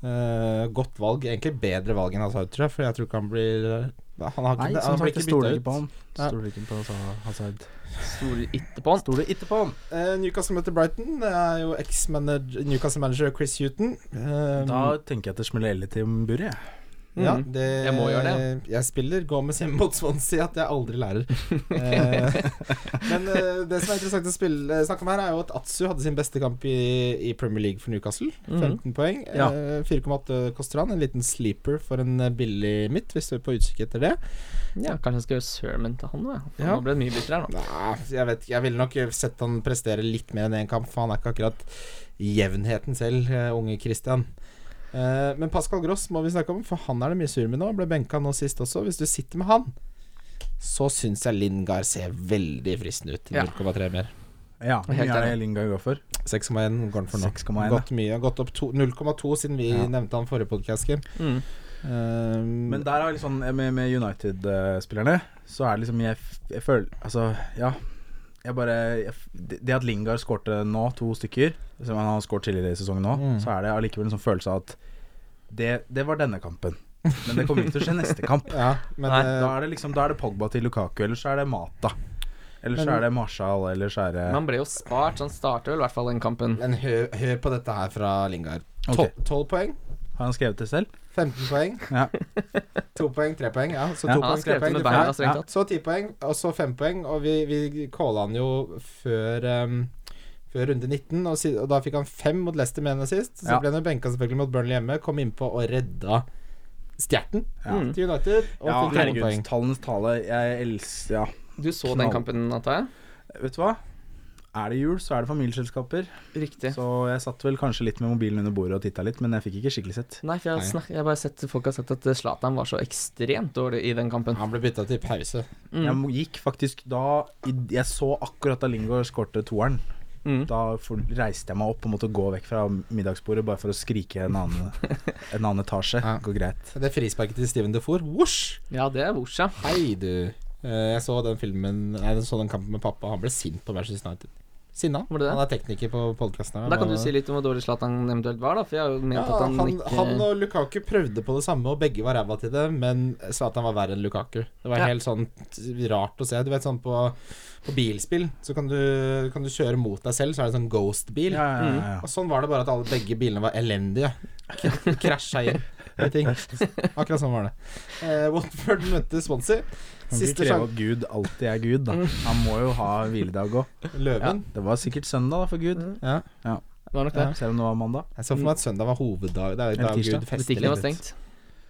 Speaker 2: Eh, godt valg. Egentlig bedre valg enn Hazard, tror jeg, for jeg tror ikke han blir eh, Han, har ikke, han
Speaker 4: Nei, som
Speaker 2: blir
Speaker 4: sagt, jeg
Speaker 2: ikke
Speaker 4: stoler ikke
Speaker 2: bytta ut.
Speaker 4: på han.
Speaker 2: Ja.
Speaker 4: Stoler ikke på Sa- Hazard.
Speaker 3: Stoler ikke på han.
Speaker 4: Stoler ikke på han.
Speaker 2: Eh, Newcastle møter Brighton. Det er jo eks-manager Newcastle-manager Chris Huton. Eh,
Speaker 4: Da tenker jeg at det smeller litt i buret, jeg.
Speaker 2: Ja,
Speaker 3: Mm.
Speaker 2: det,
Speaker 3: Jeg må gjøre
Speaker 2: Jeg spiller Gomez hjemme mot Swansea at jeg aldri lærer. Eh, Men eh, det som er interessant å spille, eh, snakke om her, er jo at Atsu hadde sin beste kamp i, i Premier League for Newcastle.
Speaker 3: Mm.
Speaker 2: 15 poeng. Eh,
Speaker 4: Ja.
Speaker 2: 4,8 koster han. En liten sleeper for en eh, billig midt, hvis du er på utkikk etter det.
Speaker 3: Ja, kanskje jeg skal gjøre sermon til han, da. For
Speaker 2: Ja.
Speaker 3: Nå ble det mye bytter her, nå.
Speaker 2: Nei, jeg vet ikke. Jeg ville nok sett han prestere litt mer enn én kamp, for han er ikke akkurat jevnheten selv, eh, unge Christian. Eh, men Pascal Gross må vi snakke om, for han er det mye sur med nå. Ble benka nå sist også. Hvis du sitter med han, så syns jeg Lingard ser veldig fristende ut. til
Speaker 3: Ja.
Speaker 2: 0,3 mer.
Speaker 4: Ja, hvor mye
Speaker 3: Helt
Speaker 4: er det
Speaker 3: enig.
Speaker 4: Lingard går for?
Speaker 2: 6,1 går han for nå.
Speaker 4: 6,1, ja.
Speaker 2: Gått mye. Gått opp to- 0,2 siden vi
Speaker 4: Ja.
Speaker 2: nevnte han forrige Eh, podkast.
Speaker 3: Mm.
Speaker 4: Men der er liksom, med, med United-spillerne så er det liksom Jeg, f- jeg føler Altså, ja. Jeg bare jeg, f- Det det at Lingard skårte nå, to stykker som Han har skåret tidligere i sesongen nå,
Speaker 2: Mm.
Speaker 4: så er det allikevel en sånn følelse av at det, det var denne kampen. Men det kommer ikke til å skje neste kamp.
Speaker 2: ja, men
Speaker 3: Nei,
Speaker 2: eh,
Speaker 4: Da er det liksom Da er det Pogba til Lukaku, eller så er det Mata. Eller så
Speaker 2: Men-
Speaker 4: er det Marshall, eller så er det
Speaker 3: Men han ble jo spart, så han starter vel i hvert fall den kampen.
Speaker 2: men hør, hør på dette her fra Lingard.
Speaker 4: Ok.
Speaker 2: Tol- 12 poeng,
Speaker 4: Har han skrevet det selv?
Speaker 2: 15 poeng,
Speaker 4: Ja.
Speaker 2: To poeng, tre poeng, ja. Så to
Speaker 4: Ja.
Speaker 3: Han
Speaker 2: poeng,
Speaker 3: har
Speaker 2: tre
Speaker 3: skrevet
Speaker 2: poeng.
Speaker 3: det med
Speaker 2: du får-
Speaker 3: beina, strengt
Speaker 4: Ja.
Speaker 3: tatt.
Speaker 2: Så ti poeng, og så fem poeng. Og vi, vi calla han jo før ehm, før runde 19, og, si, og da fikk han fem mot Leicester, mener jeg sist. Så
Speaker 4: Ja.
Speaker 2: ble han jo benka selvfølgelig mot Burnley hjemme, kom innpå og redda stjerten
Speaker 4: Ja.
Speaker 2: til United. Og
Speaker 4: Ja,
Speaker 2: fikk tolv
Speaker 4: herregud.
Speaker 2: poeng.
Speaker 4: Tallenes tale. Jeg elsker Ja.
Speaker 3: Du så den
Speaker 4: Knall.
Speaker 3: kampen, antar jeg?
Speaker 4: Vet du hva? Er det jul, så er det familieselskaper.
Speaker 3: Riktig.
Speaker 4: Så jeg satt vel kanskje litt med mobilen under bordet og titta litt, men jeg fikk ikke skikkelig sett.
Speaker 3: Nei, for jeg har,
Speaker 2: Nei.
Speaker 3: snak- jeg har bare sett folk har sagt at eh, Zlatan var så ekstremt dårlig i den kampen.
Speaker 2: Han ble bytta til pause.
Speaker 4: Jeg
Speaker 3: Mm.
Speaker 4: må- gikk faktisk da i- Jeg så akkurat da Lingard skårte toeren.
Speaker 3: Mm.
Speaker 4: Da for, reiste jeg meg opp og måtte gå vekk fra middagsbordet bare for å skrike en annen, en annen etasje.
Speaker 2: Ja.
Speaker 4: Går greit.
Speaker 2: Det frisparket til Steven Defour, wosj!
Speaker 3: Ja, det er Borsa.
Speaker 2: Hei, du. Eh, Jeg så den filmen Nei, jeg så den kampen med pappa, han ble sint på Manchester United. Sinna.
Speaker 3: Var det det?
Speaker 2: Han er tekniker på podkasten.
Speaker 3: Da kan du si litt om hvor dårlig Zlatan eventuelt var, da. For jeg har jo ment
Speaker 2: Ja,
Speaker 3: at han,
Speaker 2: han, han,
Speaker 3: ikke
Speaker 2: og Lukaku prøvde på det samme, og begge var ræva til det, men sa at han var verre enn Lukaku. Det var
Speaker 3: Ja.
Speaker 2: helt sånn t- rart å se. Du vet sånn på, på bilspill, så kan du, kan du kjøre mot deg selv, så er det sånn ghost-bil.
Speaker 4: Ja, ja,
Speaker 3: Mm.
Speaker 4: ja, ja.
Speaker 2: Og sånn var det bare at alle, begge bilene var elendige. K- Krasja inn i ting. Akkurat sånn var det. Eh, Watford møtte Swansea.
Speaker 4: Kan ikke
Speaker 2: Siste Mm.
Speaker 4: kreve
Speaker 2: sjanse.
Speaker 4: at Gud alltid er Gud, da. Han må jo ha hviledag òg.
Speaker 2: Løven.
Speaker 4: Det var sikkert søndag da for Gud,
Speaker 2: Ja.
Speaker 3: var nok det.
Speaker 2: Mm. Ja.
Speaker 4: selv om det var mandag.
Speaker 2: Jeg så for
Speaker 4: Mm.
Speaker 2: meg at søndag var hoveddag. Det er jo
Speaker 4: Eller
Speaker 2: da
Speaker 4: tirsdag.
Speaker 2: Gud fester
Speaker 3: Butikken var
Speaker 2: litt.
Speaker 3: stengt.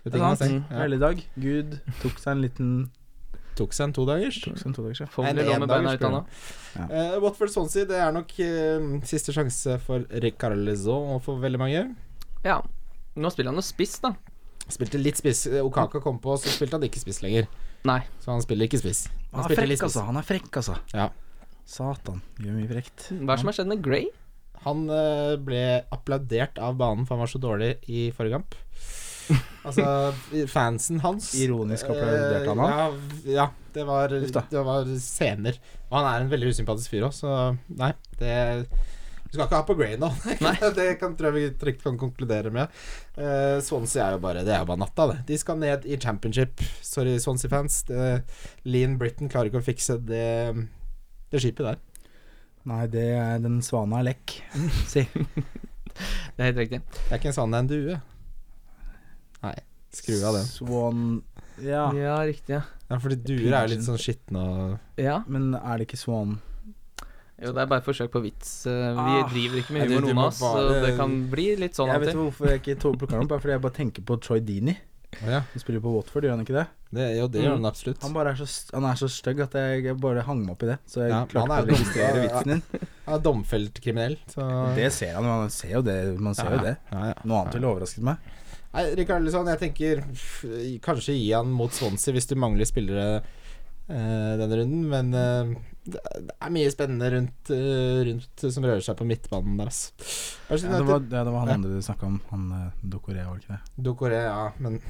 Speaker 2: Butikken var stengt. Ja.
Speaker 4: Helligdag. Gud tok seg en liten
Speaker 2: Tok seg en todagers.
Speaker 4: Tok seg en todagers, ja.
Speaker 2: En
Speaker 3: Fogney lå med
Speaker 2: endagers
Speaker 3: beina ut av nå.
Speaker 2: Eh, Watford Swansea, det er nok eh, siste sjanse for Ricarlezon og for veldig mange.
Speaker 3: Ja. Nå spiller han jo spiss, da.
Speaker 2: Spilte litt spiss. eh, Okaka kom på, så spilte han ikke spiss lenger.
Speaker 3: Nei.
Speaker 2: Så han spiller ikke spiss.
Speaker 4: Han er
Speaker 2: spilte
Speaker 4: frekk,
Speaker 2: litt spiss.
Speaker 4: altså. Han er frekk, altså.
Speaker 2: Ja. Mm,
Speaker 4: Satan. Gjør mye frekt.
Speaker 3: Hva er det som har skjedd med Gray?
Speaker 2: Han eh, ble applaudert av banen for han var så dårlig i forrige kamp. Altså, fansen hans
Speaker 4: Ironisk applaudert han, han.
Speaker 2: han? Ja, ja det, var,
Speaker 4: Uff da.
Speaker 2: det var scener. Og han er en veldig usympatisk fyr òg, så nei, det Du skal ikke ha på Grey nå. det kan, tror jeg vi trygt kan konkludere med. Eh, Swansea er jo bare Det er jo bare natta, det. De skal ned i championship. Sorry, Swansea-fans. Det- Lean Britain klarer ikke å fikse det, det skipet der.
Speaker 4: Nei, det er den svana er lekk. Si.
Speaker 3: Det er helt riktig.
Speaker 2: Det er ikke en sånn det er en due. Nei, skru av den.
Speaker 4: Swan Ja.
Speaker 3: Ja, riktig, ja.
Speaker 2: Ja, fordi duer er jo litt sånn skitne og
Speaker 3: ja.
Speaker 4: Men er det ikke swan
Speaker 3: Jo, det er bare forsøk på vits. Eh, Vi
Speaker 4: Ah.
Speaker 3: driver ikke
Speaker 2: Nei,
Speaker 3: med
Speaker 2: du-
Speaker 3: humor,
Speaker 2: du
Speaker 3: noen
Speaker 2: må
Speaker 3: av oss,
Speaker 2: bare-
Speaker 3: så det kan bli litt sånn
Speaker 4: Jeg
Speaker 3: av og
Speaker 4: vet
Speaker 3: til.
Speaker 4: hvorfor jeg ikke to- plukker han opp, er fordi jeg bare tenker på Troy Dini.
Speaker 2: Å ja.
Speaker 4: Han spiller på Watford, gjør han ikke det?
Speaker 2: det, Jo, det gjør han absolutt.
Speaker 4: Han bare er så, st- han er så stygg at jeg, jeg bare hang meg opp i det. Så jeg
Speaker 2: Ja,
Speaker 4: klarte
Speaker 2: han er
Speaker 4: ikke å
Speaker 2: jo
Speaker 4: registrere
Speaker 2: dum, ja.
Speaker 4: vitsen din.
Speaker 2: Han er domfelt kriminell, så
Speaker 4: Det ser han, man ser jo det. Man ser jo det.
Speaker 2: Ja, ja.
Speaker 4: Noe annet ville overrasket meg.
Speaker 2: Nei, Rikard Lisson, jeg tenker pff, kanskje gi han mot Swansea hvis du mangler spillere eh, denne runden, men eh, det det er mye spennende rundt, eh, rundt som rører seg på midtbanen der, ass. Manchester
Speaker 4: Ja, det, var,
Speaker 2: United-
Speaker 4: ja, det var han
Speaker 2: Ja.
Speaker 4: andre du snakka om, han eh, Dokore, var det ikke det?
Speaker 2: Dokore, ja, men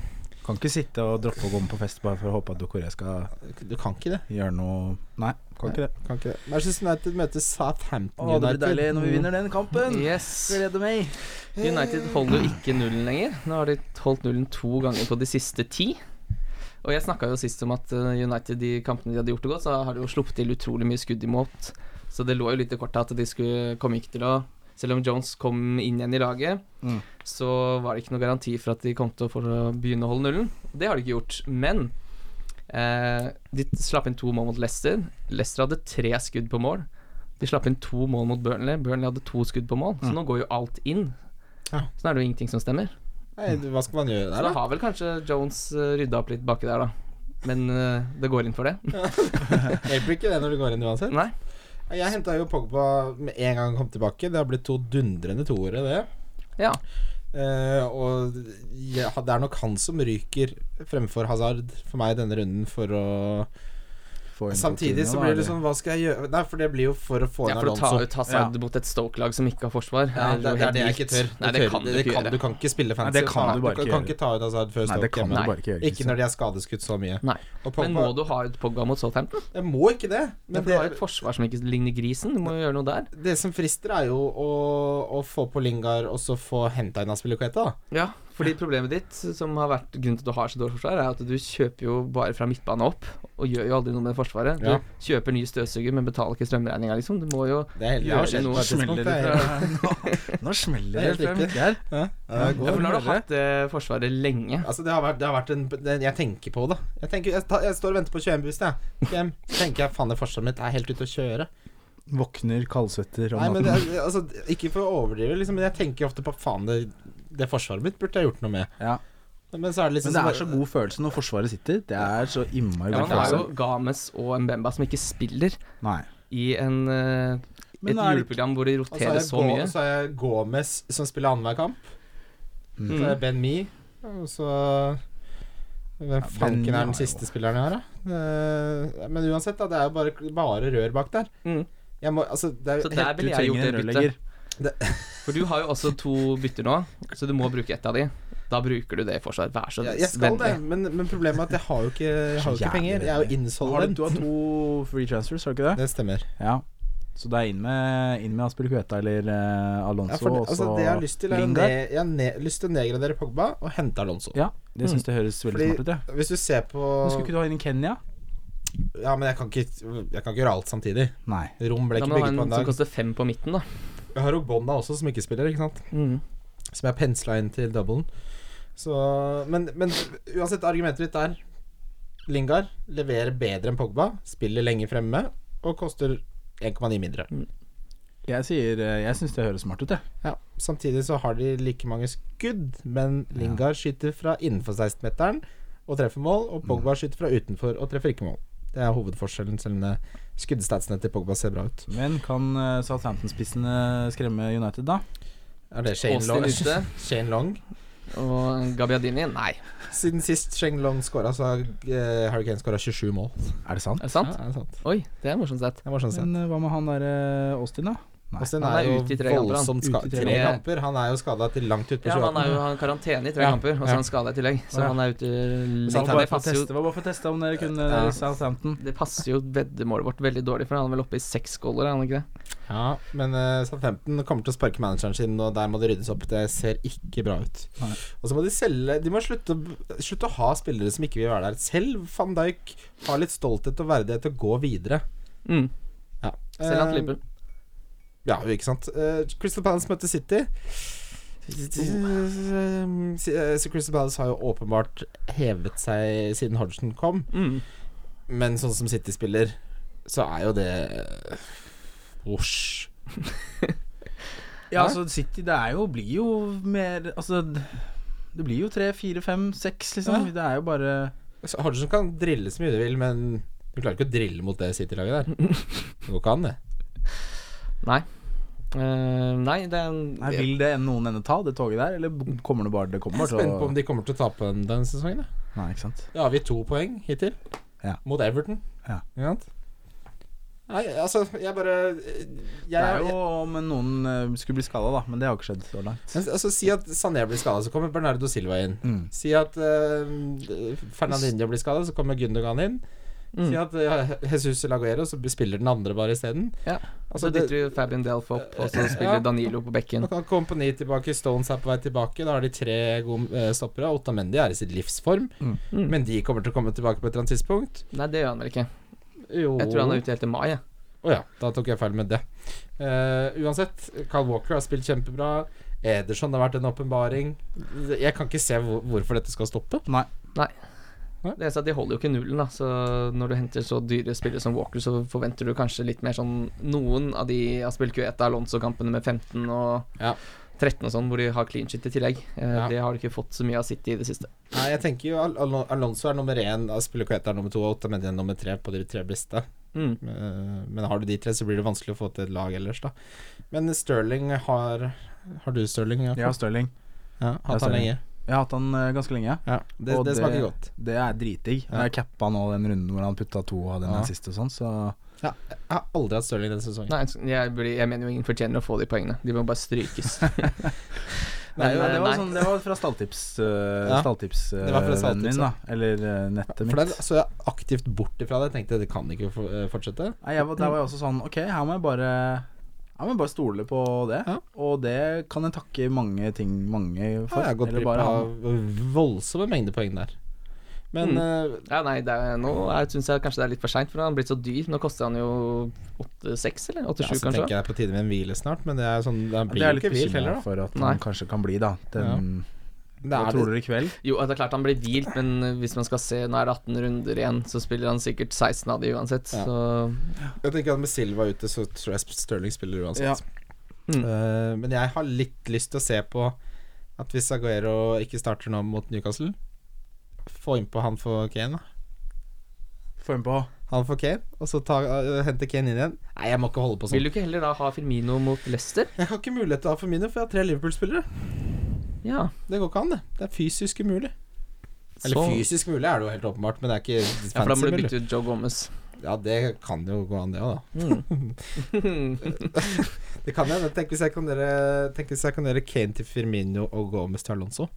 Speaker 4: Kan ikke sitte og droppe å gå med på fest bare for å håpe at Dokore skal
Speaker 2: du kan ikke det.
Speaker 4: gjøre noe Nei, kan ikke det.
Speaker 2: Kan ikke det. Manchester United møter Southampton
Speaker 4: Å, det blir
Speaker 2: United.
Speaker 4: deilig når vi vinner den kampen.
Speaker 3: Yes.
Speaker 4: Gleder meg.
Speaker 3: United holder jo ikke nullen lenger. Nå har de holdt nullen to ganger på de siste ti. Og jeg snakka jo sist om at eh, United, de kampene de hadde gjort det godt, så har de jo sluppet til utrolig mye skudd imot. Så det lå jo litt i kortet at de skulle komme ikke til å Selv om Jones kom inn igjen i laget,
Speaker 4: Mm.
Speaker 3: så var det ikke noe garanti for at de kom til å få begynne å holde nullen. Det har de ikke gjort. Men eh, de slapp inn to mål mot Leicester. Leicester hadde tre skudd på mål. De slapp inn to mål mot Burnley. Burnley hadde to skudd på mål. Så
Speaker 4: Mm.
Speaker 3: nå går jo alt inn.
Speaker 2: Ja.
Speaker 3: Så nå er det jo ingenting som stemmer.
Speaker 2: Nei, du, hva skal man gjøre
Speaker 3: Så da
Speaker 2: der, da?
Speaker 3: har vel kanskje Jones eh, rydda opp litt baki der, da. Men eh, det går inn for det?
Speaker 2: Hjelper ikke det når du går inn uansett?
Speaker 3: Nei.
Speaker 2: Jeg henta jo Pogba med en gang han kom tilbake. Det har blitt to dundrende toere, det.
Speaker 3: Ja.
Speaker 2: Eh, og ja, det er nok han som ryker fremfor Hazard for meg i denne runden for å
Speaker 4: Få inn
Speaker 2: Samtidig
Speaker 4: Coutinho,
Speaker 2: så
Speaker 4: da,
Speaker 2: blir
Speaker 4: eller?
Speaker 2: det sånn, hva skal jeg gjøre Nei, for det blir jo for å få
Speaker 3: ja,
Speaker 2: inn
Speaker 3: for å ta
Speaker 2: Alonso.
Speaker 3: ut Hazard mot et Stoke-lag som ikke har forsvar.
Speaker 2: Ja, det,
Speaker 3: jo
Speaker 2: det er
Speaker 3: helt
Speaker 2: det jeg ikke
Speaker 3: vilt.
Speaker 2: tør.
Speaker 3: Nei, det
Speaker 2: tør-
Speaker 3: kan du
Speaker 2: det
Speaker 3: ikke
Speaker 2: kan,
Speaker 3: gjøre.
Speaker 2: du kan ikke spille fancy.
Speaker 4: Nei, det kan du bare
Speaker 2: kan,
Speaker 4: ikke
Speaker 2: kan ikke ta ut Hazard før
Speaker 4: Nei, det
Speaker 2: Stoke
Speaker 4: kan du
Speaker 2: hjemme.
Speaker 3: Nei.
Speaker 4: bare ikke gjøre.
Speaker 2: Ikke når de er skadeskutt så mye.
Speaker 3: Nei.
Speaker 2: Og
Speaker 3: Men
Speaker 2: Pogba
Speaker 3: må du ha ut Pogba mot Southampton?
Speaker 2: Jeg må ikke det.
Speaker 3: Men
Speaker 2: Men
Speaker 3: for du har jo
Speaker 2: det,
Speaker 3: et forsvar som ikke ligner grisen. Du må jo gjøre noe der.
Speaker 2: det som frister, er jo å, å få på Lingard og så få henta inn Aspilicueta. da.
Speaker 3: Ja, fordi problemet ditt, som har vært grunnen til at du har så dårlig forsvar, er at du kjøper jo bare fra midtbane opp, og gjør jo aldri noe med forsvaret. Du
Speaker 2: Ja.
Speaker 3: kjøper nye støvsuger, men betaler ikke strømregninga, liksom. Du må jo
Speaker 2: Det er helt,
Speaker 3: Gjør
Speaker 2: det har skjedd
Speaker 3: noe.
Speaker 2: på et tidspunkt,
Speaker 4: Smeller
Speaker 2: det.
Speaker 4: det fra- Nå smeller det
Speaker 2: Helt
Speaker 4: frem.
Speaker 2: riktig.
Speaker 4: Der.
Speaker 2: Ja,
Speaker 4: Ja,
Speaker 2: det
Speaker 3: Ja,
Speaker 2: går.
Speaker 3: for nå har du
Speaker 4: Hører.
Speaker 3: hatt det forsvaret lenge.
Speaker 2: Altså, det har vært, det har vært en, den jeg tenker på det. Jeg, tenker, jeg, ta, jeg står og venter på 21-bussen, jeg. Hjem. tenker jeg faen, det fortsatt mitt er helt ute å kjøre.
Speaker 4: Våkner kaldsvetter om
Speaker 2: Nei, men
Speaker 4: natten.
Speaker 2: det, er- altså, ikke for å overdrive, liksom, men jeg tenker ofte på faen, det, det forsvaret mitt burde jeg gjort noe med.
Speaker 4: Ja.
Speaker 2: Men så er det
Speaker 4: Men
Speaker 2: liksom
Speaker 4: det er så god følelse når Forsvaret sitter. Det er så innmari
Speaker 3: Ja,
Speaker 4: god
Speaker 3: man har jo
Speaker 4: følelse.
Speaker 3: Games og Mbemba som ikke spiller
Speaker 4: Nei.
Speaker 3: i en, eh,
Speaker 4: Men
Speaker 3: et
Speaker 4: er det-
Speaker 3: juleprogram hvor de
Speaker 2: Og så har
Speaker 3: roterer
Speaker 2: jeg
Speaker 3: så
Speaker 2: Gå-
Speaker 3: mye.
Speaker 2: Så har jeg Gomez som spiller annenhver kamp. Så har jeg
Speaker 3: Mm.
Speaker 2: Ben Me. Og så Hvem
Speaker 4: Ben
Speaker 2: fanken
Speaker 4: Mee
Speaker 2: er
Speaker 4: har
Speaker 2: den
Speaker 4: jo-
Speaker 2: siste spilleren jeg har, da? Eh, Men uansett, da. Det er jo bare, bare rør bak der.
Speaker 3: Mm.
Speaker 2: Jeg må, altså, det er
Speaker 3: Så
Speaker 2: jo
Speaker 3: der
Speaker 2: helt
Speaker 3: ville jeg gjort det byttet.
Speaker 4: rørlegger.
Speaker 3: For du har jo også to bytter nå, så du må bruke ett av de. Da bruker du det i forsvar. Vær så
Speaker 2: jeg, jeg skal det,
Speaker 3: vennlig.
Speaker 2: men, men problemet er at jeg har jo ikke, jeg har jo
Speaker 4: Så
Speaker 2: ikke penger.
Speaker 4: jævlig
Speaker 2: Jeg er jo
Speaker 4: redd. Har du,
Speaker 2: insolvent.
Speaker 4: du har to free transfers, har du ikke det?
Speaker 2: Det stemmer.
Speaker 4: Ja. Så det er inn med, inn med Aspilicueta eller eh, Alonso.
Speaker 2: Ja, for, det-
Speaker 4: og
Speaker 2: altså,
Speaker 4: så
Speaker 2: det jeg har lyst til, er å
Speaker 4: Lingard.
Speaker 2: ned- jeg har ne- lyst til å nedgradere Pogba og hente Alonso.
Speaker 4: Ja, det syns jeg høres veldig
Speaker 2: Mm. Fordi-
Speaker 4: smart ut, ja.
Speaker 2: Hvis du ser på
Speaker 4: Men Skulle ikke du ha inn i Kenya?
Speaker 2: Ja, men jeg kan ikke, jeg kan ikke gjøre alt samtidig.
Speaker 4: Nei.
Speaker 2: Rom ble
Speaker 3: Da
Speaker 2: ikke
Speaker 3: må du ha
Speaker 2: bygget på
Speaker 3: en
Speaker 2: en
Speaker 3: som
Speaker 2: dag.
Speaker 3: koster fem på midten, da.
Speaker 2: Jeg har Obonna også, som ikke spiller, ikke sant.
Speaker 3: Mm.
Speaker 2: Som jeg pensla inn til doublen. Så Men, men uansett, argumentet ditt er Lingard leverer bedre enn Pogba, spiller lenger fremme og koster 1,9 mindre.
Speaker 4: Jeg sier eh, Jeg syns det høres smart ut, jeg.
Speaker 2: Ja, Samtidig så har de like mange skudd, men Lingard skyter fra innenfor 16-meteren og treffer mål, og Pogba skyter fra utenfor og treffer ikke mål. Det er hovedforskjellen, selv om eh, skuddstatsene til Pogba ser bra ut.
Speaker 4: Men kan eh, Southampton-spissene skremme United, da?
Speaker 2: Er det Shane
Speaker 3: Austin
Speaker 2: Long?
Speaker 3: ute,
Speaker 2: Shane Long?
Speaker 3: og Gabiadini Nei,
Speaker 2: Siden sist Shane Long scora, så har eh, Harry Kane scora 27 mål.
Speaker 4: Er det sant?
Speaker 3: er det
Speaker 2: Ja,
Speaker 3: sant?
Speaker 2: det er sant.
Speaker 3: Oi, det er morsomt sett.
Speaker 2: Det var sånn sett.
Speaker 4: Men eh, hva med han der eh, Austin, da? Nei.
Speaker 2: Austin
Speaker 3: han
Speaker 2: er
Speaker 3: er
Speaker 2: jo
Speaker 3: ute i tre kamper, han.
Speaker 2: voldsomt
Speaker 4: Ute i
Speaker 2: skadet.
Speaker 4: tre
Speaker 2: Tre
Speaker 3: kamper.
Speaker 2: kamper. Han er jo skada til langt utpå
Speaker 3: Ja, han
Speaker 2: 28.
Speaker 3: er jo han har karantene i tre
Speaker 2: Ja,
Speaker 3: kamper, og så
Speaker 2: ja.
Speaker 3: er han skada i tillegg. Så
Speaker 4: Ja.
Speaker 3: han er ute
Speaker 4: Så han
Speaker 3: lenge.
Speaker 4: var
Speaker 3: Det
Speaker 4: bare for å
Speaker 3: passer jo
Speaker 4: teste, var bare for å teste om dere kunne
Speaker 2: Ja.
Speaker 4: Southampton.
Speaker 3: Det passer jo veddemålet vårt veldig dårlig, for han er vel oppe i seks goaler, er han ikke det?
Speaker 2: Ja, men uh, Southampton kommer til å sparke manageren sin, og der må det ryddes opp. Det ser ikke bra ut.
Speaker 4: Nei.
Speaker 2: Og så må de selge De må slutte, å- slutte å ha spillere som ikke vil være der. Selv van Dijk har litt stolthet og verdighet til å gå videre.
Speaker 3: Mm.
Speaker 2: Ja.
Speaker 3: Selv han
Speaker 2: Eh,
Speaker 3: til Liverpool.
Speaker 2: Ja, ikke sant. Eh, Crystal Palace møter City. Eh, si- eh, Så Crystal Palace har jo åpenbart hevet seg siden Hodgson kom,
Speaker 3: Mm.
Speaker 2: men sånn som City spiller, så er jo det eh, Osj.
Speaker 4: Ja, altså City det er jo, blir jo mer Altså d- det blir jo tre, fire, fem, seks, liksom. Det er jo bare
Speaker 2: Så Hodgson kan drille så mye du vil, men du klarer ikke å drille mot det City-laget der. Det går ikke an, det.
Speaker 3: Nei. Eh, nei, det er en
Speaker 4: Nei, Vil det noen ende ta, det toget der, eller b- kommer det bare det
Speaker 2: Jeg
Speaker 4: kommer
Speaker 2: er
Speaker 4: bare
Speaker 2: spent på om
Speaker 4: til å
Speaker 2: de kommer til å tape den denne sesongen. jeg.
Speaker 4: Nei, ikke sant.
Speaker 2: Da har vi to poeng hittil.
Speaker 4: Ja.
Speaker 2: mot Everton.
Speaker 4: Ja.
Speaker 2: Ikke sant? Nei, altså, jeg bare
Speaker 4: Det
Speaker 2: jeg,
Speaker 4: er jo om noen eh, skulle bli skada, da, men det har ikke skjedd så langt.
Speaker 2: Men Altså, si at Sané blir skada, så kommer Bernardo Silva inn.
Speaker 4: Mm.
Speaker 2: Si at eh, Fernandinho blir skada, så kommer Gundogan inn.
Speaker 3: Mm.
Speaker 2: Si at eh, Jesus Laguero, så spiller den andre bare isteden.
Speaker 3: Ja.
Speaker 2: Altså,
Speaker 3: så
Speaker 2: det-
Speaker 3: dytter du Fabian Delph opp, og så spiller
Speaker 2: Ja.
Speaker 3: Danilo på bekken.
Speaker 2: Nå kan Company tilbake, Stones er på vei tilbake. Da har de tre gode eh, stoppere. Ottamendi er i sitt livsform,
Speaker 3: Mm.
Speaker 2: men de kommer til å komme tilbake på et eller annet tidspunkt.
Speaker 3: Nei, det gjør han vel ikke.
Speaker 2: Jo
Speaker 3: Jeg tror han er ute helt til mai. jeg.
Speaker 2: Å ja, da tok jeg feil med det. Eh, uansett, Carl Walker har spilt kjempebra. Ederson har vært en åpenbaring. Jeg kan ikke se hvor, hvorfor dette skal stoppe.
Speaker 4: Nei.
Speaker 3: Det eneste er at De holder jo ikke nullen, da. Så når du henter så dyre spillere som Walker, så forventer du kanskje litt mer sånn Noen av de Aspelkueta Alonso-kampene med 15 og
Speaker 2: Ja.
Speaker 3: 13 og sånn, hvor de har clean shit i tillegg. Eh,
Speaker 2: Ja.
Speaker 3: Det har du ikke fått så mye av City i det siste.
Speaker 2: Nei, jeg tenker jo Al Al Alonso er nummer én, Aspilicueta er nummer to, og Otamendi er nummer tre på de tre beste.
Speaker 3: Mm.
Speaker 2: Eh, Men har du de tre, så blir det vanskelig å få til et lag ellers, da. Men Sterling har Har du Sterling? Jakob?
Speaker 4: Jeg har Stirling.
Speaker 2: Ja,
Speaker 4: har
Speaker 2: hatt han
Speaker 4: Sterling.
Speaker 2: lenge.
Speaker 4: Jeg har hatt han eh, ganske lenge.
Speaker 2: Ja, det,
Speaker 4: Og
Speaker 2: det
Speaker 4: det-
Speaker 2: smaker godt.
Speaker 4: Det er dritdigg.
Speaker 2: Ja.
Speaker 4: Jeg cappa nå den runden hvor han putta to av den
Speaker 2: Ja.
Speaker 4: her siste og sånn, så
Speaker 2: Jeg har aldri hatt Sterling denne sesongen.
Speaker 3: Nei, jeg, blir, jeg mener jo ingen fortjener å få de poengene. De må bare strykes.
Speaker 4: Nei,
Speaker 3: Men,
Speaker 4: jo, det,
Speaker 3: eh,
Speaker 4: var
Speaker 3: nei.
Speaker 4: sånn, det var fra stalltips uh,
Speaker 2: Ja.
Speaker 4: Stalltips uh,
Speaker 2: Det var fra
Speaker 4: vennen
Speaker 2: stalltips,
Speaker 4: min,
Speaker 2: ja.
Speaker 4: da. Eller eh, nettet
Speaker 2: For
Speaker 4: mitt.
Speaker 2: der så jeg aktivt bort ifra det. Jeg tenkte det kan ikke for- eh, fortsette.
Speaker 4: Nei, jeg var, der var jeg også sånn Ok, her må jeg bare her må jeg bare stole på det.
Speaker 2: Ja.
Speaker 4: Og det kan jeg takke mange ting mange
Speaker 2: Ja,
Speaker 4: for.
Speaker 2: jeg har gått
Speaker 4: eller
Speaker 2: glipp
Speaker 4: bare han. Mm.
Speaker 2: av voldsomme mengder poeng der. Men eh,
Speaker 3: Ja, nei, det er, nå syns jeg kanskje det er litt for seint, for han har blitt så dyr. Nå koster han jo 8-6, eller
Speaker 2: ja,
Speaker 3: 8-7,
Speaker 2: så
Speaker 3: kanskje.
Speaker 2: tenker jeg det er på tide med en hvile snart, men det er sånn, det
Speaker 4: Det
Speaker 2: blir
Speaker 4: er
Speaker 2: jo
Speaker 4: litt
Speaker 2: ikke hvilt
Speaker 4: bekymra
Speaker 2: heller, da.
Speaker 4: for at
Speaker 3: Nei.
Speaker 4: han kanskje kan bli, da. Den,
Speaker 2: Det
Speaker 4: Hva
Speaker 2: er
Speaker 4: tror dere i kveld?
Speaker 3: Jo, det er klart han blir hvilt, men hvis man skal se Nå er det 18 runder igjen, så spiller han sikkert 16 av de uansett.
Speaker 2: Ja.
Speaker 3: Så
Speaker 2: Jeg tenker at med Silva ute, så tror jeg Sterling spiller uansett.
Speaker 4: Ja.
Speaker 3: Mm.
Speaker 2: Eh, men jeg har litt lyst til å se på at hvis Aguero ikke starter nå mot Newcastle, få innpå han for Kane, da.
Speaker 4: Få en på.
Speaker 2: Han for Kane, og så ta, eh, hente Kane inn igjen. Nei, jeg må ikke holde på
Speaker 3: vil
Speaker 2: sånn.
Speaker 3: du ikke heller da ha Firmino mot Leicester?
Speaker 2: Jeg har ikke mulighet til å ha Firmino, for jeg har tre Liverpool-spillere.
Speaker 3: Ja.
Speaker 2: Det går ikke an, det. Det er fysisk umulig. Eller
Speaker 3: så,
Speaker 2: fysisk mulig er det jo helt åpenbart, men det er ikke
Speaker 3: Ja, for da må
Speaker 2: fancy
Speaker 3: du
Speaker 2: mulig.
Speaker 3: bytte ut Joe Gomez.
Speaker 2: Ja, det kan jo gå an, det òg, da.
Speaker 3: Mm.
Speaker 2: Det kan jeg, men tenk hvis jeg kan gjøre tenk hvis jeg kan gjøre Kane til Firmino og Gomez til Alonso.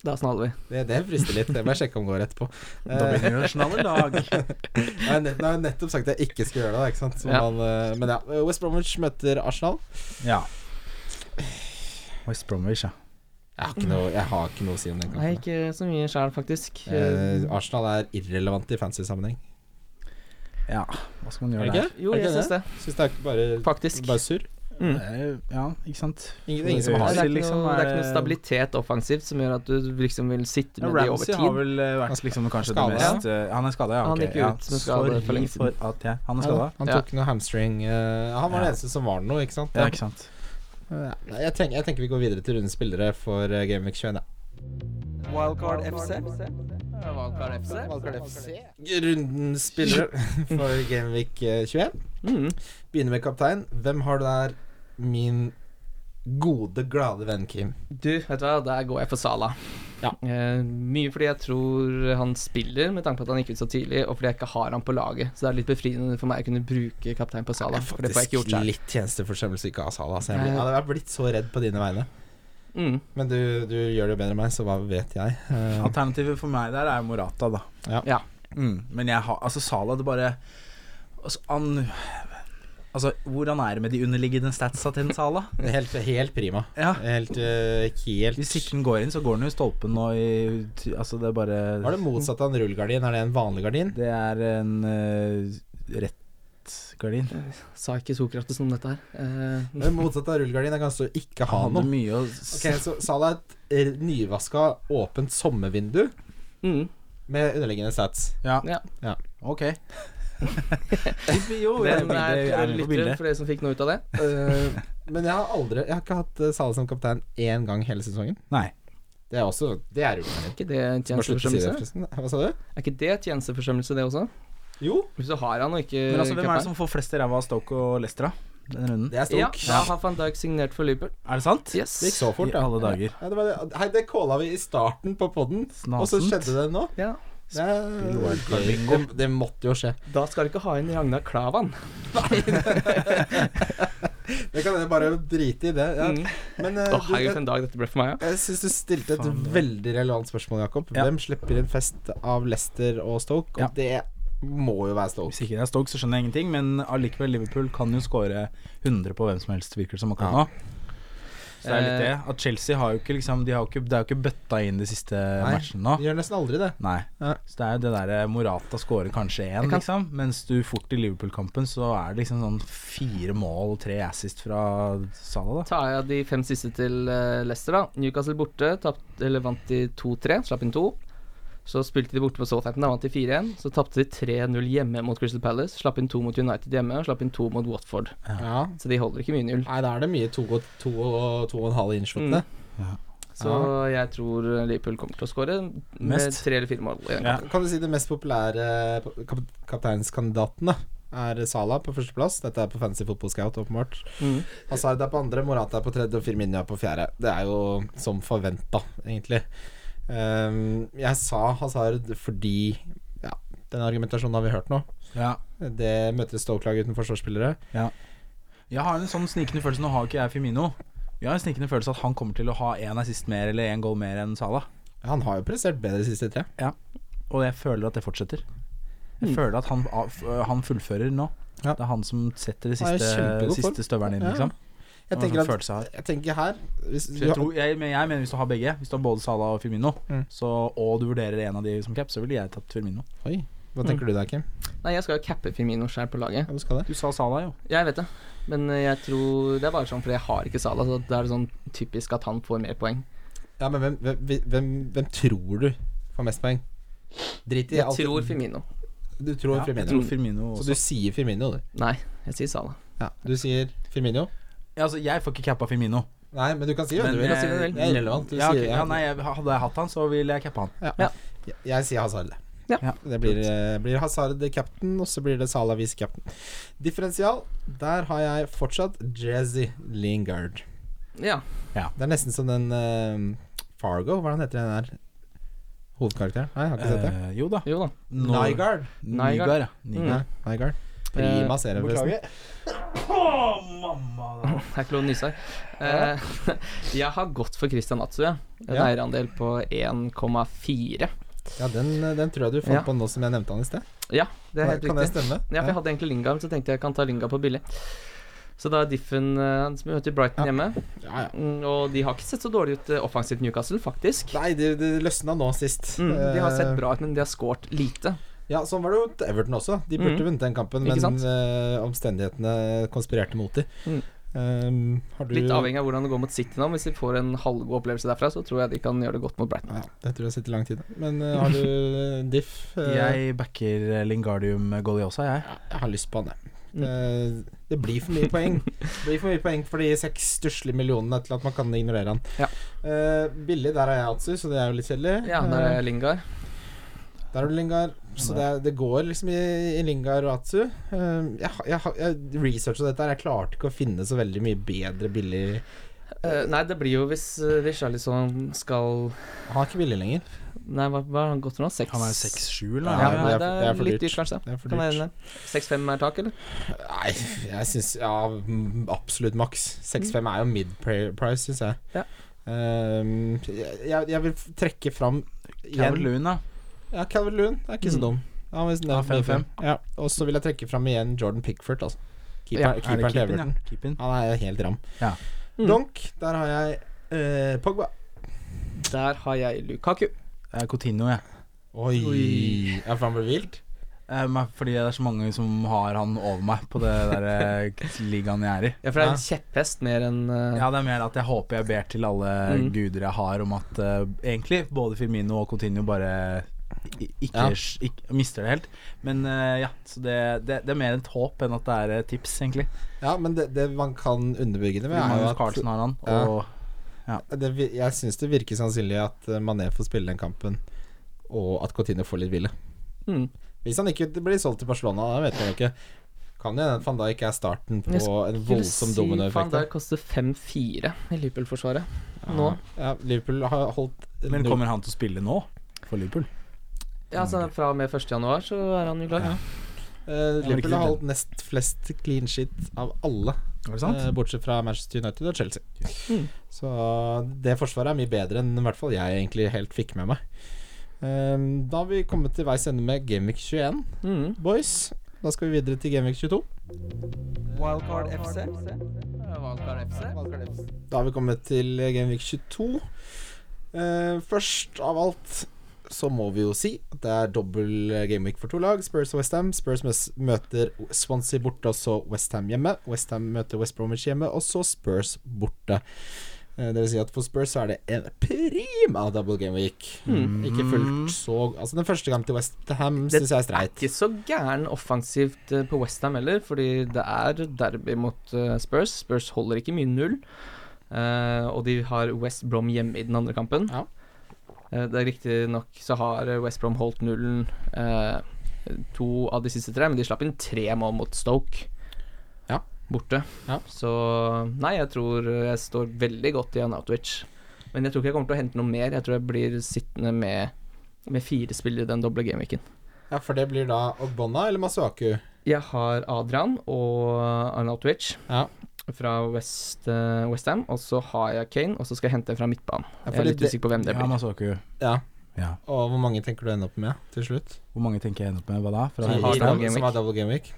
Speaker 3: Da snaller vi.
Speaker 2: Det, det frister litt. Det må jeg sjekke om går etterpå.
Speaker 4: Da blir det jo
Speaker 2: sånn
Speaker 4: et snallerlag.
Speaker 2: Jeg har nett- jeg har nettopp sagt at jeg ikke skal gjøre det. da, Ikke sant? Så
Speaker 3: Ja.
Speaker 2: man, eh, men ja, West Bromwich møter Arsenal.
Speaker 4: Ja. West Bromwich, ja.
Speaker 2: Jeg har ikke noe, jeg har ikke noe å si om den
Speaker 3: Nei,
Speaker 2: kampen.
Speaker 3: ikke så mye sjæl, faktisk.
Speaker 2: Eh, Arsenal er irrelevant i fancy sammenheng.
Speaker 4: ja. Hva skal
Speaker 2: Er
Speaker 4: man
Speaker 2: det
Speaker 4: gjøre der?
Speaker 2: ikke?
Speaker 3: jo, jeg syns det,
Speaker 2: Syns det er ikke bare,
Speaker 3: faktisk.
Speaker 2: bare surr.
Speaker 3: Mm.
Speaker 4: Eh, Ja, ikke sant.
Speaker 2: Ingen, ingen som
Speaker 3: Det er,
Speaker 2: har det.
Speaker 4: Ramsey,
Speaker 3: ikke
Speaker 4: liksom,
Speaker 3: noe, det er ikke
Speaker 4: er-
Speaker 3: noe stabilitet offensivt som gjør at du liksom vil sitte
Speaker 4: Ja,
Speaker 3: med de over
Speaker 4: Ramsey har
Speaker 3: tid.
Speaker 4: vel eh, vært liksom kanskje
Speaker 2: Skada.
Speaker 4: det mest eh, Han er skada, ja.
Speaker 3: Han
Speaker 4: ok,
Speaker 3: gikk
Speaker 4: ja.
Speaker 3: ut med skade for lenge
Speaker 4: Sorry for at jeg Han er skada.
Speaker 2: Han
Speaker 3: Ja.
Speaker 2: tok noe hamstring eh, Han var den eneste som var noe, ikke sant?
Speaker 4: Ja, ikke sant.
Speaker 2: Ja, jeg, tenker, jeg tenker vi går videre til rundens spillere for eh, Game Week 21. Ja.
Speaker 3: Wildcard FC. Wildcard FC.
Speaker 2: Rundens spillere for Game Week eh, 21.
Speaker 3: Mm.
Speaker 2: Begynner med kaptein. Hvem har du der? Min gode, glade venn Kim.
Speaker 3: Du, vet du hva, der går jeg for Sala.
Speaker 2: Ja.
Speaker 3: Eh, mye fordi jeg tror han spiller, med tanke på at han gikk ut så tidlig, og fordi jeg ikke har han på laget. Så det er litt befriende for meg å kunne bruke kaptein på Sala. For det får jeg ikke gjort selv.
Speaker 2: litt tjenesteforsømmelse ikke av Salah. Så jeg, blir,
Speaker 3: Nei.
Speaker 2: jeg hadde vært blitt så redd på dine vegne.
Speaker 3: Mm.
Speaker 2: Men du, du gjør det jo bedre enn meg, så hva vet jeg? Eh,
Speaker 4: Alternativet for meg der er Morata, da.
Speaker 2: Ja.
Speaker 3: Ja.
Speaker 4: Mm, men jeg har Altså, Salah, det bare altså, han, altså, hvordan er det med de underliggende statsa til en Salah?
Speaker 2: helt, helt prima.
Speaker 4: Ja.
Speaker 2: Helt, eh, helt
Speaker 4: Hvis ikke den går inn, så går den jo i stolpen nå i ty- Altså, det er bare
Speaker 2: Var det motsatt av en rullegardin? Er det en vanlig gardin?
Speaker 4: Det er en eh, rett gardin.
Speaker 3: Sa ikke Sokrates noe om dette her? Eh,
Speaker 2: Det motsatte av rullegardin er kanskje å ikke ha
Speaker 4: Han
Speaker 2: noe.
Speaker 4: hadde mye å s-
Speaker 2: Ok, så Salah er et nyvaska, åpent sommervindu
Speaker 3: mm.
Speaker 2: med underliggende sats.
Speaker 4: Ja.
Speaker 3: Ja.
Speaker 4: Ok. jo, jeg er
Speaker 3: Den
Speaker 4: med på
Speaker 3: er
Speaker 4: bildet, jeg er med på
Speaker 3: lyttere
Speaker 4: bildet.
Speaker 3: for dere som fikk noe ut av det.
Speaker 2: Eh, men jeg har aldri Jeg har ikke hatt eh, Salah som kaptein én gang hele sesongen.
Speaker 4: Nei.
Speaker 2: Det er også Det er rullegardin.
Speaker 3: Er ikke det
Speaker 2: Bare slutt å si det,
Speaker 3: tjenesteforsømmelse?
Speaker 2: forresten. Hva sa du?
Speaker 3: Er ikke det tjenesteforsømmelse, det også?
Speaker 2: Jo,
Speaker 3: Hvis du har han og ikke
Speaker 4: Men altså, hvem er det
Speaker 3: kaptein?
Speaker 4: som får flest i ræva av Stoke og Leicester, da? Denne runden?
Speaker 2: det er
Speaker 3: Ja,
Speaker 2: Stoke.
Speaker 3: da har van Dijk signert for Liverpool.
Speaker 4: Er det sant?
Speaker 3: Yes.
Speaker 2: Det gikk så fort,
Speaker 4: I alle dager.
Speaker 2: Ja, det var det. Hei, det calla vi i starten på poden, og så
Speaker 4: Snasent.
Speaker 2: skjedde det nå.
Speaker 3: Ja.
Speaker 2: Det, er-
Speaker 4: wildcard
Speaker 2: det, det måtte jo skje.
Speaker 3: Da skal du ikke ha inn Ragnar Klavan.
Speaker 2: Det kan jeg bare drite i det. Ja.
Speaker 3: Mm.
Speaker 2: Men eh,
Speaker 3: Å,
Speaker 2: du,
Speaker 3: herregud, for en dag dette ble for meg, ja.
Speaker 2: jeg syns du stilte et
Speaker 4: Faen, det-
Speaker 2: veldig relevant spørsmål, Jakob.
Speaker 4: Ja.
Speaker 2: Hvem slipper inn fest av Leicester og Stoke? Og det må jo være Stoke.
Speaker 4: Hvis ikke det er Stoke, så skjønner jeg ingenting, men allikevel, Liverpool kan jo skåre 100 på hvem som helst, virker det som
Speaker 2: Ja.
Speaker 4: akkurat nå. Så det er litt det. At Chelsea har jo ikke liksom De har jo ikke, det er jo ikke bøtta inn de siste matchene nå.
Speaker 2: De gjør nesten aldri det.
Speaker 4: Nei.
Speaker 2: Ja.
Speaker 4: Så det er jo det derre Morata scorer kanskje én,
Speaker 3: Jeg kan-
Speaker 4: liksom. Mens du fort i Liverpool-kampen, så er det liksom sånn fire mål og tre assist fra Salah, da.
Speaker 3: Ta jeg de fem siste til eh, Leicester, da. Newcastle borte, tapt, eller vant de 2-3, slapp inn to. Så spilte de borte på Southampton, da vant de 4-1. Så tapte de 3-0 hjemme mot Crystal Palace, slapp inn to mot United hjemme, og slapp inn to mot Watford.
Speaker 2: Ja.
Speaker 3: Så de holder ikke mye null.
Speaker 2: Nei, da er det mye to og to og, to og en halv
Speaker 4: Mm.
Speaker 2: innsluttende.
Speaker 3: Så jeg tror Liverpool kommer til å skåre med
Speaker 4: Mest.
Speaker 3: tre eller fire mål. i den
Speaker 4: Ja.
Speaker 3: kampen.
Speaker 2: Kan du si de mest populære eh, kap kapteinskandidatene? Er Salah på førsteplass. Dette er på Fancy Football Scout, åpenbart.
Speaker 3: Mm.
Speaker 2: Hazard er på andre, Morata er på tredje og Firmino er på fjerde. Det er jo som forventa, egentlig. Ehm, jeg sa Hazard fordi Ja, den argumentasjonen har vi hørt nå.
Speaker 4: Ja.
Speaker 2: Det møter et Stoke-lag uten forsvarsspillere.
Speaker 4: Jeg har en sånn snikende følelse Nå har ikke jeg Firmino. Jeg har en snikende følelse at han kommer til å ha én assist mer eller én goal mer enn Salah.
Speaker 2: Han har jo prestert bedre de siste tre.
Speaker 4: Og jeg føler at det fortsetter. Jeg føler at han, han fullfører nå.
Speaker 2: Ja.
Speaker 4: Det er han som setter det
Speaker 2: Han er i
Speaker 4: siste,
Speaker 2: kjempegod form.
Speaker 4: siste støvelen inn,
Speaker 2: Ja.
Speaker 4: liksom.
Speaker 2: Jeg
Speaker 4: Det var
Speaker 2: tenker,
Speaker 4: sånn
Speaker 2: at,
Speaker 4: følelse jeg har.
Speaker 2: jeg tenker her hvis,
Speaker 4: Så jeg, tror, jeg, men jeg mener hvis du har begge, hvis du har både Salah og Firmino,
Speaker 2: Mm.
Speaker 4: så, og du vurderer en av de som cap, så ville jeg tatt Firmino.
Speaker 2: Oi, hva
Speaker 4: Mm.
Speaker 2: tenker du der, Kim?
Speaker 3: Nei, jeg skal jo cappe Firmino sjøl på laget.
Speaker 2: Ja, du skal det?
Speaker 4: Du sa Salah, jo.
Speaker 3: Jeg vet det, men jeg tror Det er bare sånn fordi jeg har ikke Salah, så det er sånn typisk at han får mer poeng.
Speaker 2: Ja, men hvem, hvem, hvem, hvem tror du får mest poeng? Drit i
Speaker 3: Jeg tror Firmino.
Speaker 2: Du tror
Speaker 4: Ja, jeg
Speaker 2: Firmino.
Speaker 4: tror Firmino
Speaker 2: Så
Speaker 4: også.
Speaker 2: du sier Firmino, du.
Speaker 3: Nei, jeg sier Salah.
Speaker 2: Ja, du sier Firmino.
Speaker 4: Ja, altså, jeg får ikke cappa Firmino.
Speaker 2: Nei, men du kan si hvem
Speaker 4: Men, eh,
Speaker 2: du vil.
Speaker 3: si hva du vil.
Speaker 2: Det er irrelevant. Du
Speaker 4: Ja, ok.
Speaker 2: sier,
Speaker 4: ja, nei, jeg, hadde jeg hatt han, så ville jeg cappa han.
Speaker 2: Ja.
Speaker 3: Ja.
Speaker 2: Jeg, jeg sier Hazard.
Speaker 3: Ja.
Speaker 4: Ja.
Speaker 2: Det blir, eh, blir Hazard captain, og så blir det Salah vice captain. Differensial, der har jeg fortsatt Jazzy Lingard.
Speaker 3: Ja.
Speaker 2: Det er nesten som den eh, Fargo, hva er den heter den der hovedkarakteren? Nei, jeg har ikke sett det.
Speaker 4: Eh, jo da.
Speaker 3: Jo da.
Speaker 4: Nå-
Speaker 2: Nygard.
Speaker 4: Nygaard, ja.
Speaker 3: Mm.
Speaker 4: Nygaard.
Speaker 2: Nei, Nygard.
Speaker 4: mm.
Speaker 2: Prima
Speaker 4: Eh,
Speaker 2: serie, forresten.
Speaker 3: Det er ikke lov å nyse her. Eh, jeg har gått for Christian Atsu, jeg. En
Speaker 2: Ja.
Speaker 3: eierandel på 1,4.
Speaker 2: Ja, den, den tror jeg du fant
Speaker 3: Ja.
Speaker 2: på nå som jeg nevnte han i sted.
Speaker 3: Ja, det er helt
Speaker 2: Kan det
Speaker 3: riktig.
Speaker 2: stemme?
Speaker 3: Ja, for jeg hadde egentlig Lingard, men så tenkte jeg jeg kan ta Lingard på billig. Så da er Diffen eh, Han som møter Brighton
Speaker 2: Ja.
Speaker 3: hjemme.
Speaker 2: Ja, ja.
Speaker 3: Mm, Og de har ikke sett så dårlig ut eh, offensivt, Newcastle, faktisk.
Speaker 2: Nei, det, det løsna nå sist.
Speaker 3: Mm, de har sett
Speaker 2: Eh,
Speaker 3: bra ut, men de har scoret lite.
Speaker 2: Ja, sånn var det jo til Everton også. De burde
Speaker 3: Mhm.
Speaker 2: vunnet den kampen,
Speaker 3: Ikke
Speaker 2: men
Speaker 3: sant?
Speaker 2: eh, omstendighetene konspirerte mot dem.
Speaker 3: Mhm.
Speaker 2: har du
Speaker 3: Litt avhengig av hvordan det går mot City nå. Hvis de får en halvgod opplevelse derfra, så tror jeg de kan gjøre det godt mot Brighton.
Speaker 2: ja, Det tror jeg sitter lang tid. Men eh, har du Diff? Eh,
Speaker 4: Jeg backer eh, Lingardium Goliosa, jeg.
Speaker 2: ja, jeg har lyst på han, jeg.
Speaker 3: Mm.
Speaker 2: Eh, det blir for mye poeng. Det blir for mye poeng for de seks stusslige millionene til at man kan ignorere han.
Speaker 3: Ja.
Speaker 2: Eh, billig, der er jeg Atsu, så det er jo litt kjedelig.
Speaker 3: Ja, der
Speaker 2: Eh,
Speaker 3: er Lingard.
Speaker 2: Der har du Lingard. Så det, er, det går liksom i, i Lingard og Atsu. Eh, jeg, har- jeg, har- jeg researcha dette, her jeg klarte ikke å finne så veldig mye bedre billig
Speaker 3: Eh, nei, det blir jo hvis uh, Richarlison skal
Speaker 2: Han er ikke billig lenger.
Speaker 3: Nei, hva, hva har han gått for nå? Seks?
Speaker 4: Han er 6-7,
Speaker 3: Ja,
Speaker 4: eller?
Speaker 2: Ja,
Speaker 3: nei,
Speaker 2: det er-
Speaker 3: det er,
Speaker 2: det er for
Speaker 3: litt
Speaker 2: dyrt.
Speaker 3: dyrt, kanskje.
Speaker 2: Det er for
Speaker 3: Kan være
Speaker 2: dyrt.
Speaker 3: enig. 6-5 er tak, eller?
Speaker 2: Nei, jeg syns ja, mm, absolutt maks. 6-5 er jo mid pri- price, syns jeg.
Speaker 3: Ja.
Speaker 2: Ehm, jeg, jeg- jeg vil trekke fram
Speaker 4: Calvin
Speaker 2: igjen
Speaker 4: Lewin, da.
Speaker 2: Ja, Calvin Loon er ikke
Speaker 3: Mm.
Speaker 2: så dum. Han var
Speaker 4: Ja,
Speaker 2: nevnt mye
Speaker 4: 5-5.
Speaker 2: før. Ja, og så vil jeg trekke fram igjen Jordan Pickford, altså.
Speaker 3: Ja, er
Speaker 2: Keeper,
Speaker 4: Er det
Speaker 2: keeperen til
Speaker 4: keeperen,
Speaker 2: Everton.
Speaker 4: ja? Keeperen.
Speaker 2: Han er helt ram.
Speaker 4: Ja.
Speaker 3: Mm.
Speaker 2: Donk, der har jeg eh, Pogba.
Speaker 3: Der har jeg Lukaku.
Speaker 4: Det er Eh, Coutinho, jeg.
Speaker 2: Oi.
Speaker 3: Oi.
Speaker 2: Ja, for han ble vilt?
Speaker 4: Eh, men Fordi det er så mange som har han over meg på det der eh, ligaen jeg er i.
Speaker 3: Ja, for det er en kjepphest mer enn eh,
Speaker 4: Ja, det er mer at jeg håper jeg ber til alle
Speaker 3: Mm.
Speaker 4: guder jeg har om at eh, egentlig både Firmino og Coutinho bare i- ikke,
Speaker 2: Ja.
Speaker 4: ikke mister det helt. Men eh, ja, så det, det, det er mer et håp enn at det er eh, tips, egentlig.
Speaker 2: Ja, men det, det man kan underbygge det med,
Speaker 4: Fordi
Speaker 2: er jo
Speaker 4: Magnus
Speaker 2: at
Speaker 4: Carlsen har han,
Speaker 2: Ja.
Speaker 4: og
Speaker 2: det, vi- Jeg syns det virker sannsynlig at eh, Mané får spille den kampen, og at Coutinho får litt hvile.
Speaker 3: mm.
Speaker 2: Hvis han ikke blir solgt til Barcelona, da vet man jo ikke. Kan jo hende at van Dijk er starten på
Speaker 3: Jeg
Speaker 2: en voldsom
Speaker 3: Fan,
Speaker 2: dominoeffekt.
Speaker 3: der
Speaker 2: der.
Speaker 3: koster 5-4 i Liverpool-forsvaret. Nå
Speaker 2: Ja, Liverpool har holdt
Speaker 4: Men kommer han til å spille nå for Liverpool?
Speaker 3: Ja, så Fra og med 1. januar så er han jo klar. Ja.
Speaker 2: Eh,
Speaker 4: men ikke
Speaker 2: Liverpool har
Speaker 4: det.
Speaker 2: holdt nest flest clean shit av alle,
Speaker 4: Er det sant?
Speaker 2: eh, bortsett fra Manchester United og Chelsea. Så det forsvaret er mye bedre enn i hvert fall jeg egentlig helt fikk med meg. Eh, da har vi kommet til veis ende med Gameweek 21,
Speaker 3: Mm.
Speaker 2: boys. Da skal vi videre til Gameweek 22.
Speaker 5: Wildcard FC.
Speaker 2: Da har vi kommet til Gameweek 22. Eh, først av alt så må vi jo si at det er dobbel gameweek for to lag. Spurs og Westham. Spurs møs- møter Swansea borte, og så Westham hjemme. Westham møter West Bromwich hjemme, og så Spurs borte. Eh, Det vil si at for Spurs så er det en prima double gameweek.
Speaker 3: Mm.
Speaker 2: Ikke fullt så Altså, den første gangen til Westham
Speaker 3: Det-
Speaker 2: syns jeg er streit.
Speaker 3: Ikke så gæren offensivt eh, på Westham heller, fordi det er derby mot eh, Spurs. Spurs holder ikke mye null, eh, og de har West Brom hjemme i den andre kampen.
Speaker 2: Ja.
Speaker 3: Eh, det er Riktignok så har eh, West Brom holdt nullen eh, to av de siste tre, men de slapp inn tre mål mot Stoke.
Speaker 2: Ja.
Speaker 3: Borte.
Speaker 2: Ja.
Speaker 3: Så nei, jeg tror eh, jeg står veldig godt i Anatovic. Men jeg tror ikke jeg kommer til å hente noe mer. Jeg tror jeg blir sittende med, med fire spillere i den doble gameweeken.
Speaker 2: Ja, for det blir da Ogbonna eller Masuaku.
Speaker 3: Jeg har Adrian og Arnold Twitch
Speaker 2: Ja.
Speaker 3: fra West, eh, West Ham. Og så har jeg Kane, og så skal jeg hente en fra midtbanen.
Speaker 2: Ja,
Speaker 3: Jeg er
Speaker 2: fordi
Speaker 3: litt
Speaker 2: det,
Speaker 3: usikker på hvem det
Speaker 4: Ja,
Speaker 3: blir.
Speaker 4: Masaku.
Speaker 2: ja.
Speaker 4: Ja.
Speaker 2: Og hvor mange tenker du ender opp med til slutt?
Speaker 4: Hvor mange tenker jeg ender opp med? Hva da? Fra
Speaker 2: Som
Speaker 3: Som har
Speaker 2: har
Speaker 4: West Ham?
Speaker 3: double game
Speaker 2: som
Speaker 3: week.
Speaker 2: har double game week.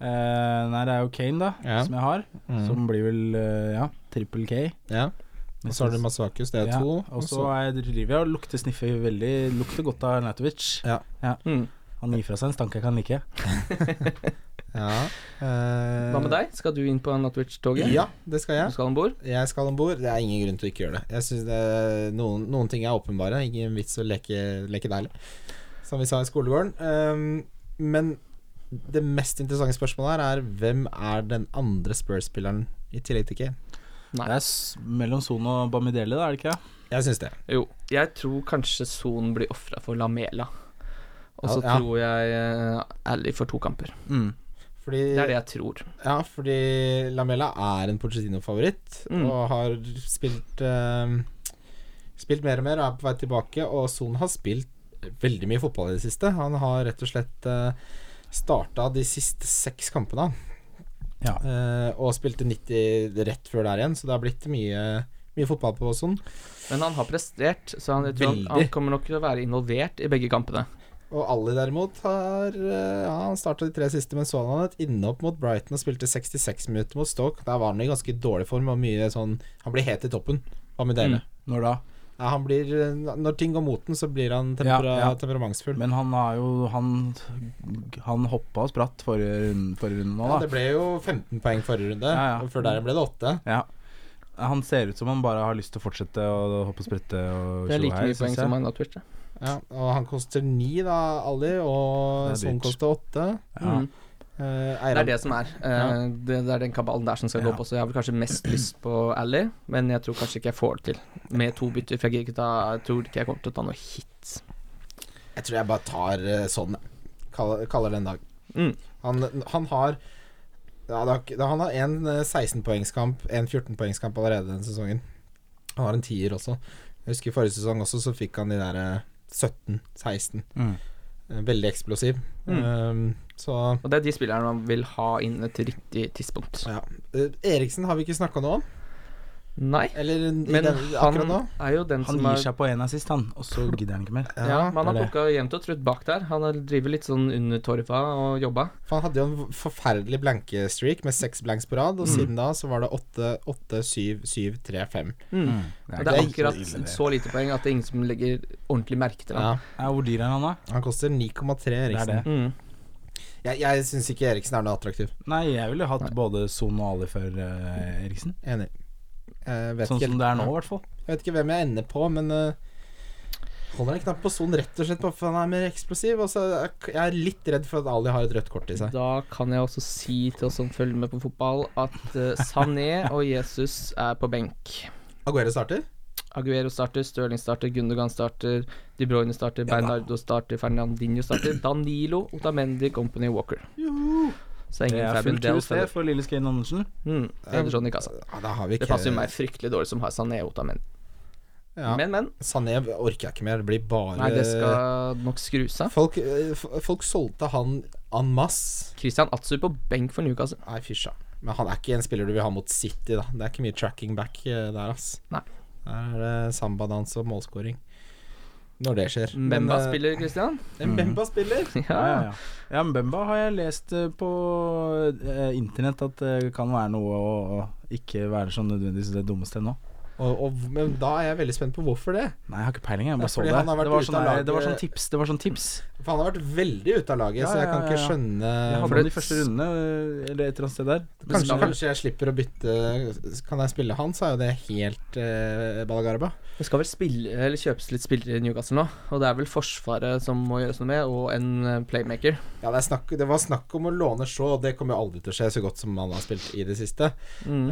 Speaker 4: Eh, nei, det er jo Kane, da,
Speaker 2: Ja. Mm.
Speaker 4: som jeg har. Som blir vel, eh, ja, trippel K.
Speaker 2: Ja. Og så har du Masuakus, det er
Speaker 4: Ja,
Speaker 2: to.
Speaker 4: Og så er- driver jeg og lukter sniffer veldig Lukter godt av Arnautovic.
Speaker 3: Mm.
Speaker 4: Han gir fra seg en stank jeg kan like.
Speaker 2: ja. eh,
Speaker 3: Hva med deg? Skal du inn på Arnold Twitch-toget?
Speaker 2: Ja, det skal
Speaker 3: Du
Speaker 2: jeg.
Speaker 3: skal om bord?
Speaker 2: Jeg skal om bord. Det er ingen grunn til å ikke gjøre det. Jeg synes det er noen, noen ting er åpenbare. Ingen vits å leke, leke deilig, som vi sa i skolegården. Um, men det mest interessante spørsmålet her er hvem er den andre Spurs-spilleren i tillegg til Kane?
Speaker 4: Det er s mellom Son og Bamidele, da, er det ikke det?
Speaker 2: Jeg syns det.
Speaker 3: Jo. Jeg tror kanskje Son blir ofra for Lamela. Og så
Speaker 2: Ja, ja.
Speaker 3: tror jeg eh, Ally får to kamper.
Speaker 4: Mm.
Speaker 2: Fordi,
Speaker 3: Det er det jeg tror.
Speaker 2: Ja, fordi Lamella er en Pochettino-favoritt
Speaker 3: Mm.
Speaker 2: og har spilt eh, Spilt mer og mer og er på vei tilbake, og Son har spilt veldig mye fotball i det siste. Han har rett og slett uh, starta de siste seks kampene, han.
Speaker 4: Ja.
Speaker 2: Eh, og spilte 90 rett før der igjen, så det har blitt mye, mye fotball på Son.
Speaker 3: Men han har prestert, så han, jeg tror han,
Speaker 2: Veldig.
Speaker 3: han kommer nok til å være involvert i begge kampene.
Speaker 2: Og Ali derimot har eh, ja, Han starta de tre siste, men så hadde han et innhopp mot Brighton og spilte 66 minutter mot Stoke. Der var han i ganske dårlig form og mye sånn Han blir het i toppen. Hva med dere?
Speaker 3: Mm.
Speaker 4: Når da?
Speaker 2: Ja, han blir, når ting går mot den, så blir han tempera
Speaker 4: Ja, ja.
Speaker 2: temperamentsfull.
Speaker 4: Men han har jo Han, han hoppa og spratt forrige runde, forrige runde
Speaker 2: ja,
Speaker 4: nå,
Speaker 2: det
Speaker 4: da.
Speaker 2: ble jo 15 poeng forrige runde,
Speaker 4: Ja, ja.
Speaker 2: og før der ble det 8.
Speaker 4: Ja. Han ser ut som han bare har lyst til å fortsette å hoppe og sprette og
Speaker 3: Det er
Speaker 4: tjo
Speaker 3: like
Speaker 4: her,
Speaker 3: mye poeng
Speaker 4: synes jeg.
Speaker 3: som Arnold Twitch. da.
Speaker 2: Ja, og han koster 9, da, Ali, og
Speaker 4: Det er
Speaker 2: Son
Speaker 4: dyrt.
Speaker 2: koster Eh, 8.
Speaker 4: Ja.
Speaker 3: Mm. Det er det som er. Eh, det, det er den kabalen der som skal gå
Speaker 4: Ja.
Speaker 3: opp også. Jeg har vel kanskje mest lyst på Ally, men jeg tror kanskje ikke jeg får det til. Med to bytter, for jeg, gidder ikke ta- jeg tror ikke jeg kommer til å ta noe hit.
Speaker 2: Jeg tror jeg bare tar eh, sånn Kaller, kaller det en dag
Speaker 3: Mm.
Speaker 2: han, han har ja, det har ikke- Han har en eh, 16-poengskamp En 14-poengskamp allerede denne sesongen Han har en 10-er også Jeg husker forrige sesong også så fikk han de der eh, 17-16
Speaker 4: Mm.
Speaker 2: Eh, Veldig eksplosiv
Speaker 3: Mm.
Speaker 2: Eh, Så
Speaker 3: Og det er de spillerne man vil ha inne til riktig tidspunkt.
Speaker 2: ja. Eh, Eriksen har vi ikke snakket noe om
Speaker 3: Nei,
Speaker 2: Eller i
Speaker 3: men
Speaker 2: den,
Speaker 3: han
Speaker 2: akkurat nå
Speaker 3: er jo den
Speaker 4: Han
Speaker 3: som
Speaker 4: gir
Speaker 3: er
Speaker 4: seg på en assist, han, og så gidder han ikke mer.
Speaker 2: Ja,
Speaker 3: ja, man har
Speaker 4: det er det.
Speaker 3: plukka jevnt og trutt bak der. Han er- driver litt sånn under torva og jobba.
Speaker 2: For han hadde jo en forferdelig blankestreak Med 6 blanks på
Speaker 3: Mm.
Speaker 2: rad Og siden da så var det 8, 8, 7, 7, 3, 5
Speaker 3: Mm.
Speaker 4: Det
Speaker 3: Og
Speaker 4: er
Speaker 3: det er
Speaker 4: ikke så
Speaker 3: akkurat
Speaker 4: ille, det.
Speaker 3: så lite poeng at det er ingen som legger ordentlig merke til ham.
Speaker 2: Ja
Speaker 4: Ja, hvor dyr er han, da?
Speaker 2: Han koster 9,3
Speaker 4: Det er
Speaker 2: Eriksen.
Speaker 4: det.
Speaker 3: Mm.
Speaker 2: Jeg, jeg syns ikke Eriksen er noe attraktiv.
Speaker 4: Nei, jeg ville hatt
Speaker 3: Nei.
Speaker 4: både Son og Ali før eh, Eriksen.
Speaker 2: Enig. Jeg vet,
Speaker 4: Sånn
Speaker 2: ikke,
Speaker 4: som det er nå, i hvert fall.
Speaker 2: jeg vet ikke hvem jeg ender på, men eh, holder en knapp på Son rett og slett bare for han er mer eksplosiv. Og så er jeg- jeg er litt redd for at Ali har et rødt kort i seg.
Speaker 3: Da kan jeg også si til oss som følger med på fotball, at eh, Sané og Jesus er på benk.
Speaker 2: Aguero starter.
Speaker 3: Aguero starter, Stirling starter, Gundogan starter, De Bruyne starter, Bernardo starter, Fernandinho starter, Danilo, Otamendi, Company, Walker. Så det er
Speaker 4: Det
Speaker 3: ingen
Speaker 4: er
Speaker 3: Fabian
Speaker 4: fullt hus
Speaker 3: Dells.
Speaker 4: det for lille Skane Andersen.
Speaker 3: Mm, Ederson i kassa.
Speaker 2: Ja, da har vi ikke
Speaker 3: Det passer jo meg fryktelig dårlig som har Sané og Otamendi.
Speaker 2: Ja.
Speaker 3: Men, men.
Speaker 2: Sané orker jeg ikke mer. Det blir bare
Speaker 3: Nei, det skal nok skrus av.
Speaker 2: folk, eh, f- folk solgte han en masse.
Speaker 3: Christian Atsu på benk for Newcastle.
Speaker 2: Nei, fysja. Men han er ikke en spiller du vil ha mot City, da. Det er ikke mye tracking back eh, der, ass.
Speaker 3: Nei.
Speaker 2: Der er det sambadans og målscoring. Når det skjer.
Speaker 4: Mm.
Speaker 3: Memba
Speaker 2: eh,
Speaker 3: spiller, Christian.
Speaker 2: en Mbemba spiller.
Speaker 4: Ja, ja, ja. ja men Bemba har jeg lest eh, på eh, internett at det kan være noe å å ikke være sånn nødvendigvis det dummeste ennå.
Speaker 2: Og, og, men da er jeg veldig spent på hvorfor det.
Speaker 4: Nei, jeg har ikke peiling, jeg
Speaker 2: Ja,
Speaker 4: bare så
Speaker 2: fordi
Speaker 4: det.
Speaker 2: han har vært
Speaker 4: Det var,
Speaker 2: ute
Speaker 4: sånn,
Speaker 2: av
Speaker 4: der- det var
Speaker 2: laget-
Speaker 4: sånn tips. Det var sånn tips.
Speaker 2: For han har vært veldig ute av laget,
Speaker 4: Ja,
Speaker 2: så jeg
Speaker 4: ja,
Speaker 2: kan
Speaker 4: ja,
Speaker 2: ikke
Speaker 4: ja.
Speaker 2: skjønne
Speaker 4: Jeg hadde
Speaker 3: for det-
Speaker 4: han de første rundene, eh, eller et eller annet sted der.
Speaker 2: Kanskje,
Speaker 3: Skal-
Speaker 2: kanskje jeg slipper å bytte Kan jeg spille han, så er jo det helt eh, Balagarba.
Speaker 3: Det skal vel spille, eller kjøpes litt spillere i Newcastle nå, og det er vel Forsvaret som må gjøres noe med, og en eh, playmaker.
Speaker 2: Ja, det, er snakk, det var snakk om å låne Shaw, og det kommer jo aldri til å skje, så godt som han har spilt i det siste.
Speaker 3: Mm.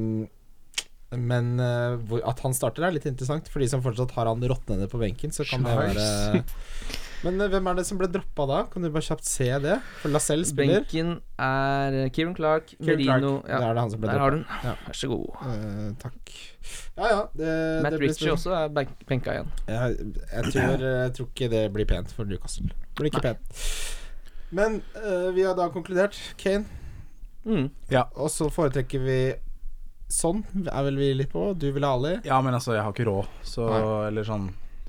Speaker 2: Eh, men eh, hvor, at han starter, er litt interessant. For de som fortsatt har han råtnende på benken, så kan det være Men eh, hvem er det som ble droppa da? Kan du bare kjapt se det? For Lacelle spiller.
Speaker 3: Benken er eh, Kieran Clark,
Speaker 2: Kieran Clark.
Speaker 3: Merino
Speaker 2: Det
Speaker 3: ja,
Speaker 2: er det han som ble
Speaker 3: Der har
Speaker 2: droppa.
Speaker 3: du den.
Speaker 2: Ja.
Speaker 3: Vær så god.
Speaker 2: Eh, takk. Ja, ja. Det,
Speaker 3: Matt
Speaker 2: det blir
Speaker 3: Ritchie
Speaker 2: spennende.
Speaker 3: også er benk- benka igjen.
Speaker 2: Jeg, jeg, tror, eh, jeg tror ikke det blir pent for Newcastle. Det blir ikke pent. Men eh, vi har da konkludert. Kane.
Speaker 3: Mm.
Speaker 2: Og så foretrekker vi sånn, er vel vi litt på. Du vil ha Ali.
Speaker 4: Ja, men altså, jeg har ikke råd, så
Speaker 2: Nei.
Speaker 4: Eller sånn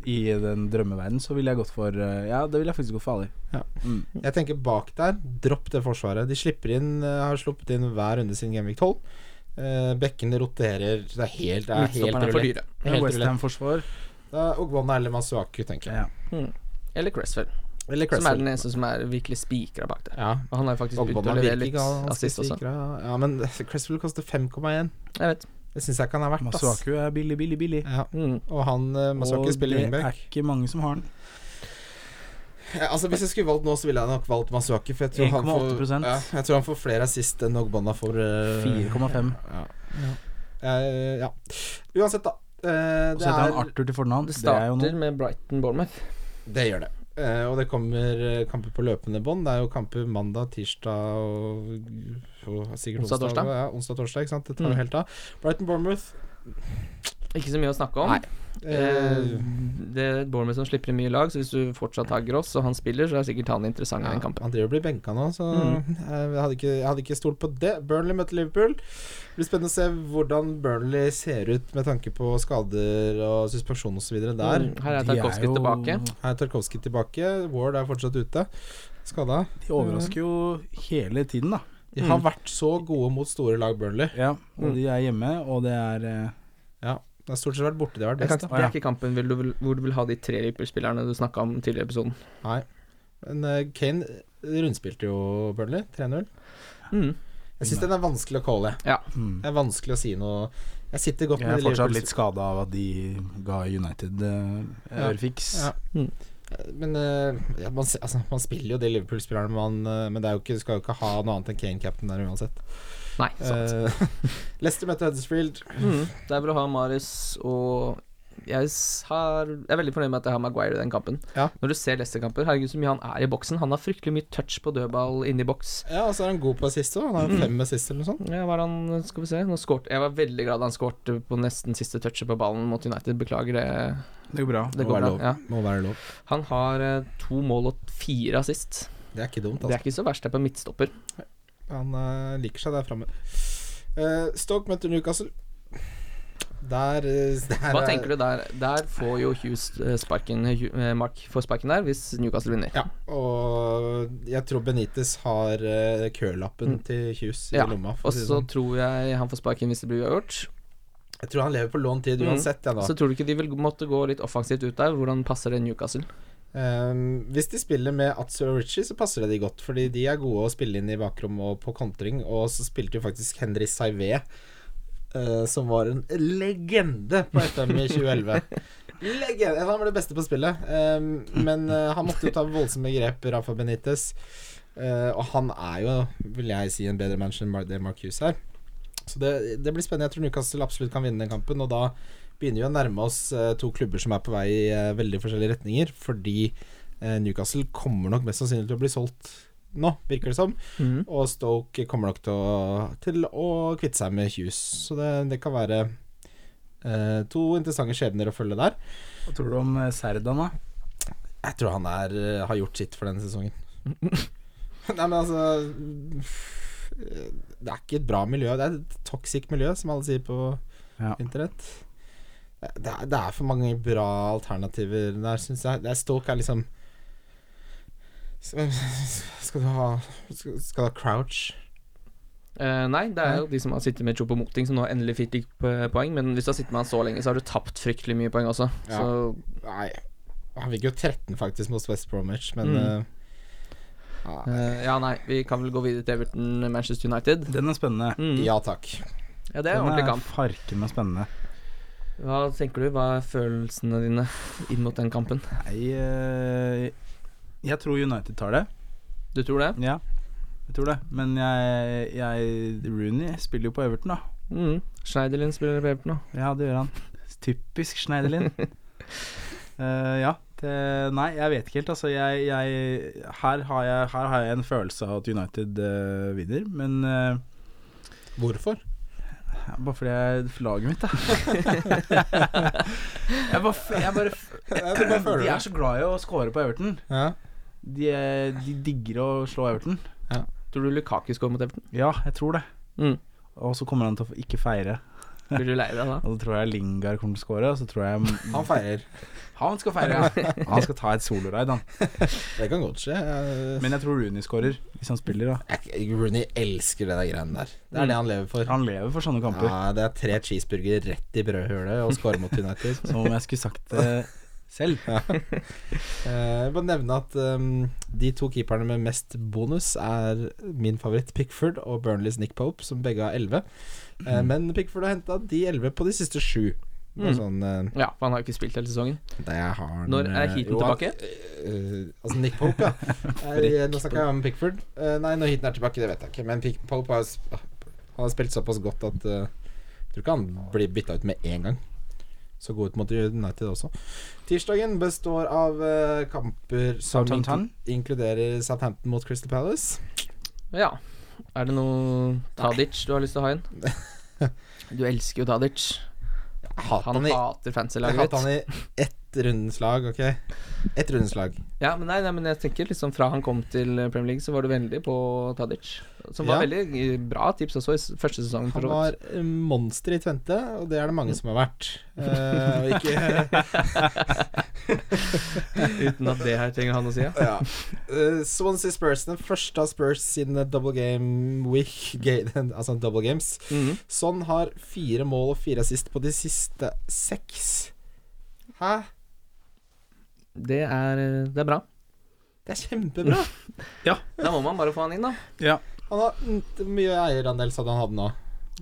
Speaker 4: I den drømmeverden så ville jeg gått for eh, Ja, det ville jeg faktisk gått for Ali.
Speaker 2: Jeg tenker bak der, dropp det forsvaret. De slipper inn, eh, har sluppet inn hver runde siden Genvik 12. Eh, bekkene roterer. Det er helt, det er helt
Speaker 3: Midtstopperne er for
Speaker 2: rulett.
Speaker 3: dyre.
Speaker 2: Helt rulett.
Speaker 4: Westham-forsvar.
Speaker 2: Da er Ogwana eller Masuaku, tenker jeg.
Speaker 4: Ja.
Speaker 3: Mm. Eller Cresswell, som
Speaker 2: Eller
Speaker 3: er
Speaker 2: Cresswell.
Speaker 3: den eneste som er virkelig spikra bak der.
Speaker 2: Ja.
Speaker 3: Og han har jo faktisk begynt å
Speaker 2: Ogwana
Speaker 3: levere
Speaker 2: virker
Speaker 3: litt
Speaker 2: ganske
Speaker 3: assist også.
Speaker 2: sikra. Ja, men Cresswell koster 5,1.
Speaker 3: Jeg vet.
Speaker 2: Det syns jeg ikke han er verdt, ass.
Speaker 4: Masuaku er billig, billig, billig.
Speaker 2: Ja.
Speaker 3: Mm.
Speaker 2: Og han eh, Masaki spiller
Speaker 4: det er
Speaker 2: wingback.
Speaker 4: ikke mange som har den.
Speaker 2: Ja, altså Hvis jeg skulle valgt nå, så ville jeg nok valgt Masaki. For jeg tror, han får,
Speaker 4: 1,8%.
Speaker 2: ja, jeg tror han får flere assist enn Ogbonna får eh,
Speaker 4: 4,5.
Speaker 2: Ja. Eh, ja. Uansett, da. eh,
Speaker 4: Og
Speaker 2: det,
Speaker 4: så heter han
Speaker 2: er,
Speaker 4: Arthur til fornavn.
Speaker 3: Det
Speaker 4: Det, er jo
Speaker 3: starter
Speaker 4: noe.
Speaker 3: med Brighton Bournemouth.
Speaker 2: det gjør det. Eh, og det kommer eh, kamper på løpende bånd. Det er jo kamper mandag, tirsdag og, og sikkert
Speaker 3: Onsdag,
Speaker 2: onsdag.
Speaker 3: torsdag.
Speaker 2: Ja, onsdag torsdag, ikke sant? Det tar
Speaker 3: Mm.
Speaker 2: jo helt av. Brighton Bournemouth
Speaker 3: Ikke så mye å snakke om.
Speaker 2: Nei.
Speaker 3: Eh,
Speaker 2: eh,
Speaker 3: det er Bournemouth som slipper inn mye lag, så hvis du fortsatt har Gross og han spiller, så er sikkert han interessant i
Speaker 2: ja,
Speaker 3: den kampen.
Speaker 2: Han driver og blir benka nå, så
Speaker 3: Mm.
Speaker 2: jeg, hadde ikke, jeg hadde ikke stolt på det. Burnley møter Liverpool. Det blir spennende å se hvordan Burnley ser ut med tanke på skader og suspensjon osv. der.
Speaker 3: Mm, Her er
Speaker 4: De
Speaker 3: Tarkovskij
Speaker 4: jo-
Speaker 3: tilbake.
Speaker 2: Her er Tarkovskij tilbake. Ward er fortsatt ute. Skada.
Speaker 4: De overrasker jo hele tiden, da.
Speaker 2: De har vært så gode mot store lag, Burnley.
Speaker 4: Ja,
Speaker 3: Mm.
Speaker 4: og de er hjemme, og det er eh,
Speaker 2: Det har stort sett vært borte de har vært
Speaker 3: Det, kan,
Speaker 2: best. Da.
Speaker 3: det er ikke kampen vil du, vil- hvor du vil ha de tre Liverpool-spillerne du snakka om tidligere i episoden.
Speaker 2: Men eh, Kane rundspilte jo Burnley 3-0.
Speaker 3: Mm.
Speaker 2: Jeg syns den er vanskelig å calle.
Speaker 4: mm.
Speaker 2: Det er vanskelig å si noe Jeg sitter godt
Speaker 4: Jeg
Speaker 2: med
Speaker 4: er
Speaker 2: de
Speaker 4: fortsatt
Speaker 2: Liverpool-
Speaker 4: litt skada av at de ga United eh,
Speaker 2: Ja.
Speaker 4: Ørfiks.
Speaker 2: Ja.
Speaker 3: Mm.
Speaker 2: Men eh, ja, man, se- altså, man spiller jo de Liverpool-spillerne, man, eh, men det er jo ikke, du skal jo ikke ha noe annet enn Kane-captain der uansett.
Speaker 3: Nei, sant.
Speaker 2: Eh, Leicester møter Huddersfield.
Speaker 3: Mm. Det er vel å ha Marius og jeg, s- har, jeg er veldig fornøyd med at jeg har Maguire i den kampen.
Speaker 2: Ja.
Speaker 3: Når du ser Leicester-kamper, herregud så mye han er i boksen. Han har fryktelig mye touch på dødball inni boks.
Speaker 2: Ja, og så er han god på assist òg. Han har jo fem assist eller noe sånt.
Speaker 3: Ja, var han, skal vi se Nå skårte- Jeg var veldig glad han skårte på nesten siste touchet på ballen mot United. Beklager det.
Speaker 4: Det går bra.
Speaker 3: Det
Speaker 2: Må
Speaker 3: går
Speaker 2: være
Speaker 3: bra.
Speaker 2: lov.
Speaker 3: Ja.
Speaker 2: Må være lov.
Speaker 3: Han har eh, to mål og fire assist.
Speaker 2: Det er ikke dumt,
Speaker 3: Det er
Speaker 2: altså.
Speaker 3: ikke så verst, det er på midtstopper.
Speaker 2: Han eh, liker seg der framme. Eh, Stoke møter Newcastle. Der, eh, der
Speaker 3: Hva tenker du der? Der får jo Hughes eh, sparken Hu- eh, Mark får sparken der hvis Newcastle vinner.
Speaker 2: Ja, og jeg tror Benitez har uh, kølappen til Hughes i
Speaker 3: Mm. Ja,
Speaker 2: lomma. for å
Speaker 3: Og
Speaker 2: si det
Speaker 3: så
Speaker 2: sånn.
Speaker 3: tror jeg han får sparken hvis det blir uavgjort.
Speaker 2: Jeg tror han lever på lånt tid
Speaker 3: Mm.
Speaker 2: uansett, jeg nå.
Speaker 3: Så tror du ikke de vil måtte gå litt offensivt ut der? Hvordan passer det Newcastle?
Speaker 2: Ehm, hvis de spiller med Atsu og Ritchie, så passer det de godt. Fordi de er gode å spille inn i bakrom og på kontring. Og så spilte jo faktisk Henry Saivé, eh, som var en legende på FM i 2011. Legende! Han var det beste på spillet. Ehm, men eh, han måtte jo ta voldsomme grep, Rafa Benitez. Eh, og han er jo, vil jeg si, en bedre manager enn Mar- det Mark Hughes er. Så det, det blir spennende. Jeg tror Newcastle absolutt kan vinne den kampen. Og da begynner vi å nærme oss eh, to klubber som er på vei i eh, veldig forskjellige retninger, fordi eh, Newcastle kommer nok mest sannsynlig til å bli solgt nå, virker det som. Og Stoke kommer nok til å, til å kvitte seg med Hughes. Så det, det kan være eh, to interessante skjebner å følge der.
Speaker 4: Hva tror du om eh, Serdan, da?
Speaker 2: Jeg tror han er, eh, har gjort sitt for denne sesongen. Nei, men altså eh, Det er ikke et bra miljø. Det er et toxic miljø, som alle sier på
Speaker 4: Ja.
Speaker 2: internett. Det, det er, det er for mange bra alternativer der, syns jeg. Det er Stoke er liksom Skal du ha Skal, skal du ha Crouch?
Speaker 3: Eh, nei, det er jo de som har sittet med Chopo Moting, som nå endelig fikk eh, poeng. Men hvis du har sittet med han så lenge, så har du tapt fryktelig mye poeng også.
Speaker 2: Ja.
Speaker 3: Så
Speaker 2: Nei, han fikk jo 13 faktisk mot West Bromwich, men
Speaker 3: Mm.
Speaker 2: eh, ja,
Speaker 3: eh, ja, nei, vi kan vel gå videre til Everton Manchester United.
Speaker 4: Den er spennende.
Speaker 3: Mm.
Speaker 2: ja takk.
Speaker 3: Ja, det er en
Speaker 4: Den
Speaker 3: ordentlig
Speaker 4: er
Speaker 3: kamp.
Speaker 4: farken meg spennende.
Speaker 3: Hva tenker du? Hva er følelsene dine inn mot den kampen?
Speaker 4: Nei, eh, jeg tror United tar det.
Speaker 3: Du tror det?
Speaker 4: Ja, jeg tror det. Men jeg, jeg Rooney spiller jo på Everton, da.
Speaker 3: Mm.
Speaker 2: Mhm.
Speaker 3: Schneiderlin spiller på Everton nå.
Speaker 4: Ja, det gjør han. Typisk Schneiderlin. Eh, ja. Det, nei, jeg vet ikke helt. Altså, jeg, jeg, her, har jeg, her har jeg en følelse av at United eh, vinner, men eh,
Speaker 2: Hvorfor?
Speaker 4: ja, bare fordi jeg Laget mitt, da. jeg bare, f- jeg bare f-
Speaker 2: Ja, du bare føler
Speaker 4: De er
Speaker 2: det.
Speaker 4: så glad i å score på Everton.
Speaker 2: Ja.
Speaker 4: De, er- de digger å slå Everton.
Speaker 3: Tror du Lukaku scorer mot Everton?
Speaker 4: Ja, jeg tror det.
Speaker 3: Mm.
Speaker 4: Og så kommer han til å ikke feire.
Speaker 3: Blir du lei deg da?
Speaker 4: Og så tror jeg Lingard kommer til å score. Og så tror jeg
Speaker 2: Han feirer.
Speaker 4: Han skal feire, ja! Han skal ta et soloride, han.
Speaker 2: Det kan godt skje. Jeg-
Speaker 4: Men jeg tror Rooney scorer, hvis han spiller, da.
Speaker 2: Jeg- Rooney elsker det der greiene der. Det er det han lever for.
Speaker 4: Han lever for sånne kamper.
Speaker 2: Ja, det er tre cheeseburgere rett i brødhølet og score mot United.
Speaker 4: Som om jeg skulle sagt det selv.
Speaker 2: Eh, Jeg må nevne at ehm, de to keeperne med mest bonus er min favoritt Pickford og Burnleys Nick Pope, som begge har 11.
Speaker 4: Mhm.
Speaker 2: Eh, Men Pickford har henta de 11 på de siste sju. Noe
Speaker 3: Mm.
Speaker 2: Sånn, eh,
Speaker 3: Ja, for han har jo ikke spilt hele sesongen.
Speaker 2: det jeg har en,
Speaker 3: Når er
Speaker 2: eh,
Speaker 3: heaten
Speaker 2: jo,
Speaker 3: tilbake?
Speaker 2: Han, eh, altså Nick Pope, ja. Eh, Nå snakker jeg om Pickford. Eh, nei, når heaten er tilbake, det vet jeg ikke. Men Pick Pope har, sp- har spilt såpass godt at eh, jeg tror ikke han blir bytta ut med en gang. Så god ut mot United også. Tirsdagen består av eh, kamper som
Speaker 4: Southampton?
Speaker 2: inkl- inkluderer Southampton mot Crystal Palace.
Speaker 3: Ja. Er det noe Tadic du har lyst til å ha inn? Du elsker jo Tadic.
Speaker 2: Jeg hater
Speaker 3: Han
Speaker 2: han, i,
Speaker 3: hater
Speaker 2: jeg
Speaker 3: fancy-laget
Speaker 2: hater han
Speaker 3: ditt.
Speaker 2: i ett rundeslag, OK? Ett rundeslag.
Speaker 3: Ja, men nei, nei, men jeg tenker liksom fra han kom til Premier League, så var du vennlig på Tadic. Som var
Speaker 2: Ja.
Speaker 3: veldig eh, bra tips også i s- første sesongen. for
Speaker 2: Han
Speaker 3: så vidt.
Speaker 2: var eh, monster i Tvente, og det er det mange som har vært. Eh, og ikke
Speaker 3: Uten at det her trenger han å si. Ja.
Speaker 2: Ja. Eh, Swansea Spurs, den første av Spurs siden eh, double game week, ga- den- altså double games.
Speaker 3: Mhm.
Speaker 2: Sånn har fire mål og fire assist på de siste seks. Hæ?
Speaker 3: det, er, eh, det er bra.
Speaker 2: Det er kjempebra!
Speaker 3: Da må man bare få han inn, da.
Speaker 4: Ja.
Speaker 2: Han har mm, t- mye eierandel, sa han hadde nå.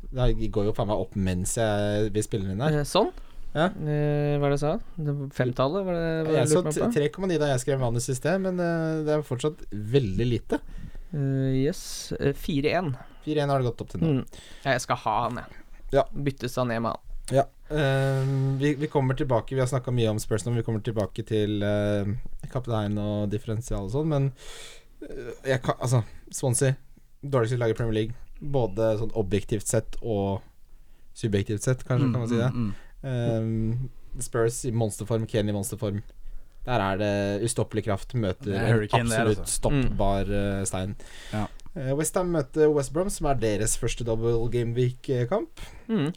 Speaker 2: Det her går jo faen meg opp mens jeg, vi spiller inn her.
Speaker 3: Eh, Sånn.
Speaker 2: Ja.
Speaker 3: Eh, hva er det jeg sa? Det var Femtallet? Var det, var det
Speaker 2: Jeg
Speaker 3: jeg
Speaker 2: så
Speaker 3: lurte meg
Speaker 2: t-
Speaker 3: på?
Speaker 2: 3,9 da jeg skrev manus i sted, men eh, det er fortsatt veldig lite.
Speaker 3: Eh, yes. Eh, 4-1.
Speaker 2: 4-1 har det gått opp til nå.
Speaker 3: Mm. Ja, jeg skal ha han, jeg.
Speaker 2: Ja.
Speaker 3: Byttes han ned med han.
Speaker 2: Ja. ehm, vi, vi kommer tilbake Vi har snakka mye om spørsmål, vi kommer tilbake til uh, kaptein og differensial og sånn, men eh, jeg kan, altså, Swansea, dårligste lag i Premier League, både sånn objektivt sett og subjektivt sett, kanskje, kan man si det.
Speaker 4: Mm, mm,
Speaker 2: Ehm, Spurs i monsterform, Kane i monsterform. Der er det ustoppelig kraft møter
Speaker 4: Det er
Speaker 2: en
Speaker 4: hurricane
Speaker 2: absolutt
Speaker 4: der, altså.
Speaker 2: stoppbar eh, stein.
Speaker 4: Ja.
Speaker 2: Eh, West Westham møter West Brom, som er deres første double game eh, week-kamp.
Speaker 3: Mm.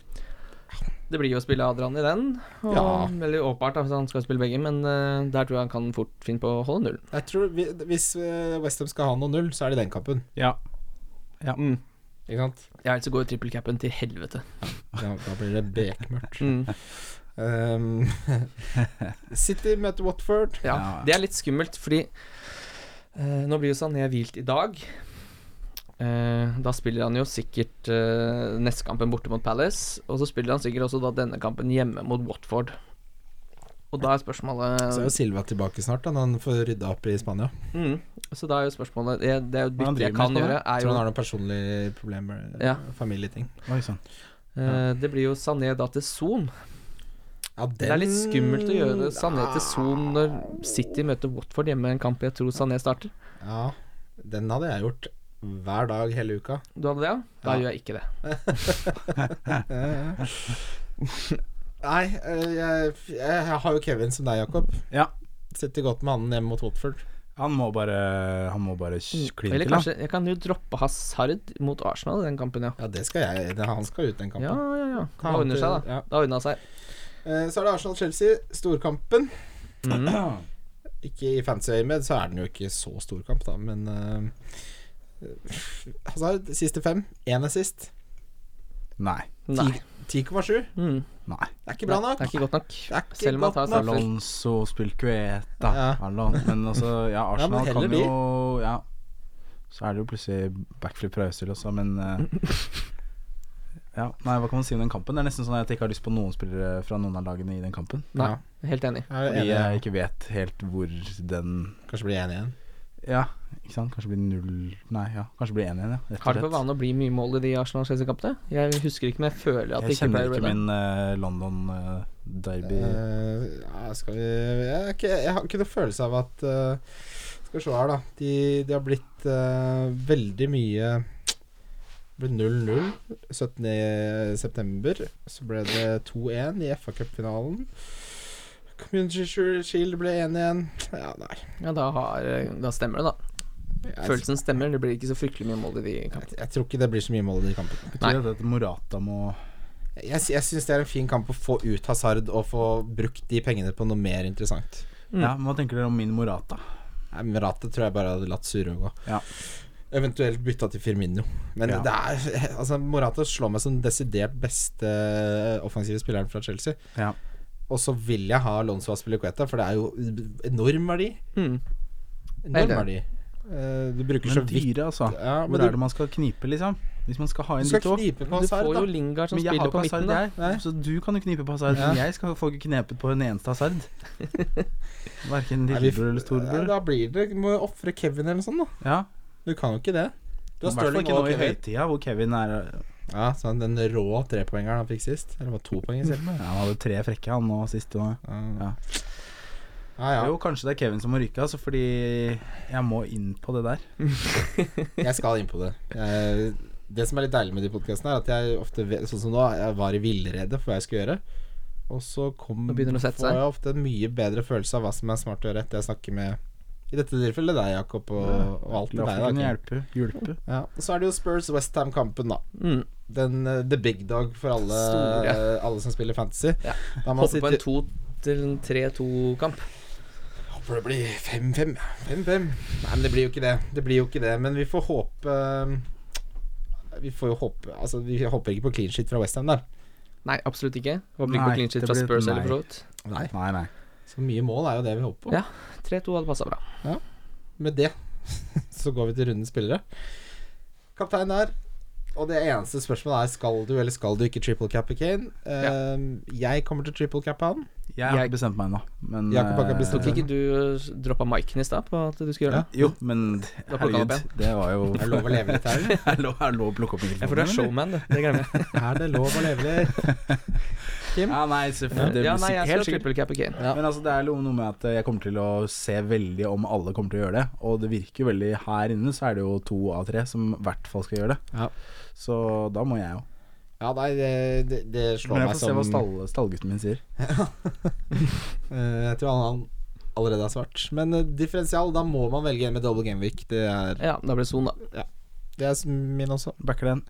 Speaker 3: Det blir jo å spille Adrian i den. Og
Speaker 2: Ja.
Speaker 3: Veldig åpenbart, da, hvis han skal spille begge, men eh, der tror jeg han kan fort finne på å holde nullen.
Speaker 2: Jeg tror vi, Hvis Westham skal ha noe null, så er det den kampen.
Speaker 4: ja.
Speaker 3: Mm.
Speaker 2: Ikke sant?
Speaker 3: Ja, ellers så går jo trippelcapen til helvete.
Speaker 2: Ja, da blir det bekmørkt.
Speaker 3: Mm.
Speaker 2: Ehm, City møter Watford.
Speaker 3: Ja.
Speaker 4: Ja.
Speaker 3: Det er litt skummelt, fordi eh, nå blir jo Sané hvilt i dag. Eh, da spiller han jo sikkert uh, nestkampen borte mot Palace, og så spiller han sikkert også da denne kampen hjemme mot Watford. Og da er spørsmålet
Speaker 2: Så er jo Silva tilbake snart, da, når han får rydda opp i Spania.
Speaker 3: Mm. Så da er jo spørsmålet Det, det er jo et
Speaker 4: Hva han
Speaker 3: bytte jeg
Speaker 4: driver
Speaker 3: kan
Speaker 4: med,
Speaker 3: gjøre. Er
Speaker 2: Jeg tror
Speaker 3: jo,
Speaker 2: han har noen personlige problemer, eh,
Speaker 3: Ja.
Speaker 2: familieting.
Speaker 4: Oi sånn. sann.
Speaker 3: eh, det blir jo Sané da til Son.
Speaker 2: Ja,
Speaker 3: Det er litt skummelt å gjøre Sané til
Speaker 2: Ah,
Speaker 3: Son når City møter Watford hjemme, en kamp jeg tror Sané starter.
Speaker 2: Ja, den hadde jeg gjort hver dag hele uka.
Speaker 3: Du hadde det, ja? Da
Speaker 2: Ja.
Speaker 3: gjør jeg ikke det.
Speaker 2: Nei, eh, jeg, jeg har jo Kevin som deg, Jakob.
Speaker 4: Ja.
Speaker 2: Sitter godt med han hjemme mot Watford.
Speaker 4: Han må bare Han må bare kline
Speaker 3: Mm. Eller
Speaker 4: til, han.
Speaker 3: kanskje Jeg kan jo droppe Hazard mot Arsenal i den kampen, ja.
Speaker 2: Ja, det skal jeg. Det, han skal ut den
Speaker 3: Ja,
Speaker 2: kampen.
Speaker 3: ja, ja.
Speaker 2: Ta
Speaker 3: Da
Speaker 2: han
Speaker 3: unner
Speaker 2: til-
Speaker 3: seg, da.
Speaker 2: ja.
Speaker 3: Da unna seg.
Speaker 2: Eh, Så er det Arsenal-Chelsea, storkampen.
Speaker 3: Mm.
Speaker 2: Ikke i fancy øyemed, så er den jo ikke så stor kamp, da, men uh, Hazard, siste fem. Én assist.
Speaker 4: Nei.
Speaker 3: Nei.
Speaker 2: 10,7.
Speaker 3: Mm.
Speaker 4: Nei.
Speaker 2: Det er ikke bra nok.
Speaker 3: Det er ikke godt nok.
Speaker 2: Det er ikke
Speaker 3: Selv om han tar
Speaker 2: godt nok.
Speaker 3: straffer.
Speaker 4: Alonso spilkueta
Speaker 2: Ja.
Speaker 4: Alon. Men altså, ja, Arsenal
Speaker 2: heller
Speaker 4: kan jo Ja. Så er det jo plutselig backflip fra Øzil også, men eh, Ja, nei, hva kan man si om den kampen? Det er nesten sånn at jeg ikke har lyst på noen spillere fra noen av lagene i den kampen.
Speaker 3: Nei,
Speaker 2: Ja.
Speaker 3: helt enig.
Speaker 2: Jeg er
Speaker 4: Fordi
Speaker 2: enig,
Speaker 4: jeg ikke vet helt hvor den
Speaker 2: Kanskje blir enig igjen.
Speaker 4: Ja, ikke sant? Kanskje blir null Nei, ja, kanskje blir 1-1, ja. Rett og
Speaker 3: Har det for
Speaker 4: slett.
Speaker 3: vane å bli mye mål i de Arsenal-Chelsea-kampene? Jeg husker ikke, men jeg føler at det ikke
Speaker 4: Jeg kjenner
Speaker 3: pleier å
Speaker 4: ikke
Speaker 3: bli det.
Speaker 4: min eh, London eh, derby
Speaker 2: Eh, ja, skal vi Jeg, er ikke, jeg har ikke noen følelse av at eh, Skal vi se her, da. De, de har blitt eh, veldig mye Det ble 0-0 17.9. Så ble det 2-1 i FA-cupfinalen. Community Shield ble 1-1. Ja, nei.
Speaker 3: Ja, da, har, eh, da stemmer det, da.
Speaker 2: Jeg,
Speaker 3: Følelsen stemmer. Det blir ikke så fryktelig mye mål i de kampene.
Speaker 2: jeg, jeg tror ikke det blir så mye mål i de kampene.
Speaker 3: Nei.
Speaker 4: Betyr det at Morata må
Speaker 2: Jeg, jeg syns det er en fin kamp å få ut Hazard og få brukt de pengene på noe mer interessant.
Speaker 3: Mm.
Speaker 4: Ja, men Hva tenker dere om min Morata?
Speaker 2: Nei, men Rattet tror jeg bare hadde latt Suro gå.
Speaker 4: Ja.
Speaker 2: Eventuelt bytta til Firmino. Men
Speaker 4: Ja.
Speaker 2: det er Altså, Morata slår meg som den desidert beste offensive spilleren fra Chelsea.
Speaker 4: Ja.
Speaker 2: Og så vil jeg ha Lonzo Aspilicueta, for det er jo enorm verdi.
Speaker 3: Mm. Helt
Speaker 2: Enorm
Speaker 3: enig.
Speaker 2: verdi. Eh, du bruker så
Speaker 4: Men
Speaker 2: vidt
Speaker 4: dyre, altså.
Speaker 2: ja,
Speaker 4: Hvor
Speaker 2: men
Speaker 4: er
Speaker 2: du,
Speaker 4: det man skal knipe, liksom? Hvis man skal ha
Speaker 2: du
Speaker 4: inn de
Speaker 2: skal
Speaker 4: to.
Speaker 2: knipe på
Speaker 3: Du
Speaker 2: Hazard,
Speaker 3: får
Speaker 2: da.
Speaker 3: jo Lingard som
Speaker 4: Men jeg har
Speaker 3: spiller
Speaker 4: jo
Speaker 3: på
Speaker 4: ikke
Speaker 3: midten,
Speaker 4: hasard,
Speaker 3: da.
Speaker 2: Nei.
Speaker 4: jeg. Så du kan jo knipe på hasard.
Speaker 2: Ja.
Speaker 4: Men jeg skal få ikke knepet på en eneste hasard. Verken
Speaker 2: Nei, vi-
Speaker 4: lillebror eller
Speaker 2: Nei,
Speaker 4: storebror.
Speaker 2: Da blir det Du må ofre Kevin eller noe sånt, da.
Speaker 4: Ja.
Speaker 2: Du kan jo ikke det. Du
Speaker 4: I
Speaker 2: har
Speaker 4: hvert fall
Speaker 2: Stirling
Speaker 4: ikke nå
Speaker 2: og
Speaker 4: i
Speaker 2: Kevin.
Speaker 4: høytida, hvor Kevin er
Speaker 2: Ja, sånn, den rå trepoengeren han fikk sist. Eller var det to poeng
Speaker 4: Ja,
Speaker 2: selv.
Speaker 4: Han hadde tre frekke, han nå sist. Nå.
Speaker 2: Ja.
Speaker 4: Ja.
Speaker 2: Ja, ja.
Speaker 4: Jo, kanskje det er Kevin som må ryke, altså, fordi jeg må inn på det der.
Speaker 2: Jeg skal inn på det. Jeg, det som er litt deilig med de podkastene, er at jeg ofte vet, Sånn som nå, jeg var i villrede for hva jeg skulle gjøre. Og så kom,
Speaker 3: Nå begynner det å sette
Speaker 2: får
Speaker 3: seg.
Speaker 2: jeg ofte en mye bedre følelse av hva som er smart å gjøre etter jeg snakker med I dette tilfellet deg, Jakob, og, og alt med
Speaker 4: La
Speaker 2: deg.
Speaker 4: kunne
Speaker 2: Da, Kim.
Speaker 4: hjelpe, hjelpe.
Speaker 2: ja. Og så er det jo Spurs-Westham-kampen, da.
Speaker 3: Mm.
Speaker 2: Den, eh, the big dog for alle, eh,
Speaker 3: Store.
Speaker 2: alle som spiller fantasy.
Speaker 3: Ja.
Speaker 2: Da må man
Speaker 3: Hoppe på
Speaker 2: sitte
Speaker 3: en 2-3-2-kamp.
Speaker 2: Håper det blir 5-5. 5-5. Nei, men det blir jo ikke det. Det blir jo ikke det, men vi får håpe Vi får jo håpe Altså, vi håper ikke på clean shit fra Westham der.
Speaker 3: Nei, absolutt ikke. Håper ikke
Speaker 4: Nei,
Speaker 3: på clean sheet
Speaker 4: det
Speaker 3: fra
Speaker 4: blir et
Speaker 3: Spurs eller
Speaker 4: nei.
Speaker 3: for så vidt.
Speaker 2: Nei.
Speaker 4: Nei, nei.
Speaker 2: Så mye mål er jo det vi håper på.
Speaker 3: Ja. 3-2 hadde passa bra.
Speaker 2: Med det så går vi til rundens spillere. Kaptein der. Og det eneste spørsmålet er skal du eller skal du ikke triple cappe Kane. Ehm, Jeg kommer til triple cappe han.
Speaker 4: Jeg har
Speaker 3: Jeg-
Speaker 4: ikke bestemt meg ennå, men
Speaker 2: Jakob har ikke
Speaker 4: eh,
Speaker 2: bestemt
Speaker 3: Tok ikke du droppa miken i stad på at du skulle gjøre det?
Speaker 4: Jo, men
Speaker 3: Da plukker han
Speaker 4: herregud,
Speaker 3: opp
Speaker 4: det var jo
Speaker 2: Er det lov å leve litt her, eller?
Speaker 4: Er det lov- er det lov å plukke opp
Speaker 3: Ja, for du er
Speaker 4: mikrofonen?
Speaker 3: showman, du. Det glemmer jeg.
Speaker 2: Er det lov å leve litt?
Speaker 4: Ja, nei, selvfølgelig.
Speaker 3: Ja, nei,
Speaker 4: Det blir
Speaker 3: jeg
Speaker 4: sikkert- helt
Speaker 3: skal
Speaker 4: sikkert.
Speaker 3: triple cap again.
Speaker 2: Ja.
Speaker 4: Men altså, det er noe med at jeg kommer til å se veldig om alle kommer til å gjøre det. Og det virker jo veldig her inne, så er det jo to av tre som i hvert fall skal gjøre det.
Speaker 2: Ja.
Speaker 4: Så da må jeg jo.
Speaker 2: Ja, nei, det, det, det slår
Speaker 4: Men jeg
Speaker 2: meg
Speaker 4: får se
Speaker 2: som
Speaker 4: hva stall, stallgutten min sier.
Speaker 2: Eh, Jeg tror han, han allerede har svart. Men eh, differensial, da må man velge en med double gameweek. Det er,
Speaker 3: Ja, da ble det son, da.
Speaker 2: det er min også.
Speaker 4: Backer den.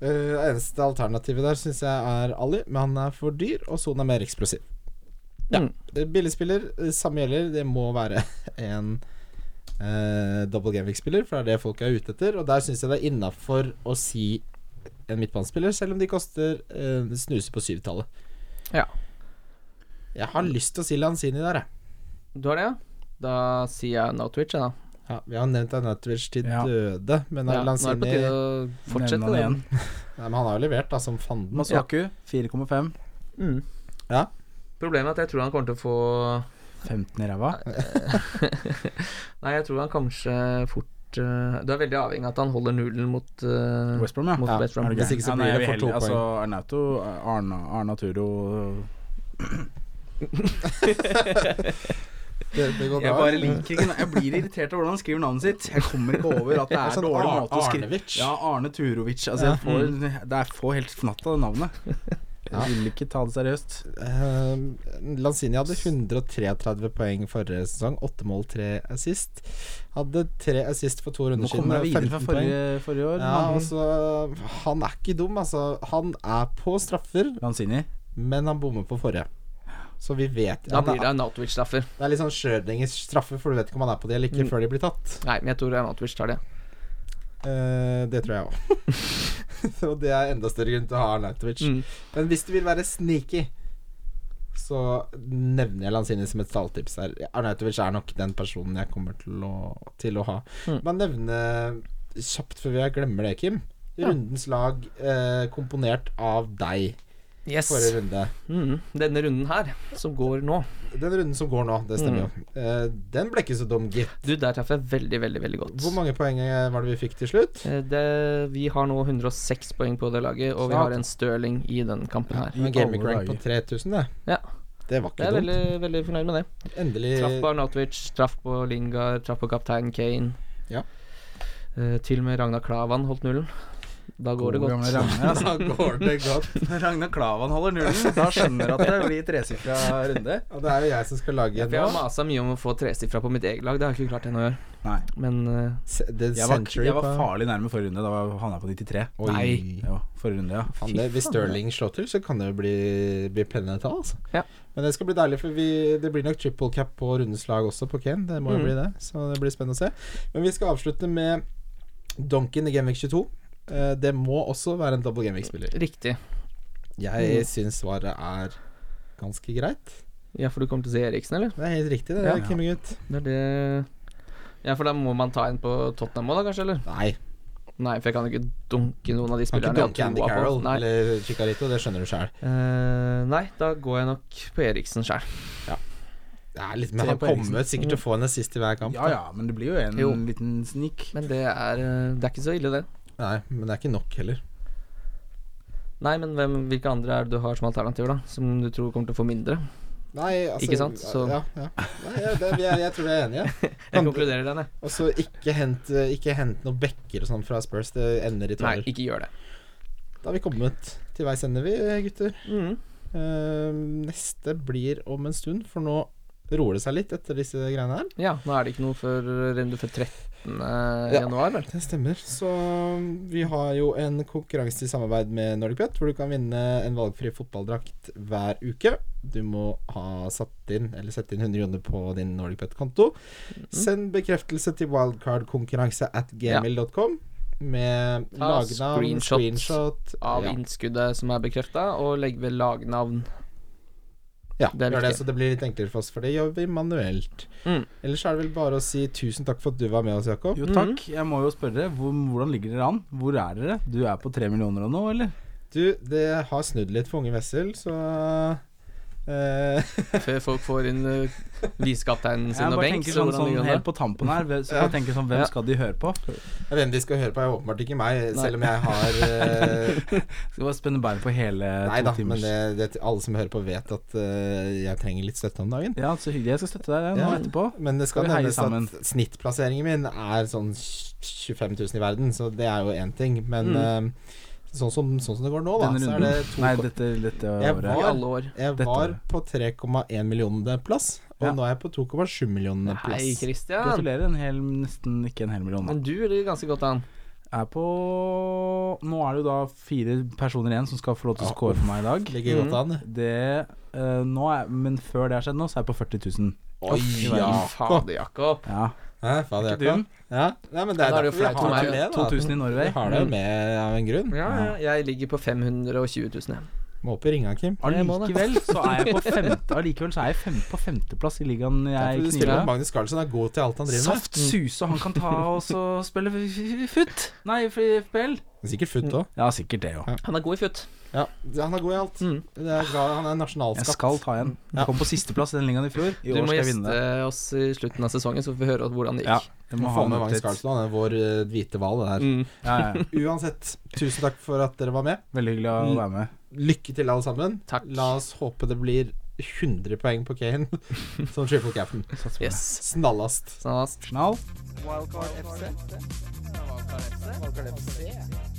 Speaker 2: Eh, eneste alternativet der syns jeg er Ali, men han er for dyr, og Son er mer eksplosiv. Ja.
Speaker 3: Mm.
Speaker 2: Eh, Billigspiller, eh, samme gjelder. Det må være en eh, double gameweek-spiller, for det er det folk er ute etter. Og der syns jeg det er innafor å si en midtbanespiller, selv om de koster eh, snuser på syvtallet.
Speaker 3: Ja.
Speaker 2: Jeg har lyst til å si Lanzini der, jeg.
Speaker 3: Du har det, ja? Da sier jeg no twitch, jeg, da.
Speaker 2: Ja, vi har nevnt Anatovic til
Speaker 4: Ja.
Speaker 2: døde,
Speaker 3: Ja,
Speaker 2: men
Speaker 3: nå er det
Speaker 2: Lanzini
Speaker 3: på tide å fortsette
Speaker 4: Nevner han
Speaker 3: den.
Speaker 2: Nei, men han har jo levert, da, som fanden.
Speaker 4: Masuaku, 4,5.
Speaker 3: Mm.
Speaker 2: Ja.
Speaker 3: Problemet er at jeg tror han kommer til å få
Speaker 4: 15 i ræva.
Speaker 3: Nei, jeg tror han kanskje fort eh, Du er veldig avhengig av at han holder nullen mot eh,
Speaker 4: West Brom, ja.
Speaker 3: mot
Speaker 2: Ja,
Speaker 3: West Brom.
Speaker 2: er det Hvis ikke så
Speaker 4: Ja,
Speaker 2: blir
Speaker 4: nei,
Speaker 2: det
Speaker 4: jeg
Speaker 2: for
Speaker 4: vil
Speaker 2: to
Speaker 4: heller- Altså, Arnauto, Arna, Arnaturo
Speaker 2: Det, det går
Speaker 4: Jeg
Speaker 2: bra.
Speaker 4: bare liker ikke Jeg blir irritert av hvordan han skriver navnet sitt. Jeg kommer ikke over at det er
Speaker 2: Sånn
Speaker 4: dårlig
Speaker 2: Ar-
Speaker 4: måte å skrive
Speaker 2: Arnevic.
Speaker 4: Ja, Arne Turovic. Altså, jeg får, det er få helt fnatt av det navnet.
Speaker 2: Ja.
Speaker 4: Jeg vil ikke ta det seriøst.
Speaker 2: Eh, Lanzini hadde 133 poeng forrige sesong. 8 mål, 3 assist. Hadde 3 assist for to
Speaker 4: Nå
Speaker 2: runder siden.
Speaker 4: kommer
Speaker 2: og
Speaker 4: jeg videre fra
Speaker 2: 15 poeng.
Speaker 4: forrige, forrige år.
Speaker 2: Ja,
Speaker 4: Han-
Speaker 2: altså, han er ikke dum, altså. Han er på straffer,
Speaker 4: Lanzini.
Speaker 2: men han bommer på forrige. Så vi vet
Speaker 3: Da
Speaker 2: han
Speaker 3: blir det
Speaker 2: er,
Speaker 3: Natovic-straffer.
Speaker 2: det er litt sånn Schjødingers straffe, for du vet ikke om han er på det eller
Speaker 3: Mm.
Speaker 2: ikke før de blir tatt.
Speaker 3: Nei, men jeg tror Natovic tar det.
Speaker 2: Eh, det tror jeg òg. Og det er enda større grunn til å ha Arnautovic.
Speaker 3: Mm.
Speaker 2: Men hvis du vil være sneaky, så nevner jeg Lanzini som et stalltips her. Arnautovic er nok den personen jeg kommer til å, til å ha.
Speaker 3: Mm.
Speaker 2: Man nevner kjapt før jeg glemmer det, Kim. Rundens lag eh, komponert av deg
Speaker 3: Yes.
Speaker 2: forrige runde.
Speaker 3: Mm. Denne runden her, som går nå
Speaker 2: Den runden som går nå, det
Speaker 3: Mm.
Speaker 2: stemmer jo. Eh, den ble ikke så dum, gitt.
Speaker 3: Du, der traff jeg veldig, veldig veldig godt.
Speaker 2: Hvor mange poeng eh, var det vi fikk til slutt?
Speaker 3: Eh, Det, vi har nå 106 poeng på det laget, og vi
Speaker 2: Klart.
Speaker 3: har en Stirling i den kampen her.
Speaker 2: Med
Speaker 4: alle
Speaker 2: gaming rank på
Speaker 4: dager.
Speaker 2: 3000, det.
Speaker 3: Ja.
Speaker 2: Det var
Speaker 3: Jeg
Speaker 2: ikke
Speaker 3: er
Speaker 2: dumt. Eh,
Speaker 3: veldig, veldig fornøyd med det.
Speaker 2: Endelig
Speaker 3: Traff på Arnautovic, traff på Lingard, traff på kaptein Kane.
Speaker 2: Ja.
Speaker 3: Eh, til og med Ragnar Klavan holdt nullen. Da går det
Speaker 4: God gamle
Speaker 3: godt.
Speaker 4: Ragnar, altså.
Speaker 2: Da går det godt.
Speaker 4: Når Ragnar Klavan holder nullen, da skjønner du at det blir tresifra runde.
Speaker 2: Og det er jo jeg som skal lage
Speaker 3: Ja,
Speaker 2: en
Speaker 3: for jeg har
Speaker 2: nå.
Speaker 3: masa mye om å få tresifra på mitt eget lag. Det har jeg ikke klart ennå i år.
Speaker 4: Nei.
Speaker 3: Men eh,
Speaker 2: Se- The
Speaker 4: Jeg var,
Speaker 2: Century
Speaker 4: jeg var
Speaker 2: på-
Speaker 4: farlig nærme forrige runde. Da var- havna jeg på 93.
Speaker 2: Oi.
Speaker 3: Nei.
Speaker 4: Ja, forrige runde, ja.
Speaker 2: Faen, det, hvis Sterling slår til, så kan det jo bli, bli pene tall, altså.
Speaker 3: Ja.
Speaker 2: Men det skal bli deilig, for vi, det blir nok triple cap på rundens lag også på Kane. Det må jo
Speaker 3: Mm.
Speaker 2: bli det, så det blir spennende å se. Men vi skal avslutte med Donken i Genvik 22. Eh, Det må også være en double Genvik-spiller.
Speaker 3: riktig. Mm.
Speaker 2: Jeg syns svaret er ganske greit.
Speaker 3: Ja, for du kommer til å se Eriksen, eller?
Speaker 2: Det er helt riktig, det,
Speaker 3: Ja.
Speaker 2: Kimmegutt.
Speaker 3: Det er det Ja, for da må man ta en på Tottenham òg, da, kanskje? Eller?
Speaker 2: Nei.
Speaker 3: Nei, for jeg kan ikke dunke noen av de
Speaker 2: Kan
Speaker 3: spillerne
Speaker 2: ikke
Speaker 3: jeg har
Speaker 2: donke Andy
Speaker 3: troa på.
Speaker 2: Carroll
Speaker 3: Nei.
Speaker 2: eller Chicarito, det skjønner du sjøl.
Speaker 3: Eh, nei, da går jeg nok på Eriksen sjøl.
Speaker 2: Men
Speaker 4: Tre
Speaker 2: han
Speaker 4: på
Speaker 2: kommer sikkert til å få en assist i hver kamp.
Speaker 4: Ja ja, men det blir jo en
Speaker 3: Jo.
Speaker 4: liten snik.
Speaker 3: Men det er, eh, det er ikke så ille, det.
Speaker 2: Nei, men det er ikke nok heller.
Speaker 3: Nei, men hvem, hvilke andre er det du har som alternativer, da? Som du tror kommer til å få mindre?
Speaker 2: Nei, altså
Speaker 3: Ikke sant? Så-
Speaker 2: Ja, ja. Nei, ja, det, jeg, jeg tror vi er enige.
Speaker 3: Jeg konkluderer den, jeg.
Speaker 2: Og så ikke hent Ikke hent noen bekker og sånn fra Spurs. Det ender i
Speaker 3: Nei,
Speaker 2: tårer.
Speaker 3: ikke gjør det.
Speaker 2: Da har vi kommet til veis ende, vi, gutter.
Speaker 3: Mm.
Speaker 2: Eh, neste blir om en stund, for nå roer det seg litt etter disse greiene her.
Speaker 3: Ja, nå er det ikke noe før runde før 13. eh,
Speaker 2: Ja.
Speaker 3: januar, vel.
Speaker 2: Det stemmer. Så um, vi har jo en konkurranse i samarbeid med Nordic Pet, hvor du kan vinne en valgfri fotballdrakt hver uke. Du må ha satt inn, eller sette inn 100 kroner på din Nordic Pet-konto. Send bekreftelse til wildcardkonkurranse at gmail.com med
Speaker 3: Ta
Speaker 2: lagnavn,
Speaker 3: screenshot
Speaker 2: screenshot
Speaker 3: Av
Speaker 2: ja.
Speaker 3: innskuddet som er bekrefta, og legg ved lagnavn.
Speaker 2: Ja,
Speaker 3: Det er
Speaker 2: gjør det,
Speaker 3: viktig.
Speaker 2: så det blir litt enklere for oss, for det gjør vi manuelt.
Speaker 3: Mm.
Speaker 2: Ellers er det vel bare å si tusen takk for at du var med oss, Jakob.
Speaker 4: Jo takk, jeg må jo spørre, hvor, hvordan ligger dere an? Hvor er dere? Du er på tre millioner og nå, eller?
Speaker 2: Du, det har snudd litt for unge Wessel, så eh,
Speaker 3: Før folk får inn uh, visekapteinen
Speaker 4: Jeg
Speaker 3: sin og
Speaker 4: bare
Speaker 3: benk. så
Speaker 4: tenker sånn,
Speaker 3: hvordan
Speaker 4: sånn
Speaker 3: ligger
Speaker 4: helt
Speaker 3: det an da?
Speaker 4: på tampen her, hvem- så
Speaker 2: Ja.
Speaker 4: jeg tenker sånn,
Speaker 3: Ja.
Speaker 4: hvem skal de høre på?
Speaker 2: Hvem de skal høre på, er åpenbart ikke meg, selv om jeg har eh,
Speaker 4: Skal bare spenne bein på hele
Speaker 2: Nei
Speaker 4: to
Speaker 2: da, men
Speaker 4: timers
Speaker 2: det, det, alle som hører på, vet at eh, jeg trenger litt støtte om dagen.
Speaker 4: Ja, så hyggelig. Jeg skal støtte deg nå
Speaker 2: Ja.
Speaker 4: etterpå.
Speaker 2: Men det skal
Speaker 4: Skal vi heie
Speaker 2: nevnes
Speaker 4: sammen?
Speaker 2: at snittplasseringen min er sånn 25 000 i verden, så det er jo én ting. Men eh, sånn, som, sånn som det går nå, da,
Speaker 4: Mm. Denne
Speaker 2: så er det
Speaker 4: runden.
Speaker 2: to
Speaker 4: Nei, dette, dette
Speaker 2: Jeg
Speaker 4: året.
Speaker 2: var-
Speaker 3: I alle år.
Speaker 2: Jeg
Speaker 4: dette
Speaker 2: var
Speaker 4: året.
Speaker 2: på 3,1 millionende plass, og
Speaker 4: Ja.
Speaker 2: nå er jeg på 2,7 millionende
Speaker 3: Hei,
Speaker 2: plass.
Speaker 3: Christian.
Speaker 4: Gratulerer. En hel, nesten ikke en hel million. da.
Speaker 3: Men du ligger ganske godt an.
Speaker 4: Er på Nå er det jo da fire personer igjen som skal få lov til
Speaker 2: Ja,
Speaker 4: å score for meg i dag.
Speaker 2: Ligger godt
Speaker 4: Mm.
Speaker 2: an.
Speaker 4: Det eh, nå er, Men før det har skjedd nå, så er jeg på 40 000.
Speaker 2: Oi,
Speaker 3: Fy fader, Jakob.
Speaker 4: Ja.
Speaker 2: Hæ, faen,
Speaker 4: Ikke
Speaker 2: Jakob.
Speaker 4: dum.
Speaker 2: Ja, Nei, men det er
Speaker 3: Da er det
Speaker 2: derfor
Speaker 3: jo
Speaker 2: vi
Speaker 3: flaut om meg,
Speaker 2: har det med, da.
Speaker 4: 2000 i
Speaker 2: Vi
Speaker 4: Norway.
Speaker 2: har det jo med av en grunn.
Speaker 3: Ja, ja, jeg ligger på 520 000, jeg.
Speaker 2: Må opp i ringa, Kim.
Speaker 3: Jeg må det.
Speaker 4: Allikevel så er jeg på femte Allikevel så er jeg fem, på femteplass i ligaen
Speaker 2: Ja, for
Speaker 4: jeg
Speaker 2: du spiller
Speaker 4: kniver.
Speaker 2: med Magnus Carlsen er god til alt han driver med.
Speaker 4: Saft suse, og han kan ta og så spille f- f- futt. Nei, f- FPL.
Speaker 2: Sikkert futt òg.
Speaker 4: Ja, sikkert det òg.
Speaker 3: Han er god i futt.
Speaker 2: Ja, han er god i alt.
Speaker 3: Mm.
Speaker 2: Det er glad, han er en
Speaker 4: Jeg
Speaker 2: nasjonalskatt.
Speaker 4: skal ta igjen.
Speaker 2: Ja.
Speaker 4: Jeg kom på sisteplass i den ligaen i fjor. I
Speaker 3: Du
Speaker 4: år
Speaker 3: må
Speaker 4: skal jeg
Speaker 3: gjeste
Speaker 4: vinne.
Speaker 3: oss i slutten av sesongen, så får vi høre hvordan det
Speaker 4: Ja,
Speaker 3: gikk.
Speaker 4: jeg
Speaker 2: Må
Speaker 4: må
Speaker 2: få
Speaker 4: ha
Speaker 2: med
Speaker 4: med
Speaker 2: Magnus Carlsen, han er vår eh, hvite hval. det
Speaker 3: Mm.
Speaker 4: Ja, ja, ja.
Speaker 2: der. Uansett, tusen takk for at dere var med.
Speaker 4: Veldig hyggelig
Speaker 3: Mm.
Speaker 4: å være med.
Speaker 2: Lykke til, alle sammen.
Speaker 3: Takk.
Speaker 2: La oss håpe det blir 100 poeng på Kane som triple cap'n.
Speaker 4: Satser på det.
Speaker 3: Yes.
Speaker 2: Snallast.
Speaker 3: Sånn, ass.
Speaker 4: Snall.
Speaker 5: Wildcard FC.